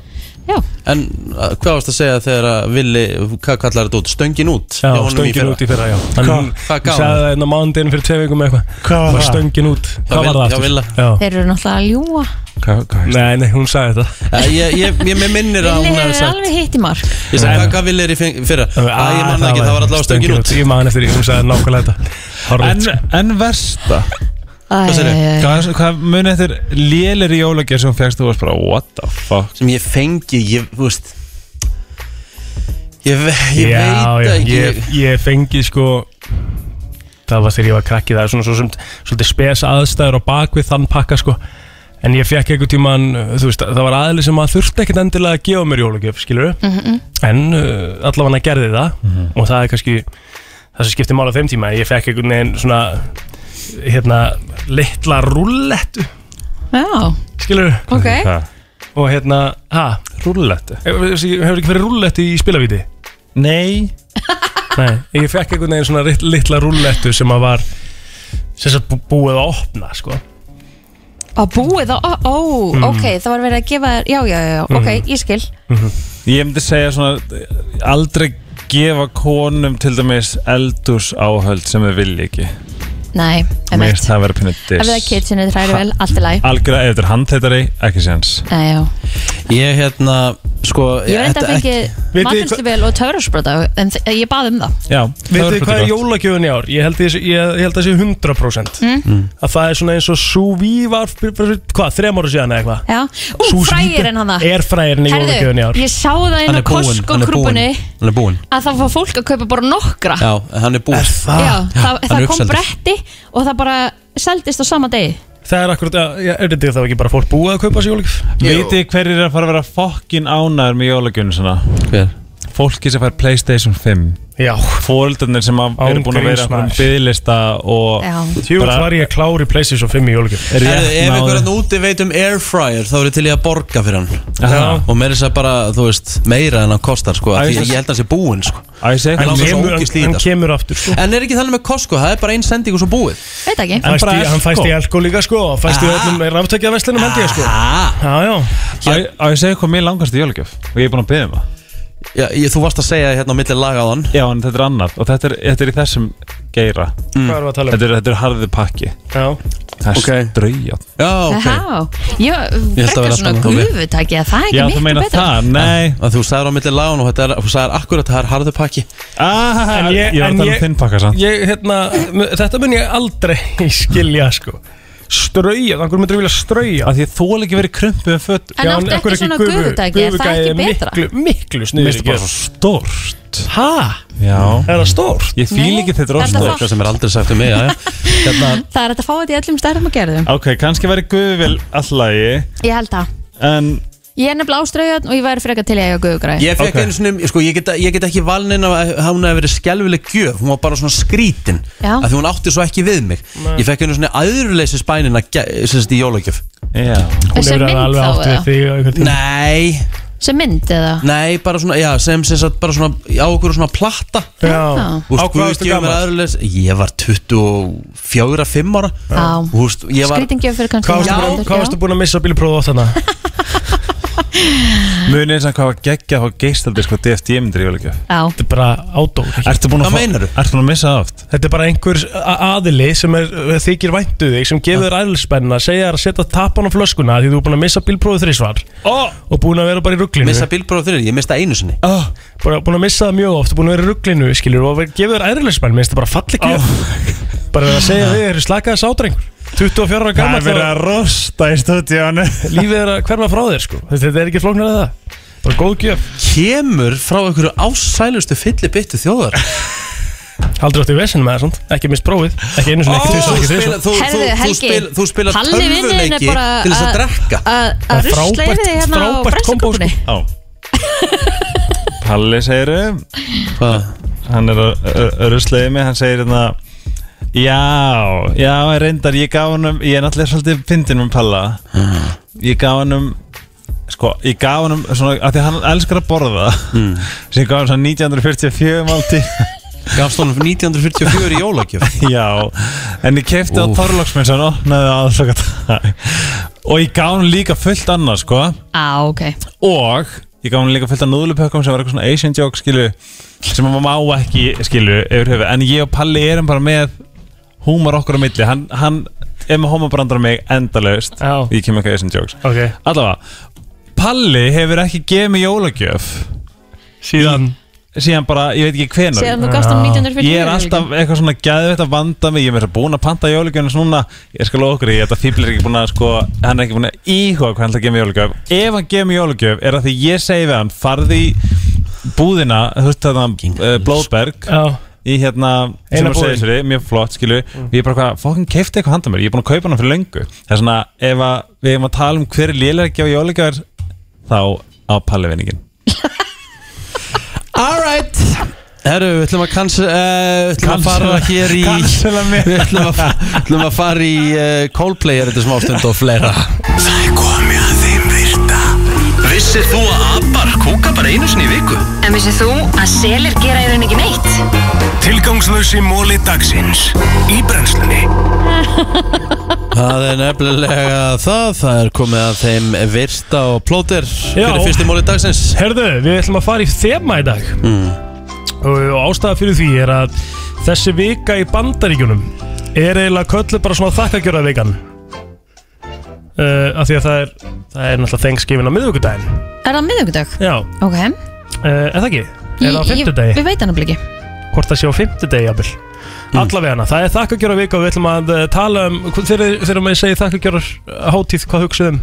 S2: Já,
S1: En uh, hvað varst að segja þegar að Vili, hvað kallar þetta út? Stöngin út?
S3: Já,
S1: Hjá honum í
S3: stöngin
S1: fyrra.
S3: út í fyrra já Hann
S1: Hvað gaf
S3: sagði
S1: hann?
S3: það einn á mánudeginu fyrir tvei vikum eða eitthvað
S7: Hvað var
S3: Bara
S7: það?
S3: Stöngin út Hvað
S1: Vil-
S3: var það
S1: hjá Villa.
S3: aftur? Já.
S2: þeir eru náttúrulega að ljúa
S7: Hvað- hvað veist?
S3: Nei, nei, hún sagði þetta
S1: Eh, Ég, ég, ég mig minnir að
S2: Villi
S1: hún hefði
S2: hefur
S1: sagt
S2: alveg hitt í mark
S1: Ég sagði
S3: Nei,
S1: hvað
S3: nei.
S1: gaf Vili er í fyrra Æ, ég manna ekki, það var allavega stöngin út
S3: Ég man eftir því, hún sagði nákvæmlega þetta
S7: En,
S3: Hárrétt, sko.
S7: en versta Eh.
S2: Æ,
S1: segirðu?
S2: æ, æ.
S7: Hvað, hvað muni eftir lélir í jólagjöf sem þú fjækst þú varst bara what the fuck
S1: Sem ég fengi, ég, þú veist Ég, ve- ég
S3: já,
S1: veit
S3: já,
S1: ekki
S3: ég, ég fengi sko það var þegar ég var krakki það er svona svo sem svolítið spes aðstæður á bakvið þann pakka sko en ég fekk einhvern tíman þú veist það var aðli sem að þurfti ekkert endilega að gefa mér jólagjöf skilur en uh, allavega gerði það
S1: Mhm.
S3: og það er kannski það sem skipti mála þeim tíma ég fekk einhvern veginn svona hérna litla rúllettu
S2: Já,
S3: skilur
S2: ok
S3: og hérna ha Eh,
S7: Rúllettu
S3: hefur ekki verið rúllettu í spilavíti
S7: Nei
S3: Nei, ég fekk einhvern veginn svona rit- litla rúllettu sem að var sem sagt bú- búið að opna sko.
S2: Að búið á, ó, ó,
S1: Mm.
S2: ok, það var verið að gefa þér, já, já, já, já, ok, ég skil
S7: Ég myndi segja svona aldrei gefa konum til dæmis eldús áhöld sem þau vilja ekki
S2: Nei,
S7: Mér
S2: emmitt
S7: finnst það að vera pínu
S2: Ef það er
S7: diss
S2: kitsinni þræri vel, allt er læg
S7: Algjörlega ef þetta er handheitari, ekki séns
S2: Nei, já
S1: Ég hérna, sko
S2: Ég var enda
S1: þetta
S2: að
S3: Vitið þið
S2: fengi matvinslu vel og töfrasprota en þ- ég bað um það
S7: Já,
S3: Veitu þið hvað er jólagjöfun í ár? Ég held, ég, ég, ég held að það sé 100%
S2: Mm.
S3: að það er svona eins og súví var fyrir- fyrir- hvað, þrem ára síðan eða eitthvað
S2: Já, ú, frægir en hann það
S3: Er frægirinn í jólagjöfun í ár
S2: ég sá það inn
S1: Hann
S2: á
S1: er búinn, hann er búinn
S2: Costco-krúpunni
S1: Hann er búinn
S2: að það var fólk að kaupa bara nokkra
S1: Já, hann er búinn
S2: Já, það,
S1: hann
S2: það
S1: er
S2: kom
S1: uppseldur.
S2: bretti og það bara seldist á sama degi
S3: Það er akkurat, að- já, er þetta þá ekki bara fólk búið að kaupa sér jólagjöf?
S7: Vitið þið hverjir er að fara að vera fokkin ánæður með jólagjöfun svona
S1: Hver?
S7: Fólki sem fær Playstation 5
S3: Já
S7: Fóldarnir sem að-
S3: Án
S7: eru búin að vera
S3: gríns, maður.
S7: um byðlista og
S2: Já.
S3: Tjúl var ég klár í PlayStation 5 í jólagjöf
S7: rétt
S1: Herðu, ef
S7: náðu.
S1: einhverjan úti veit um airfryer þá er ég til ég að borga fyrir hann
S7: Aha.
S1: og meira þess að bara, þú veist, meira en hann kostar sko, af því að
S7: Æ,
S1: ég held að hann sé búinn sko.
S7: Á, ég segi
S1: En
S7: eitthvað
S1: hann-
S7: sem-
S1: svo
S3: Kemur-
S1: ógeðslega í
S3: Hann
S1: þetta, sko.
S3: kemur aftur sko
S1: En er ekki þannig með Costco, það er bara einn sending og svo búið
S2: Veit ekki
S3: Fæst
S7: bara
S3: í- Hann fæst
S7: Elko.
S3: í Elko líka sko og Fæst í
S1: Ah.
S3: öllum ráftækjaveslunum held ég sko
S1: ah.
S3: Já, já
S7: Á ég- á ég segja hvað mér langast í jólagjöf og ég er búin að byggja um það
S1: Já, ég, Þú varst að segja hérna á milli laga á hann
S7: Já, en þetta er annað og þetta er, þetta er í þessum geira
S3: Hvað erum við að tala um?
S7: Þetta er, þetta er harði pakki
S3: Já.
S7: Það er okay.
S1: Ok. Já, ok
S2: Já, ég
S1: Ég held að
S2: frekar
S1: vera
S2: svona
S1: spennandi.
S2: glufutæki að það er ekki
S7: Já, þú
S2: miklu
S7: meina
S2: betra
S7: það, nei
S1: að Þú sagðir á milli laga og þetta er, þú sagðir akkurat að það er harðu pakki
S7: ah,
S3: En ég-
S7: Ég var
S3: en
S7: að tala
S3: ég-
S7: um þinn pakka sann
S3: Ég, hérna, m- þetta mun ég aldrei skilja sko Strauja, þannig myndir ég vilja strauja
S7: Af því að þú er ekki verið krumpu með föt
S2: En áttu ekki svona gufutæki, er það ekki betra?
S3: Miklu, miklu
S7: Mér
S3: sniður
S7: finnst það bara svo stórt
S3: Hæ?
S7: Já
S3: Er það stór?
S7: Ég fíl
S2: Nei,
S7: ekki þetta
S2: þetta
S7: róstórt
S1: Eitthvað sem er aldrei sagt um mig, já, já hérna,
S2: Það er hægt að fá þetta í öllum stærðum og gerðum
S7: Ok, kannski verið guðvel allagi
S2: Ég held að
S7: En
S2: Ég er nefnilega áströðjan og ég væri frekar til í að eiga guðugræði
S1: Ég fekk einu svona, sko, ég get, ég get ekki valin inn að hún hefði verið skelvileg gjöf Hún var bara svona skrítin
S2: Já.
S1: Af því hún átti svo ekki við mig Ég fekk einu svona aðurleysi spænin að sérst í jólagjöf
S7: Já
S3: Hún
S2: Sem
S3: hefur
S2: mynd
S3: alveg
S2: þá
S3: átt við
S2: eða?
S3: þig á einhvern tíma
S1: Nei,
S2: Sem mynd eða?
S1: nei, bara svona, já, sem sem sagt bara svona á okkur svona platta
S3: Já,
S2: Já.
S1: Úst,
S3: Á hvað varstu gamall?
S1: Ég var 24-5 ára
S2: Já.
S1: Úst, ég var
S2: Skrýtin gjöf fyrir kannski
S3: Hvað varstu
S2: Já,
S3: búin að- hvað
S2: já.
S3: varstu búin að missa bílpróðu oft þarna?
S7: Munið eins og hvað var geggjað hvað geistaldi sko DFT myndir í jólugjöf
S2: Já,
S3: Þetta er bara ádó
S7: Ertu búin
S1: Hvað
S7: að fá-
S1: meinarðu?
S7: Ertu búin að missa það oft?
S3: Þetta er bara einhver a- aðili sem er, eh, þykir væntu þig sem gefur þér aðilspenna segja þér að setja tapan á flöskuna því þú er búin að missa bílpróðu þrísvar oh. og búin að vera bara í rugglinu
S1: Missa bílbróð þurri, ég mista einu sinni
S3: oh. bara, búin að missa það mjög oft búin að vera í rugglinu skilur og vera- gefur þér aðilspenna minnst það bara falli ekki bara að segja þig eru slakaði sádrengur 24 ára
S7: Það er
S3: gammal
S7: verið að rosta í stúdíónu
S3: lífið er að hverfa frá þér sko. þetta er ekki flóknar að það bara góð gjöf
S1: Kemur frá einhverju ásælustu fyllibittu þjóðar
S3: haldur átti í vesinu með það svont ekki mist prófið ekki einu sinni ekki
S1: Ó,
S3: tvisvar,
S1: þú
S3: ekki
S1: spila-
S3: tvisvar.
S1: þú-
S2: Herðu,
S1: þú- þú
S2: Helgi,
S1: spil- Þú spilar
S2: Halli vinurinn er
S1: tölvuleiki
S2: bara uh,
S1: til þess að
S2: að-
S1: drekka
S2: að
S3: Það
S2: að
S3: er
S2: rusla yfir
S3: frábært-
S2: þig hérna á
S3: frábært kombó, sko.
S2: brennskókunni
S7: Já Palli segir
S2: uh,
S1: Hvað?
S7: Hann er að rusla í mig Hann segir hérna Já, já, ég reyndar Ég gaf hann um Ég er náttúrulega svolítið fyndin með Palla Ég gaf hann um Sko, ég gaf hann um svona, af Því að hann elskar að borða mm. Svo ég gaf hann svona 1944 málti
S1: Gafst honum 1944 í jólagjöf
S7: Já, en ég kefti á
S1: Úff.
S7: Þorlóksminn sem opnaði aðslokat og ég gaf hún líka fullt annað sko
S2: Á, ok
S7: og ég gaf hún líka fullt af núðlupökkum sem var eitthvað svona Asian joke skilu sem maður má ekki skilu yfir höfu en ég og Palli erum bara með húmar okkur á milli hann, hann er með homabrandar mig endalaust
S3: Já.
S7: ég kem eitthvað Asian jokes
S3: Ok.
S7: allavega, Palli hefur ekki gefið mig jólagjöf
S3: síðan
S7: síðan bara, ég veit ekki hvenar
S2: Sér þú gafst hann 1940
S7: Hérna, Ég er alltaf eitthvað svona gæðvett að vanda mig Ég er mér búin að panta jólugjöfnum svona Ég skal lofa okkur í þetta fíbl er ekki búin að sko Hann er ekki búin að íhuga hvað hann ætlar að gefa mig jólugjöf Ef hann gefa mig jólugjöf er það því ég segi við hann Farði í búðina Þú veist þetta uh, Blóðberg
S3: já
S7: Í hérna
S3: Eina
S7: sem að segja
S3: búðin.
S7: sér Mjög flott skilu Ég er bara hvað Fokkin keifti eitthvað handa mér Ég er búin að kaupa hann fyrir löngu Það er svona Ef að, við erum að tala um hver er lélega að gefa jólugjöfur Þá á pallivinningin
S1: Alright Herru, við ætlum að cancel uh, ætlum að
S7: Cancela-
S1: fara hér í
S7: cancela mig.
S1: Við ætlum að, ætlum að fara í uh, Coldplay er þetta smá stund og fleira
S10: Það er komið að þeim virta Vissir þú að abar kúka bara einu sinni í viku?
S11: En vissið þú að selir gera í rauninni ekki neitt?
S10: Tilgangslösi móli dagsins Í brennslunni
S1: Það er nefnilega það Það er komið að þeim virta og plóter
S3: Já.
S1: Fyrir fyrsti móli dagsins
S3: Herðu, við ætlum að fara í þema í dag og, og ástæða fyrir því er að þessi vika í bandaríkjunum er eiginlega köllu bara svona þakkagjörða vikan uh, af því að það er það er náttúrulega Thanksgiving á miðvíkudaginn
S2: Er það miðugudag?
S3: Já,
S2: Ok
S3: uh, er það ekki? Er það á
S2: Ég- ég-
S3: fimmtudegi?
S2: Við veit hann ekki
S3: Hvort það sé á fimmtudegi, jafnvel Mm. Allavegana, það er þakkagjörða vika og við ætlum að uh, tala um hv- þegar þegar maður segir þakkagjörðar hátíð, hvað um? hugsuðum?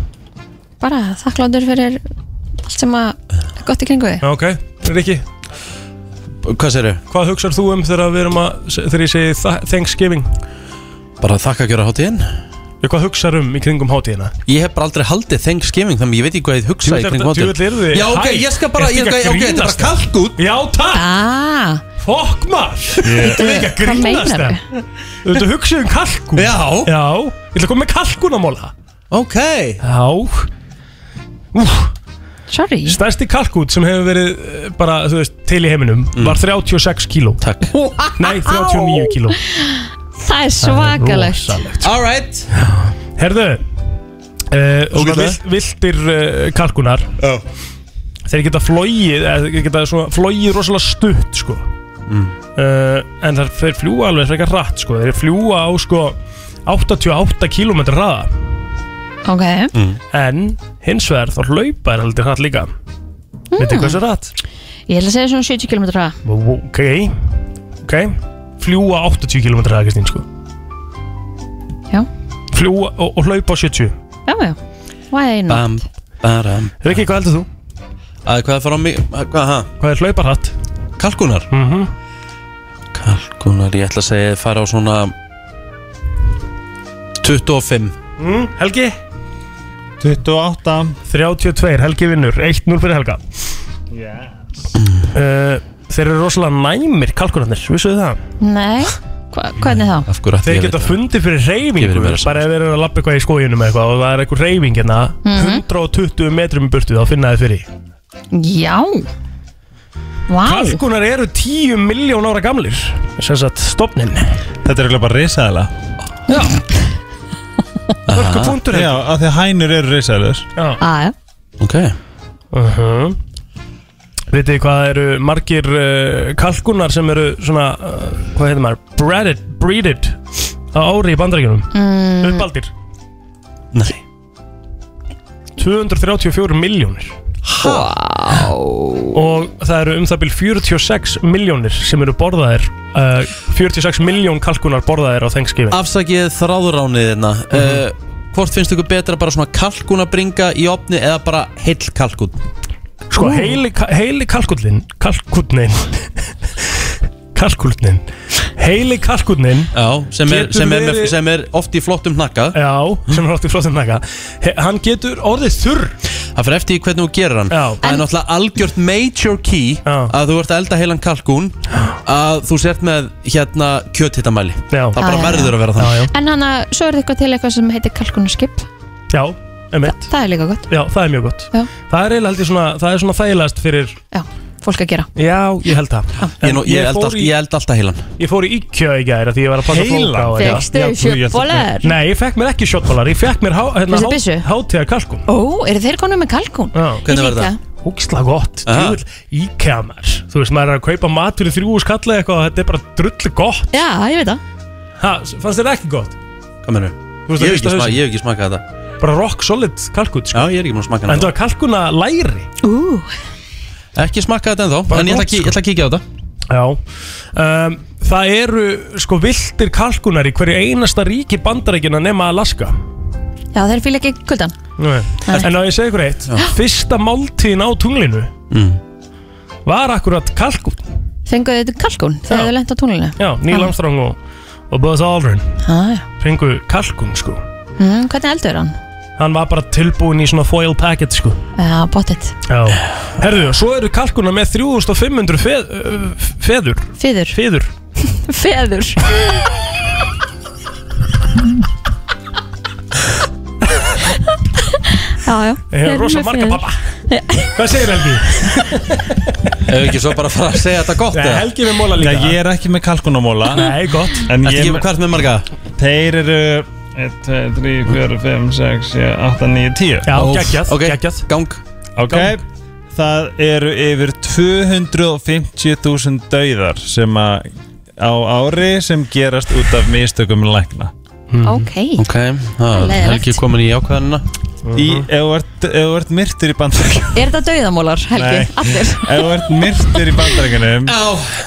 S2: Bara þakkláttur fyrir allt sem að er gott í kringu þig
S3: Já, ok, Rikki,
S1: Hvað séru?
S3: hvað hugsar þú um þegar, við erum að, þegar ég segi þa- Thanksgiving?
S1: Bara þakka að gera hátíðin
S3: Já, hvað hugsaður um í kringum hátíðina?
S1: Ég hef bara aldrei haldið Thanksgiving Þannig ég veit ekki hvað ég hugsa í kringum
S3: Þú vill
S1: hátíðin
S3: erðu þið
S1: Já, ok, ég skal bara ég, ok, ok, Þetta er bara kalk út
S3: Já, takk,
S2: Ah,
S3: fokk maður Þetta er ekki að
S2: hvað
S3: grínast
S2: meinar
S3: það
S2: þau?
S3: Þú veit að hugsa um kalkun
S1: Já,
S3: Já, ég ætla að koma með kalkun á móla
S1: ok
S3: Já
S2: Sorry
S3: Stærsti kalkút sem hefur verið eh, bara, þú veist, til í heiminum var 36 kíló
S1: Mm. Takk
S3: Nei, 39 kíló
S2: Það er svakalegt
S1: Alright
S3: Herðu Uh, og
S1: Ógeðslega.
S3: vilt, viltir uh, kalkunar
S1: Já.
S3: þeir geta flóið þeir geta svona, flóið rosalega stutt sko. uh, en þær, þeir fljúa alveg frekar rætt sko. þeir fljúa á sko, 88 km hraða
S2: Ok
S3: en hins vegar þá hlaupa er aldrei hratt líka mm. veitir hversu hratt?
S2: Ég ætla að segja svona 70 km hraða
S3: ok, ok fljúa 80 km hraða Kristín sko.
S2: Já.
S3: fljúa og, og hlaupa á 70
S2: Já, já Why not?
S1: Bam, baram
S3: Rikki, hvað heldur þú?
S1: Að hvað fara á mig Hvað, hæ?
S3: hvað er hlaupa hratt?
S1: Kalkunar?
S3: Mm -hmm.
S1: Kalkunar, ég ætla að segja að fara á svona 25
S3: Helgi?
S7: 28
S3: 32, Helgi vinnur 1-0 fyrir Helga uh, Þeir eru rosalega næmir kalkunarnir, vissuðu það?
S2: Nei, hva, hvernig þá?
S1: Af hverju ætti
S3: Þeir
S1: ég að
S3: geta
S1: vita?
S3: fundið fyrir
S1: Ekki
S3: reyfingu
S1: verið meira
S3: bara ef þeir eru að lappa eitthvað í skóginum eitthvað og það er eitthvað reyfing hérna
S2: Mhm.
S3: 120 metrum í burtu þá finna þeir fyrir
S2: Já Vá
S3: Kalkunar eru 10 miljón ára gamlir Sessat stopnin
S7: Þetta er eiginlega bara risaðala
S3: Hörku punktur
S7: Já, af því að hænur eru risaðalur
S2: Aja
S1: Ok
S3: uh -huh. Vitið þið hvað eru margir uh, kalkunar sem eru svona, uh, hvað heitir maður, breaded, breeded á ári í bandaríkjunum
S2: Mm.
S3: Uppaldir
S1: Nei
S3: 234 miljónir
S2: Há
S3: Og það eru um það byrj 46 miljónir sem eru borðaðir uh, 46 miljón kalkunar borðaðir á Thanksgiving
S1: Afsakið þráðuránið hérna
S3: Mhm.
S1: uh, Hvort finnst ykkur betra bara svona kalkunabringa í opni eða bara heill kalkun?
S3: Sko heili, heili kalkullin Kalkullin Kalkullin Heili kalkullin
S1: Já, sem er,
S3: Getur
S1: sem er, með,
S3: verið-
S1: sem er oft í flottum hnakka
S3: Já, sem er oft í flottum hnakka Hann getur orðið þurr
S1: Það fyrir eftir í hvernig þú gerir hann
S3: Já.
S1: Það er náttúrulega algjört major key að þú ert að elda heilan kalkun að þú sért með hérna kjöthittamæli
S3: Já.
S1: Það bara
S2: Já, já,
S1: verður að vera það
S3: já.
S2: En hann að, svo er eitthvað til eitthvað sem heitir kalkunarskip
S3: Já, emitt
S2: Það er líka gott
S3: Já, það er mjög gott
S2: Já.
S3: Það er eiginlega held ég svona Það er svona þægilegast fyrir
S2: Já, fólk að gera
S3: Já, ég held það
S1: Ég, nú, ég,
S3: Ég
S1: ég,
S3: fór
S1: elda,
S3: í-
S1: ég elda alltaf heilan
S3: Ég fór í IKEA í gæri því ég var að panta
S1: Heilan?
S3: fólk á
S2: Fékkstu
S3: Já, guð, ég held-
S2: shotbollar?
S3: Nei, ég fekk mér ekki shotbollar Ég fekk mér há, hérna,
S2: Þessi byssu?
S3: hátíðar kalkun
S2: Ó, eru þeir konum með kalkun?
S3: Já.
S1: Hvernig var
S2: líka.
S1: það?
S3: Húksla gott,
S1: Aha.
S3: djúvill IKEA maður Þú veist, maður er að kaupa mat fyrir þrjú skalla eitthvað og Þetta er bara drullu gott
S2: Já, ég veit það
S3: ha, Fannst þetta ekki gott?
S1: Hvað mennur?
S3: Þú
S1: Ég
S3: veist að
S1: hef
S3: fyrsta
S1: ekki, sma,
S3: hausinn.
S1: ég hef ekki smakað þetta
S3: Bara rock solid kalkun sko.
S1: Já, ég er ekki múin að smaka
S3: En
S1: hann
S3: það var kalkuna læri
S2: Ú,
S1: Ekki smakað þetta ennþá,
S3: Bara
S1: en ég ætla,
S3: gott,
S1: að kí-
S3: sko.
S1: ég ætla að kíkja á þetta
S3: Já um, Það eru sko viltir kalkunar í hverju einasta ríki bandarækina nema Alaska
S2: já þeir fíla ekki kuldan
S3: Nei. En á ég segi ykkur eitt Fyrsta máltíðin á tunglinu
S1: mm.
S3: var akkurat kalkun
S2: Fenguðu þetta kalkun
S3: Já.
S2: þegar þau lent á tunglinu
S3: Já, Neil Armstrong og, og Buzz Aldrin
S2: Já, já
S3: fengu kalkun sko
S2: Mm, Hvernig eldur hann?
S3: Hann var bara tilbúin í svona foil packet sko
S2: Já, bóttið
S3: Já Herðu, og svo eru kalkunar með 3500 feð, uh, feður
S2: Feður
S3: Feður
S2: Feður Já, já
S3: Ég hef rosa marga pappa Hvað segir Helgi?
S1: Ef ekki svo bara að fara að segja þetta gott
S3: Nei,
S1: eða?
S3: Helgi er með móla líka
S7: Já, ég er ekki með kalkunamóla
S3: Nei, gott
S7: En
S1: Ertu
S7: ég
S1: ekki hvert með marga?
S7: Þeir eru 1, 2, 3, 4, 5, 6, 7, 8, 9, 10
S1: Ó,
S3: Já, geggjað,
S1: ok.
S3: geggjað
S1: Gang
S7: Ok Það eru yfir 250.000 dauðar sem að á ári sem gerast út af mistökum lækna
S2: Ok
S1: Ok, það er
S2: Leiðilegt.
S1: Helgi komin í ákveðanina
S7: Í,
S1: Mhm.
S7: ef þú ert- ef þú ert myrtur í bandarækjum
S2: Er þetta dauðamólar, Helgi?
S7: Nei.
S2: Aftur
S7: Ef þú ert myrtur í bandarækjunum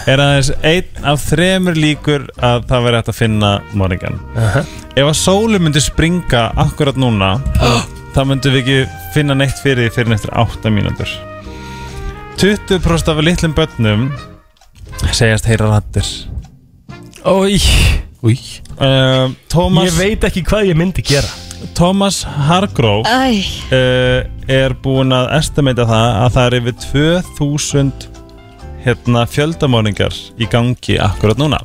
S7: er aðeins einn af þremur líkur að það verði hægt að finna morgan Ef að sólu myndi springa akkurat núna þá myndum við ekki finna neitt fyrir því fyrir neitt 8 mínútur 20% af litlum börnum segjast heyra rattir
S3: Ói
S1: Új
S7: uh,
S3: Ég
S7: Thomas,
S3: veit ekki hvað ég myndi gera
S7: Thomas Hargrove
S2: Æ
S7: uh, er búinn að estimata það að það er yfir 2000 hérna, fjöldamorningar í gangi akkurat núna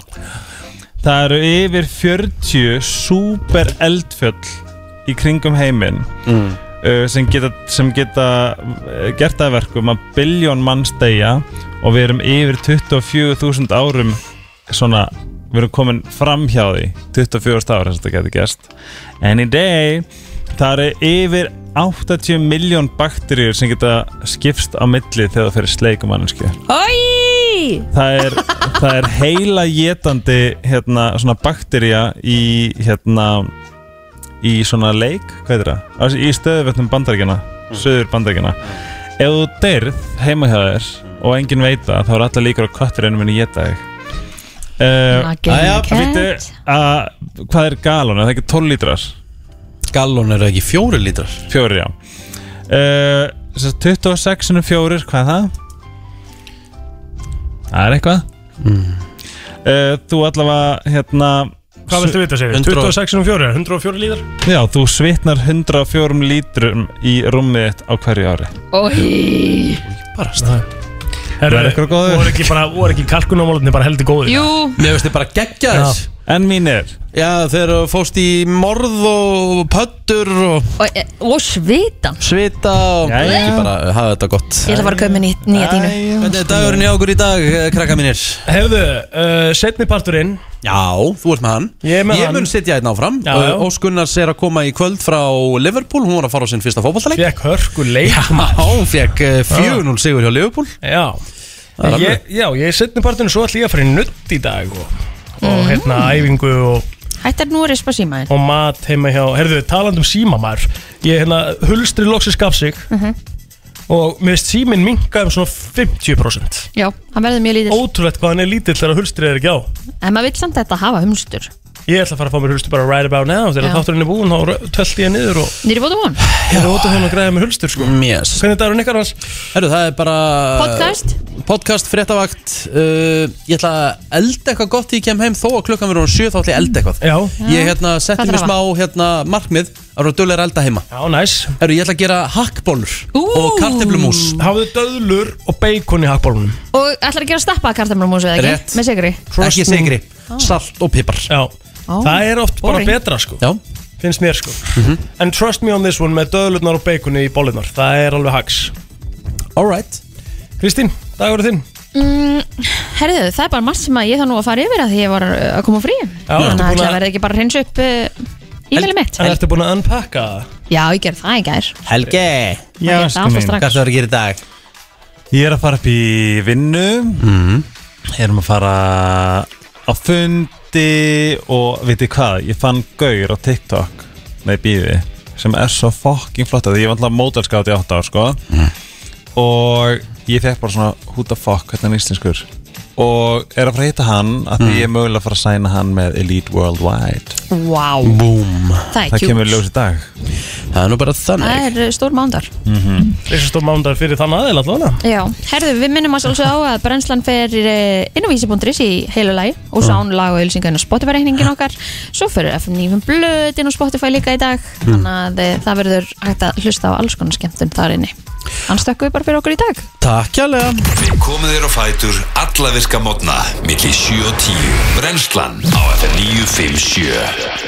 S7: Það eru yfir 40 super eldfjöll í kringum heiminn
S1: mm.
S7: uh, sem geta, sem geta uh, gert það að verkum að biljón mann stegja og við erum yfir 24.000 árum svona, við erum komin fram hjá því 24.000 ára sem þetta getur gæst en í dag það eru yfir 80 miljón bakteríur sem geta skipst á milli þegar það fyrir sleikum mannsku
S2: Æ
S7: um það er, það er heila getandi hérna, svona bakterja í hérna í svona leik, hvað er það? Alls- í stöðuvötnum bandaríkjana söður bandaríkjana ef þú deyrð heima hjá þér og enginn veit það þá er alltaf líkur á kötturinn minni geta þig uh,
S2: Æja,
S7: Vítu, að, hvað er galon? Er það ekki 12 lítrar?
S1: Gallon eru ekki fjóri lítrar
S7: Fjórir, já uh, 26 sinum fjórir, hvað er það? Það er eitthvað
S1: mm.
S7: uh, Þú allavega hérna
S3: Hvað viltu vita segir?
S7: 100 og-
S3: 26 um 4, 104 líðar
S7: Já, þú svitnar 104 lítrum í rúmið þitt á hverju ári
S2: Ói
S3: Barast Það
S7: Var ykkur góður?
S3: Voru ekki, bara- voru ekki kalkunamálunni bara heldur góður
S2: Jú
S1: Mér finnst þið bara geggja þess
S7: En mínir
S1: Já, þeir fóst í morð og pöttur og
S2: Og, e, og svitan
S1: svita og
S2: Jæja.
S1: Ekki bara hafa þetta gott
S2: Ég ætla að fara að kaupa mér nýtt- nýja dínu
S1: Þetta er dagurinn hjá okkur í dag, eh, krakka mínir
S3: Herðu, uh, setni parturinn
S1: Já, þú ert með hann
S3: Ég er með hann.
S1: mun sitja hérna áfram
S3: Já, já.
S1: Óskunnars er að koma í kvöld frá Liverpool Hún var að fara á sinn fyrsta fótballtaleik
S3: Fekk hörku leik
S1: Já, hún fekk eh, 4-0 sigur hjá Liverpool
S3: Já
S1: Það er
S3: ég,
S1: alveg.
S3: Já, ég setni parturinn svo ætlum ég að fara í nutt í dag og, og hérna æfingu og
S2: Hættar nú er ég spá síma þér
S3: og mat heima hjá, herðu, talandi um síma maður ég hérna, hulstri loksins gaf sig og mér veist síminn minkaði um svona 50%
S2: Já, hann verður mjög lítill
S3: ótrúlegt hvað hann er lítill þegar hulstrið er ekki á
S2: En maður vill samt þetta hafa humstur
S3: ég ætla að fara að fá mér hulstri bara right about now
S2: Já.
S3: þegar þátturinn er búinn, þá tvelti ég niður og
S2: Nýri bóta von
S3: ég róti hún að græða mér hulstur sko
S1: yes.
S3: hvernig dagur er ykkar hans?
S1: Herru, það er bara
S2: Podcast?
S1: Podcast, fréttavakt uh, Ég ætla að elda eitthvað gott þegar ég kem heim Þó að klukkan verður um 7 þá ætla ég að elda eitthvað
S3: Já.
S1: Ég hérna, setti
S2: Hvað
S1: mér
S2: þarf
S1: smá hérna, markmið Það eru að dölja að elda heima
S3: já, næs
S1: Herru, ég ætla að gera hakkbólur Og karteflumús
S3: hafðu döðlur og bacon í hakbólunum
S2: Og ætlar að gera stappa kartamlumús eða ekki?
S1: Rétt.
S2: Með sigri
S1: Ekki sigri,
S2: Ah.
S1: salt og pipar
S3: já, það er oft bara
S2: boring.
S3: betra sko
S1: Já,
S3: finnst mér sko en trust me on this one með döðlurnar og baconið í bólunar það er alveg hacks
S1: alright
S3: Kristín, dagur er þinn
S2: mm, Herðu, það er bara margt sem að ég þá nú að fara yfir að því ég var uh, að koma á frí
S3: Já, ertu
S2: Þannig að ætla
S3: búin að-
S2: að verða ekki bara að reynsa upp uh, e-mailið mitt
S3: En ertu búin að unpacka það?
S2: Já, ég gerði það í gær
S1: Helge,
S7: Já,
S2: Ég gerði
S7: sko
S2: það
S7: mín.
S2: alltaf strax
S1: hvað það er að gera í dag?
S7: Ég er að fara upp í vinnu Erum að fara á fundi og veitir hvað, ég fann gaur á TikTok með bíði sem er svo fucking flott að ég var alltaf mótalskátt í 8 ár sko og ég fekk bara svona who the fuck, hvernig er hann íslenskur og er að fara að hitta hann að því ég er mögulega að fara að sæna hann með Elite Worldwide
S2: Wow,
S1: Búm
S2: það
S7: Það
S2: er
S7: kemur í
S2: kjúl
S7: ljós í dag
S1: Það er nú bara þannig
S2: Það er uh, stór mándar
S3: Mm. Þessi stór mándar fyrir þann aðeil allavega
S2: Já, herðu, við minnum að sjálfsög á að brennslan fer eh, inn á vísi.ris í heilu lagi og
S3: Mm.
S2: sán lag og ylsingar inn á Spotify-reikningin okkar svo fyrir FM 9 blöð inn á Spotify líka í dag
S3: Mm.
S2: þannig að eh, það verður hægt að hlusta á alls konar skemmtun þar inni Hann stökkum við bara fyrir okkur í dag
S1: Takk jálega
S10: Við komum þér á fætur alla virka mótna milli 7 og 10 Brennslan á FM 957